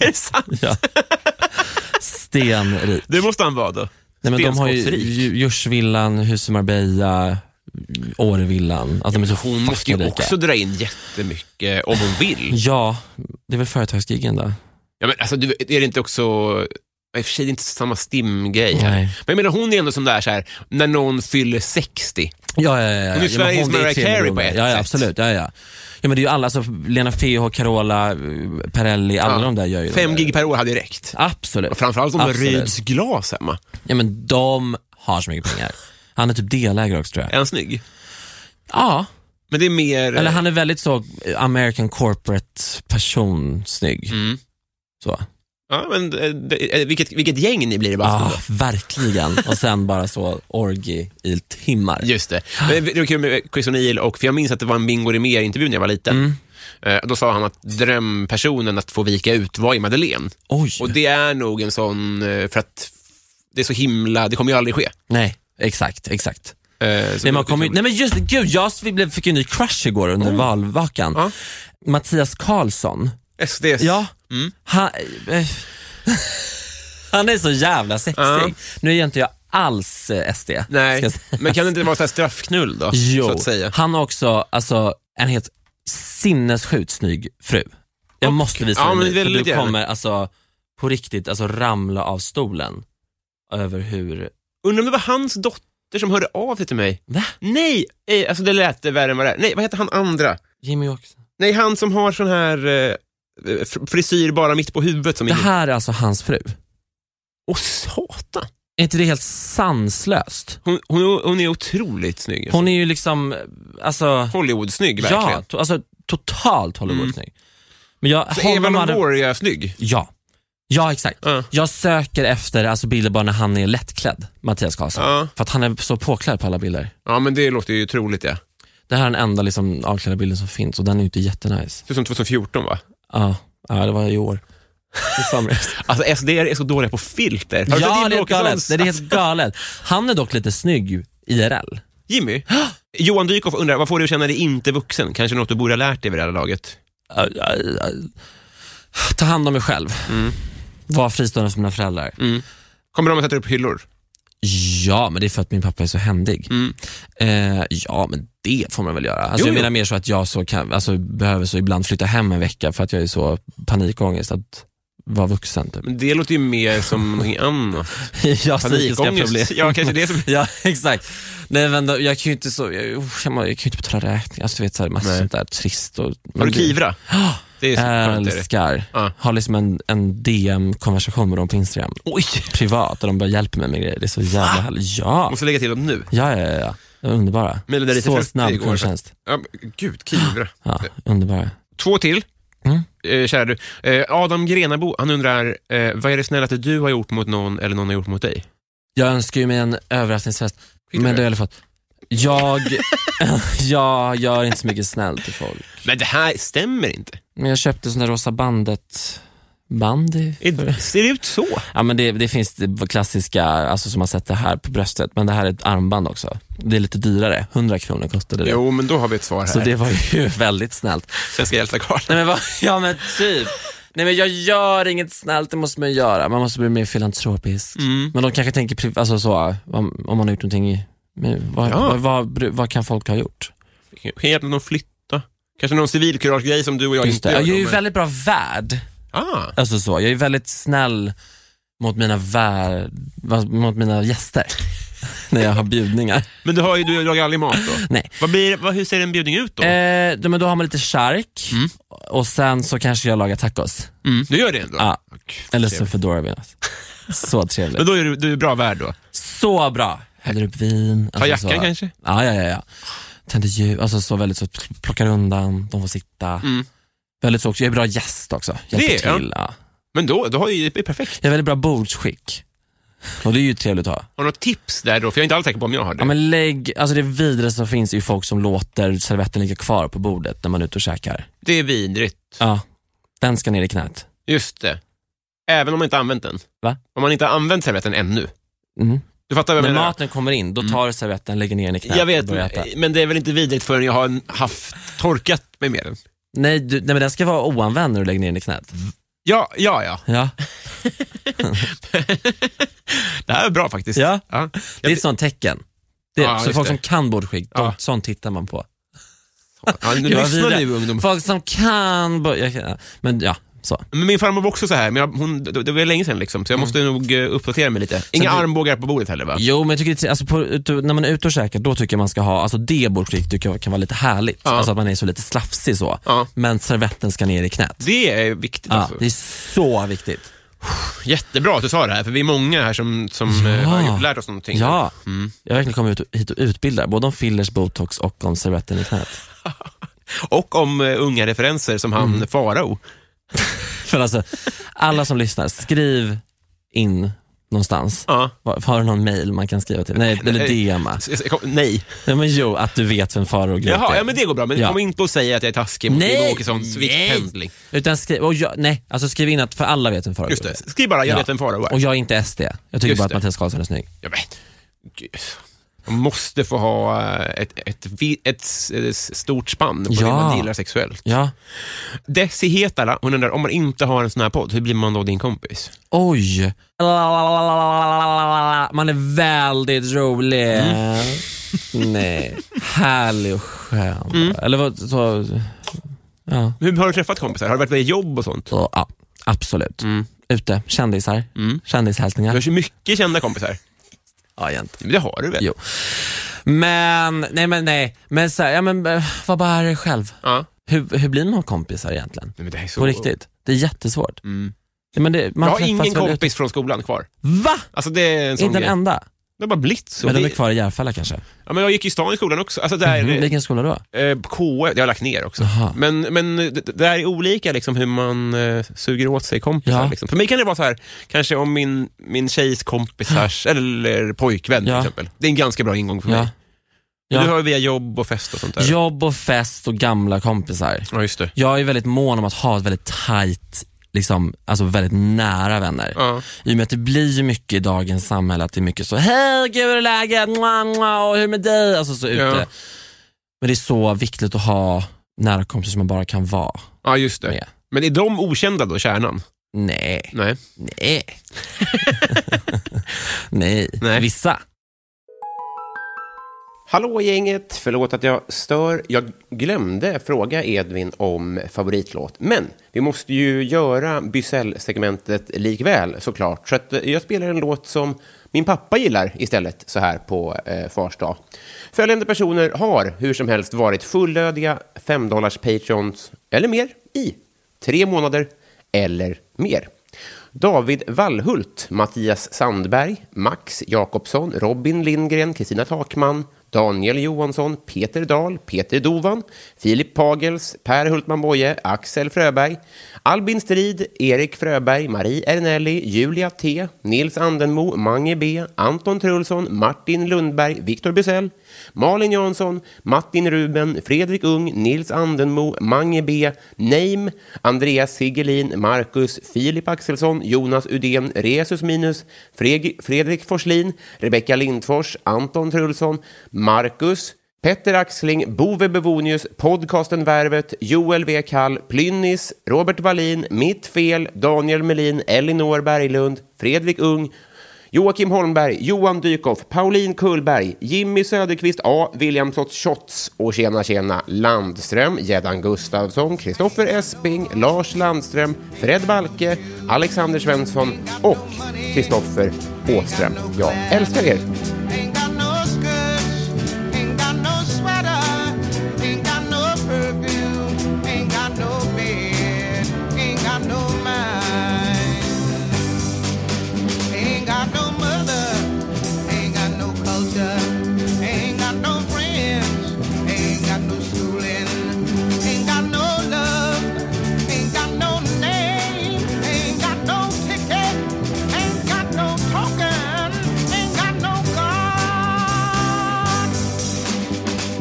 Speaker 1: Är det sant?
Speaker 2: Ja. <laughs> Stenrik.
Speaker 1: Det måste han vara då.
Speaker 2: Nej, men de har ju
Speaker 1: Stenskottsrik.
Speaker 2: Ju- Djursvillan, Husum Marbella, Årevillan. Alltså, de är så
Speaker 1: Hon måste
Speaker 2: fucking
Speaker 1: ju
Speaker 2: rika.
Speaker 1: också dra in jättemycket om hon
Speaker 2: <laughs>
Speaker 1: vill.
Speaker 2: Ja, det är väl företagsgiggen då?
Speaker 1: Ja, men alltså, du, är det inte också... I och för sig det är inte samma stimgrej. här.
Speaker 2: Nej.
Speaker 1: Men jag menar, hon är ändå som där, så här, när någon fyller 60.
Speaker 2: Ja, ja, ja. ja.
Speaker 1: Hon är ju
Speaker 2: ja, men
Speaker 1: Sveriges
Speaker 2: det är
Speaker 1: Mariah
Speaker 2: trevlig
Speaker 1: Carey på
Speaker 2: nog.
Speaker 1: ett
Speaker 2: Ja, ja
Speaker 1: sätt.
Speaker 2: absolut. Ja, ja. ja, men det är ju alla, alltså, Lena PH, Carola, eh, Perrelli, alla
Speaker 1: Ja.
Speaker 2: de där gör ju de
Speaker 1: Fem
Speaker 2: där.
Speaker 1: gig per år hade ju räckt.
Speaker 2: Absolut.
Speaker 1: Och framförallt om
Speaker 2: Absolut.
Speaker 1: Ryds glas hemma.
Speaker 2: Ja, men de har så mycket pengar. Han är typ delägare också tror jag.
Speaker 1: Är han snygg?
Speaker 2: Ja,
Speaker 1: Men det är mer...
Speaker 2: eller han är väldigt så eh, American corporate person snygg.
Speaker 1: Mm.
Speaker 2: Så.
Speaker 1: Ja, men, eh, det, eh, vilket, vilket gäng ni blir i
Speaker 2: Ja,
Speaker 1: bastun då.
Speaker 2: Ah, verkligen. Och sen bara så orgi i timmar.
Speaker 1: Just det. Men det var kul med Chris O'Neill, och, för jag minns att det var en Bingo Rimér-intervju när jag var liten.
Speaker 2: Mm.
Speaker 1: Eh, Då sa han att drömpersonen att få vika ut var i Madeleine.
Speaker 2: Oj.
Speaker 1: Och det är nog en sån, eh, för att det är så himla, det kommer ju aldrig ske.
Speaker 2: Nej, exakt, exakt.
Speaker 1: Eh, så
Speaker 2: Nej, man
Speaker 1: det- Oh.
Speaker 2: kommer ju- nej men just det, gud, jag vi blev, fick ju en ny crush igår under valvakan.
Speaker 1: Ja.
Speaker 2: Mattias Karlsson.
Speaker 1: SDS.
Speaker 2: Ja.
Speaker 1: Mm.
Speaker 2: Han, eh, <laughs> han är så jävla sexig.
Speaker 1: Ja.
Speaker 2: Nu är ju inte jag alls eh, SD.
Speaker 1: Nej,
Speaker 2: ska jag säga.
Speaker 1: men kan det inte vara så här straffknull då?
Speaker 2: Jo,
Speaker 1: Så att säga.
Speaker 2: han har också alltså, en helt sinnessjukt snygg fru. Jag måste visa
Speaker 1: Ja,
Speaker 2: dig
Speaker 1: men
Speaker 2: nu, för
Speaker 1: väldigt
Speaker 2: du
Speaker 1: gärna.
Speaker 2: kommer alltså, på riktigt alltså, ramla av stolen över hur...
Speaker 1: Undrar om det var hans dotter som hörde av sig till mig.
Speaker 2: Va?
Speaker 1: Nej, eh, alltså det lät värre än vad det är. Nej, vad heter han andra?
Speaker 2: Jimmy Åkesson.
Speaker 1: Nej, han som har sån här eh, fr- frisyr bara mitt på huvudet som
Speaker 2: Det
Speaker 1: ingen...
Speaker 2: här är alltså hans fru.
Speaker 1: Åh, satan!
Speaker 2: Är inte det helt sanslöst?
Speaker 1: Hon, hon, hon är otroligt snygg.
Speaker 2: Hon är ju liksom, alltså,
Speaker 1: Hollywood-snygg,
Speaker 2: ja,
Speaker 1: verkligen. Mm.
Speaker 2: to, alltså totalt Hollywoodsnygg. Men jag,
Speaker 1: Så Alltså, Eva
Speaker 2: honom hade,
Speaker 1: Longoria är snygg.
Speaker 2: ja, ja exakt.
Speaker 1: Ja.
Speaker 2: Jag söker efter alltså, bilder bara när han är lättklädd, Mattias Karlsson.
Speaker 1: Ja.
Speaker 2: För att han är så påklädd på alla bilder.
Speaker 1: ja, men det låter ju otroligt ja.
Speaker 2: Det här är den enda liksom, avklädda bilden som finns och den är ju inte jättenice.
Speaker 1: Det är som 2014 va?
Speaker 2: Ja, ja det var i år. I somras.
Speaker 1: Alltså SD är så dåliga på filter. <laughs> Har du sett
Speaker 2: ja,
Speaker 1: Jimmie
Speaker 2: det är helt galet.
Speaker 1: Åkessons-
Speaker 2: Nej, Det är helt galet. Han är dock lite snygg IRL.
Speaker 1: Jimmy? <gasps> Johan Dykhoff undrar, vad får du att känna dig inte vuxen? Kanske något du borde ha lärt dig vid det här laget?
Speaker 2: Aj, aj, aj. Ta hand om mig själv.
Speaker 1: Mm.
Speaker 2: Var fristående från mina föräldrar.
Speaker 1: Kommer de att sätta upp hyllor?
Speaker 2: Ja, men det är för att min pappa är så händig. Eh, ja, men det får man väl göra. Alltså,
Speaker 1: Mm. Jo,
Speaker 2: jag
Speaker 1: jo.
Speaker 2: menar mer så att jag så kan, alltså, behöver så ibland flytta hem en vecka för att jag är så panikångest att vara vuxen. Typ.
Speaker 1: Men det låter ju mer som någonting <laughs> annat.
Speaker 2: <laughs> jag har psykiska problem.
Speaker 1: Panikångest. Ja, kanske
Speaker 2: <laughs>
Speaker 1: det som...
Speaker 2: ja, exakt. Nej, men då, jag kan ju inte så, jag, usch, jag, må- jag kan ju inte betala räkningar. Alltså, du vet, så här, massa
Speaker 1: Nej.
Speaker 2: sånt där trist. Och,
Speaker 1: Har
Speaker 2: men
Speaker 1: du Kivra?
Speaker 2: <gasps>
Speaker 1: Det är så skönt. är det.
Speaker 2: Älskar.
Speaker 1: Ja.
Speaker 2: Har liksom en, en DM-konversation med dem på Instagram.
Speaker 1: Oj!
Speaker 2: Privat, och de bara hjälper mig med grejer. Det är så jävla härligt. Ja.
Speaker 1: Måste lägga till dem nu.
Speaker 2: Ja, ja, ja, ja. De är Underbara.
Speaker 1: Mejlade dig till
Speaker 2: Så
Speaker 1: 40
Speaker 2: snabb
Speaker 1: igår.
Speaker 2: kundtjänst.
Speaker 1: Ja, men gud, Kivra.
Speaker 2: Ja, underbara.
Speaker 1: Två till.
Speaker 2: Mm.
Speaker 1: Eh, kära du. Eh, Adam Grenabo, han undrar, eh, vad är det snällaste du har gjort mot någon eller någon har gjort mot dig?
Speaker 2: Jag önskar ju mig en överraskningsfest, men det har jag aldrig fått. Jag, <laughs> jag gör inte så mycket snällt till folk.
Speaker 1: Men det här stämmer inte.
Speaker 2: Men jag köpte sån där Rosa bandet band i-
Speaker 1: Är- Ser det ut så?
Speaker 2: Ja, men det, det finns det klassiska, alltså som man sätter här på bröstet, men det här är ett armband också. Det är lite dyrare, 100 kronor kostade det.
Speaker 1: Jo, men då har vi ett svar här.
Speaker 2: Så det var ju <laughs> väldigt snällt.
Speaker 1: Svenska
Speaker 2: Nej
Speaker 1: hjältar-Karl.
Speaker 2: men vad, <laughs> ja men typ. Nej men jag gör inget snällt, det måste man ju göra. Man måste bli mer filantropisk.
Speaker 1: Mm.
Speaker 2: Men de kanske tänker, priv- alltså så, om om man har gjort någonting i, men vad,
Speaker 1: Ja.
Speaker 2: vad, vad, bru- vad kan folk ha gjort?
Speaker 1: Kan jag hjälpa någon flytta? Kanske någon civilkurage-grej som du och jag
Speaker 2: Just
Speaker 1: inte
Speaker 2: det.
Speaker 1: gör.
Speaker 2: Jag är
Speaker 1: då,
Speaker 2: ju
Speaker 1: men-
Speaker 2: väldigt bra värd,
Speaker 1: ah,
Speaker 2: alltså så. Jag är väldigt snäll mot mina värd, vad- mot mina gäster. <laughs> När jag har bjudningar.
Speaker 1: men du har ju du lagar aldrig mat då?
Speaker 2: Nej.
Speaker 1: Vad blir, vad, hur ser en bjudning ut då?
Speaker 2: Mm. Eh, då, men då har man lite chark och sen så kanske jag lagar tacos.
Speaker 1: Mm. Du gör det ändå?
Speaker 2: Ja.
Speaker 1: Åh, gud,
Speaker 2: Eller så
Speaker 1: trevligt.
Speaker 2: fedora vinas. Så trevligt.
Speaker 1: Men då är du, du är bra värd då?
Speaker 2: Så bra. Häller upp vin.
Speaker 1: Ta
Speaker 2: alltså
Speaker 1: jackan
Speaker 2: så.
Speaker 1: kanske?
Speaker 2: Ja, ja, ja. ja. Tänder ljus, alltså så väldigt så plockar undan, de får sitta. Väldigt så också, jag är bra gäst också. Hjälper
Speaker 1: Mm. Det, ja.
Speaker 2: till. Ja.
Speaker 1: Men då, då har ju, det är perfekt.
Speaker 2: Jag är väldigt bra bordsskick. Och det är ju trevligt att ha.
Speaker 1: Har du något tips där då? För jag är inte alls säker på om jag har det.
Speaker 2: Ja, men lägg, alltså det vidrigaste som finns är ju folk som låter servetten ligga kvar på bordet när man är ute och käkar.
Speaker 1: Det är vidrigt.
Speaker 2: Ja, den ska ner i knät.
Speaker 1: Just det. Även om man inte har använt den.
Speaker 2: Va?
Speaker 1: Om man inte har använt servetten ännu.
Speaker 2: Mm.
Speaker 1: Du fattar vad jag
Speaker 2: När
Speaker 1: menar? Mm.
Speaker 2: maten kommer in, då tar du servetten, lägger ner den i knät
Speaker 1: jag
Speaker 2: och
Speaker 1: vet, eh,
Speaker 2: börjar äta.
Speaker 1: men det är väl inte vidrigt förrän jag har haft, torkat mig med den.
Speaker 2: Nej, du, nej, men den ska vara oanvänd när du lägger ner den i knät.
Speaker 1: Mm. Ja, ja, ja.
Speaker 2: Ja.
Speaker 1: Det här är bra faktiskt.
Speaker 2: Ja. Det är
Speaker 1: Jag-
Speaker 2: ett sånt tecken. Det,
Speaker 1: Ja,
Speaker 2: så
Speaker 1: just
Speaker 2: folk
Speaker 1: det.
Speaker 2: som kan bordsskick, de,
Speaker 1: Ja.
Speaker 2: sånt tittar man på.
Speaker 1: Ja, nu
Speaker 2: Gud, vad
Speaker 1: lyssna
Speaker 2: vidrigt.
Speaker 1: nu ungdom.
Speaker 2: Folk som kan bord- jag, kan- Men ja, så.
Speaker 1: Men Min farmor var också så här, men jag, hon, det, det var länge sedan liksom,
Speaker 2: Mm.
Speaker 1: så jag måste nog eh, uppdatera mig lite. Inga
Speaker 2: du-
Speaker 1: armbågar på bordet heller va?
Speaker 2: Jo, men jag tycker det, är- alltså på, ute- när man är ute och käkar, då tycker jag man ska ha, alltså det bordsskick tycker jag kan vara lite härligt.
Speaker 1: Ja.
Speaker 2: Alltså att man är så lite slafsig så.
Speaker 1: Ja.
Speaker 2: Men servetten ska ner i knät.
Speaker 1: Det är viktigt
Speaker 2: Ja,
Speaker 1: alltså.
Speaker 2: det är så viktigt.
Speaker 1: Jättebra att du sa det här, för vi är många här som, som eh, har gjort- lärt oss någonting.
Speaker 2: Ja,
Speaker 1: Mm.
Speaker 2: jag har verkligen kommit ut, hit och utbildar, både om fillers, botox och om servetten i knät. <laughs>
Speaker 1: Och om eh, unga referenser som han
Speaker 2: Mm.
Speaker 1: Farao.
Speaker 2: För alltså, alla som lyssnar, skriv in någonstans.
Speaker 1: Ja.
Speaker 2: Har har du någon mail man kan skriva till? Nej, eller
Speaker 1: Nej.
Speaker 2: DM.
Speaker 1: <laughs> S- s- kom- Nej.
Speaker 2: Nej, men jo, att du vet vem Farao Groth
Speaker 1: Jaha,
Speaker 2: är.
Speaker 1: ja, men det går bra. Men
Speaker 2: Ja.
Speaker 1: kom inte och säga att jag är taskig mot Jimmie
Speaker 2: Nej!
Speaker 1: Åkesson,
Speaker 2: Nej!
Speaker 1: viktpendling.
Speaker 2: Utan skriv, och jag, nej, alltså skriv in att för alla vet vem Farao
Speaker 1: Just
Speaker 2: Groth är.
Speaker 1: det. Skriv bara, jag
Speaker 2: Ja.
Speaker 1: vet vem Farao
Speaker 2: Och
Speaker 1: är.
Speaker 2: jag är inte SD. Jag tycker
Speaker 1: Just
Speaker 2: bara att
Speaker 1: det.
Speaker 2: Mattias Karlsson är snygg.
Speaker 1: Jag vet. Gud. Man måste få ha eh, ett, ett, vi- ett, s- eh, stort spann på det
Speaker 2: Ja.
Speaker 1: man gillar sexuellt.
Speaker 2: Ja.
Speaker 1: Desi Hetala, hon undrar, om man inte har en sån här podd, hur blir man då din kompis?
Speaker 2: Oj. Man är väldigt rolig.
Speaker 1: Mm.
Speaker 2: <laughs> Nej. Härlig och skön.
Speaker 1: Mm.
Speaker 2: Eller vad, så, ja.
Speaker 1: Hur har du träffat kompisar? Har det varit via jobb och sånt?
Speaker 2: Så, ja, absolut.
Speaker 1: Mm.
Speaker 2: Ute, kändisar,
Speaker 1: Du
Speaker 2: kändishälsningar.
Speaker 1: har ju mycket kända kompisar.
Speaker 2: Ja, egentligen.
Speaker 1: Men Det har du väl?
Speaker 2: Jo. Men, nej men nej. Men så här, ja men eh, vad bara är det själv?
Speaker 1: Ja.
Speaker 2: Hur, hur blir man kompisar egentligen?
Speaker 1: Nej, men det här är så...
Speaker 2: På riktigt. Det är jättesvårt.
Speaker 1: Mm.
Speaker 2: Ja, men det, man
Speaker 1: Jag har
Speaker 2: träffas
Speaker 1: ingen
Speaker 2: väl ut-
Speaker 1: kompis från skolan kvar.
Speaker 2: Va?
Speaker 1: Alltså det är en sån
Speaker 2: Inte en
Speaker 1: grej.
Speaker 2: enda?
Speaker 1: Det har bara blivit så.
Speaker 2: men de är
Speaker 1: Det-
Speaker 2: kvar i Järfälla kanske?
Speaker 1: Ja, men jag gick i stan i skolan också. Alltså, det här,
Speaker 2: Mm. Vilken skola då?
Speaker 1: eh, KF, det har jag lagt ner också.
Speaker 2: Aha.
Speaker 1: Men, men det, det här är olika liksom, hur man eh, suger åt sig kompisar.
Speaker 2: Ja.
Speaker 1: Liksom. För mig kan det vara så här, kanske om min, min tjejs kompisars, eller pojkvän till
Speaker 2: Ja.
Speaker 1: exempel. Det är en ganska bra ingång för mig.
Speaker 2: Ja.
Speaker 1: Men Du
Speaker 2: Ja.
Speaker 1: har ju via jobb och fest och sånt där.
Speaker 2: Jobb och fest och gamla kompisar.
Speaker 1: Ja, just det.
Speaker 2: Jag är väldigt mån om att ha ett väldigt tajt, liksom, alltså väldigt nära vänner.
Speaker 1: Ja.
Speaker 2: I och med att det blir ju mycket i dagens samhälle att det är mycket så, hej gud hur är läget, Mwah, mwah, och hur med dig? Alltså så ute.
Speaker 1: Ja.
Speaker 2: Men det är så viktigt att ha nära kompisar som man bara kan vara
Speaker 1: ja, just det.
Speaker 2: med.
Speaker 1: Men är de okända då, kärnan?
Speaker 2: Nej,
Speaker 1: Nej. <laughs>
Speaker 2: nej. Eh. nej.
Speaker 1: Nej.
Speaker 2: vissa.
Speaker 8: Hallå gänget! Förlåt att jag stör. Jag glömde fråga Edvin om favoritlåt. Men vi måste ju göra Bysell-segmentet likväl såklart. Så att eh, jag spelar en låt som min pappa gillar istället så här på eh, Fars dag. Följande personer har hur som helst varit fullödiga 5 patrons eller mer i tre månader eller mer. David Wallhult, Mattias Sandberg, Max Jakobsson, Robin Lindgren, Kristina Takman,
Speaker 9: Daniel Johansson, Peter Dahl, Peter Dovan, Filip Pagels, Per Hultman Boye, Axel Fröberg, Albin Strid, Erik Fröberg, Marie Ernelli, Julia T, Nils Andenmo, Mange B, Anton Trulsson, Martin Lundberg, Viktor Bysell, Malin Jansson, Martin Ruben, Fredrik Ung, Nils Andenmo, Mange B, Neim, Andreas Sigelin, Marcus, Filip Axelsson, Jonas Udén, Resus Minus, Freg- Fredrik Forslin, Rebecka Lindfors, Anton Trulsson, Marcus, Petter Axling, Bove Bevonius, podcasten Värvet, Joel V. Kall, Plynnis, Robert Wallin, Mitt Fel, Daniel Melin, Elinor Berglund, Fredrik Ung, Joakim Holmberg, Johan Dykhoff, Pauline Kullberg, Jimmy Söderqvist A, William Schotz och tjena tjena Landström, Gäddan Gustafsson, Kristoffer Esping, Lars Landström, Fred Balke, Alexander Svensson och Kristoffer Åström. Jag älskar er!
Speaker 6: Ain't got no skirt, ain't got no sweater, ain't got no perfume, ain't got no bed, ain't got no mind, ain't got no mother, ain't got no culture, ain't got no friends, ain't got no schooling, ain't got no love, ain't got no name, ain't got no ticket, ain't got no token, ain't got no God.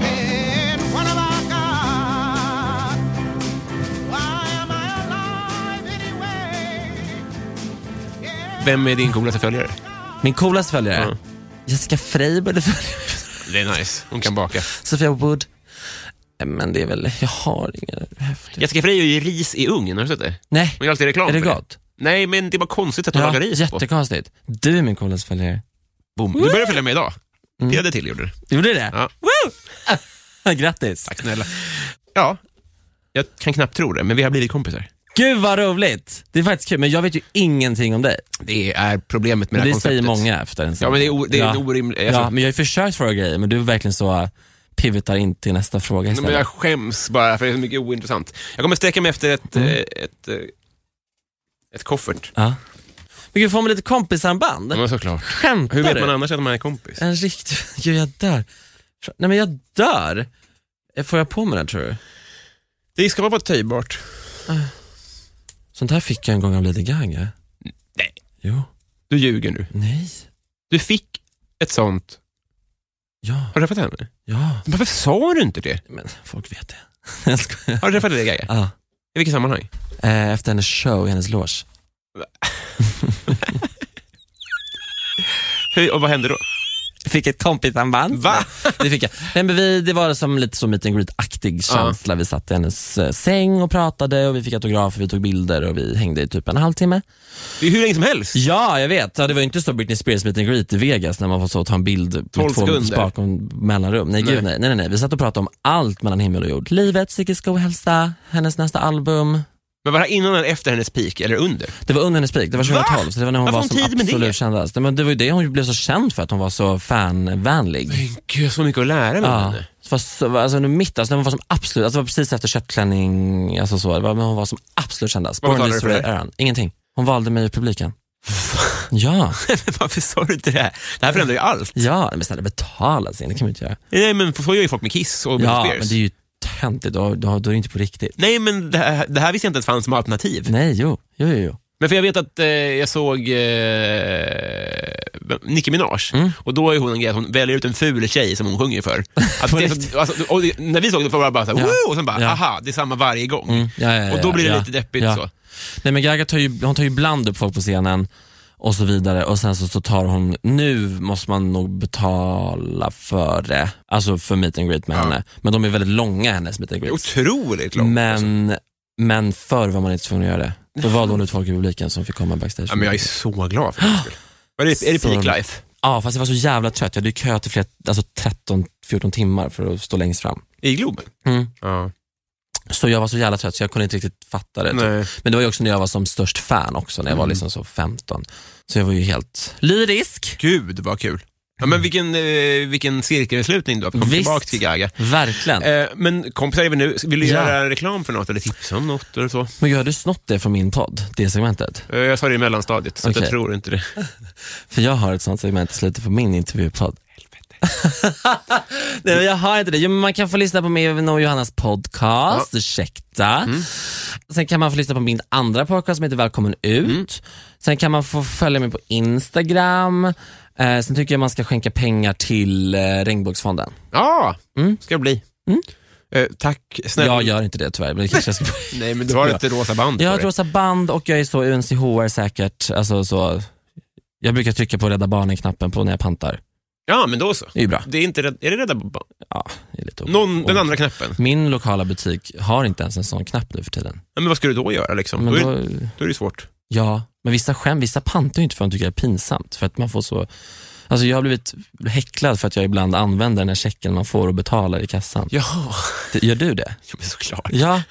Speaker 6: And what have I got? Why am I alive anyway? Yeah.
Speaker 1: Vem är din coolaste följare?
Speaker 2: Min coolaste följare?
Speaker 1: Ja.
Speaker 2: Jessica Frey borde följa
Speaker 1: Det är nice. Hon kan baka.
Speaker 2: Sofia Wood. Eh, Men det är väl, jag har inga häftiga...
Speaker 1: Jessica Frey gör ju ris i ugn. Har du sett det?
Speaker 2: Nej,
Speaker 1: Hon gör alltid reklam
Speaker 2: är det
Speaker 1: för
Speaker 2: gott?
Speaker 1: Nej, men det är bara konstigt att hon
Speaker 2: Ja,
Speaker 1: lagar ris på.
Speaker 2: jättekonstigt. Du är min coolaste följare.
Speaker 1: Boom. Du började följa med idag.
Speaker 2: Mm.
Speaker 1: Det hade till gjorde du.
Speaker 2: Gjorde du det?
Speaker 1: Ja.
Speaker 2: Woo! <laughs> Grattis.
Speaker 1: Tack snälla. Ja, jag kan knappt tro det, men vi har blivit kompisar.
Speaker 2: Gud vad roligt. Det är faktiskt kul, men jag vet ju ingenting om dig.
Speaker 1: Det är problemet med
Speaker 2: Men
Speaker 1: det
Speaker 2: det
Speaker 1: här
Speaker 2: säger
Speaker 1: konceptet.
Speaker 2: många efter en sån-
Speaker 1: Ja, men det är o- det är en orimlig- alltså-
Speaker 2: Ja, men jag har ju försökt fråga grejer, men du är verkligen så äh, pivotar in till nästa fråga
Speaker 1: Nej, men jag
Speaker 2: istället.
Speaker 1: skäms bara för det är så mycket ointressant. Jag kommer sträcka mig efter ett,
Speaker 2: Mm.
Speaker 1: eh, ett, eh, ett koffert.
Speaker 2: Ja. Men gud, får man lite kompissamband?
Speaker 1: Ja, men såklart.
Speaker 2: Skämtar
Speaker 1: Mm. Hur vet
Speaker 2: Mm. du?
Speaker 1: man annars att man är kompis?
Speaker 2: En riktig... Gud, jag dör. Nej, men jag dör. Eh, Får jag på mig den tror du?
Speaker 1: Det ska vara töjbart.
Speaker 2: Sånt här fick jag en gång av Lady Gaga.
Speaker 1: Nej.
Speaker 2: Jo.
Speaker 1: Du ljuger nu.
Speaker 2: Nej.
Speaker 1: Du fick ett sånt.
Speaker 2: Ja.
Speaker 1: Har du träffat henne?
Speaker 2: Ja.
Speaker 1: Varför sa du inte det?
Speaker 2: Men folk vet det. <laughs> Jag skojar.
Speaker 1: Har du träffat det Gaga?
Speaker 2: Ja.
Speaker 1: I vilket sammanhang?
Speaker 2: Eh, Efter hennes show i hennes loge.
Speaker 1: Hur, och vad hände då?
Speaker 2: Fick ett kompisarmband.
Speaker 1: <laughs> Va?
Speaker 2: Det fick jag. Nej, men vi, det var som lite så meet and greet-aktig känsla. Vi satt i hennes eh, säng och pratade och vi fick autografer, vi tog bilder och vi hängde i typ en halvtimme.
Speaker 1: Det är hur länge som helst.
Speaker 2: Ja, jag vet. Ja, det var ju inte så Britney Spears meet and greet i Vegas när man får så ta en bild med
Speaker 1: 12
Speaker 2: två
Speaker 1: sekunder.
Speaker 2: spakom mellanrum. Nej, gud nej. nej, nej, nej. Vi satt och pratade om allt mellan himmel och jord. Livet, psykisk ohälsa, hennes nästa album.
Speaker 1: Men var det här innan eller efter hennes peak, eller under?
Speaker 2: Det var under hennes peak, det var 2012, så det var när hon
Speaker 1: Varför
Speaker 2: var
Speaker 1: har hon
Speaker 2: som
Speaker 1: tid med det?
Speaker 2: absolut kändast. Nej, Men det var ju det hon blev så känd för, att hon var så fanvänlig.
Speaker 1: Men gud, så mycket att lära mig
Speaker 2: Ja.
Speaker 1: henne.
Speaker 2: Det var så, alltså under mitt, alltså när hon var som absolut, alltså det var precis efter köttklänning, alltså så, det var, men hon var som absolut kändast.
Speaker 1: Vad betalade du
Speaker 2: Born
Speaker 1: för
Speaker 2: This
Speaker 1: det?
Speaker 2: Way eran. Ingenting. Hon valde mig i publiken.
Speaker 1: <laughs>
Speaker 2: ja,
Speaker 1: Varför sa du inte det här? Det här förändrar ju allt.
Speaker 2: ja, men snälla betala sig, det kan man inte göra.
Speaker 1: Nej, men så gör ju folk med Kiss och Britney
Speaker 2: Ja,
Speaker 1: Spears.
Speaker 2: men det är ju töntigt, då, då, då är det inte på riktigt.
Speaker 1: Nej, men det här, det här visste jag inte att fanns som alternativ.
Speaker 2: Nej, jo, jo, jo. jo.
Speaker 1: Men för jag vet att eh, jag såg eh, Nicki Minaj och då är hon en grej att hon väljer ut en ful tjej som hon sjunger <laughs> för. Att det, är så- alltså, och det, när vi såg det var det bara såhär,
Speaker 2: Ja.
Speaker 1: wow, och sen bara,
Speaker 2: Ja.
Speaker 1: aha, det är samma varje gång.
Speaker 2: Ja, ja, ja,
Speaker 1: och då blir det
Speaker 2: ja,
Speaker 1: lite deppigt
Speaker 2: ja.
Speaker 1: så.
Speaker 2: Nej men Gaga tar ju, hon tar ju ibland upp folk på scenen och så vidare och sen så, så tar hon, nu måste man nog betala för det, alltså för meet and greet med henne. Men de är väldigt långa hennes meet and
Speaker 1: Det är
Speaker 2: greets.
Speaker 1: otroligt långt. alltså.
Speaker 2: men, men förr var man inte tvungen att göra det. Då valde hon ut folk i publiken som fick komma backstage.
Speaker 1: ja, men jag är så glad för det. <gasps> Är det, är det peak life?
Speaker 2: Ja, fast jag var så jävla trött. Jag hade ju köat i flera, alltså 13-14 timmar för att stå längst fram.
Speaker 1: I Globen?
Speaker 2: Mm.
Speaker 1: Ja.
Speaker 2: Så jag var så jävla trött så jag kunde inte riktigt fatta det. typ.
Speaker 1: Nej.
Speaker 2: Men det var ju också när jag var som störst fan också, när jag var
Speaker 1: Mm.
Speaker 2: liksom så 15. Så jag var ju helt lyrisk.
Speaker 1: Gud vad kul. Ja, men vilken, eh, vilken cirkelslutning du har. Kom
Speaker 2: Mm. Visst.
Speaker 1: tillbaka till Gaga.
Speaker 2: Verkligen.
Speaker 1: Eh, men kompisar är vi nu. Vill du
Speaker 2: Ja.
Speaker 1: göra reklam för något eller tipsa om något? Eller så?
Speaker 2: Men gud, har du snott det från min podd, det segmentet?
Speaker 1: Eh, jag sa det i mellanstadiet, så att jag
Speaker 2: Okej.
Speaker 1: tror inte det.
Speaker 2: För jag har ett sånt segment i slutet på min intervjupodd. Helvete. <laughs> Nej, men jag har inte det. Jo, men man kan få lyssna på min och Johannas podcast, ursäkta. Sen kan man få lyssna på min andra podcast som heter Välkommen ut. Sen kan man få följa mig på Instagram. Eh, sen tycker jag man ska skänka pengar till eh, Regnbågsfonden.
Speaker 1: Ja,
Speaker 2: Mm.
Speaker 1: ska det bli. Eh, tack snälla.
Speaker 2: Jag gör inte det tyvärr, men det kanske <laughs> jag ska
Speaker 1: Nej, men du har ett rosa band
Speaker 2: Jag
Speaker 1: på
Speaker 2: har ett
Speaker 1: dig.
Speaker 2: rosa band och jag är så UNCHR säkert. Alltså, så. Jag brukar trycka på Rädda Barnen-knappen på när jag pantar.
Speaker 1: Ja, men då så.
Speaker 2: Det är ju bra.
Speaker 1: Det är, inte, rädd- är det Rädda Barnen?
Speaker 2: Ja, det är lite
Speaker 1: Någon, den andra knappen.
Speaker 2: Min lokala butik har inte ens en sån knapp nu för tiden.
Speaker 1: Ja, men vad ska du då göra? Liksom?
Speaker 2: Men
Speaker 1: Då, är,
Speaker 2: då-
Speaker 1: det- då är det svårt.
Speaker 2: Ja, men vissa skämt, vissa pantar ju inte för att de tycker det är pinsamt. För att man får så... Alltså jag har blivit häcklad för att jag ibland använder den här checken man får och betalar i kassan.
Speaker 1: Jaha.
Speaker 2: Det- Gör du det?
Speaker 1: <laughs> Ja, men såklart.
Speaker 2: Ja,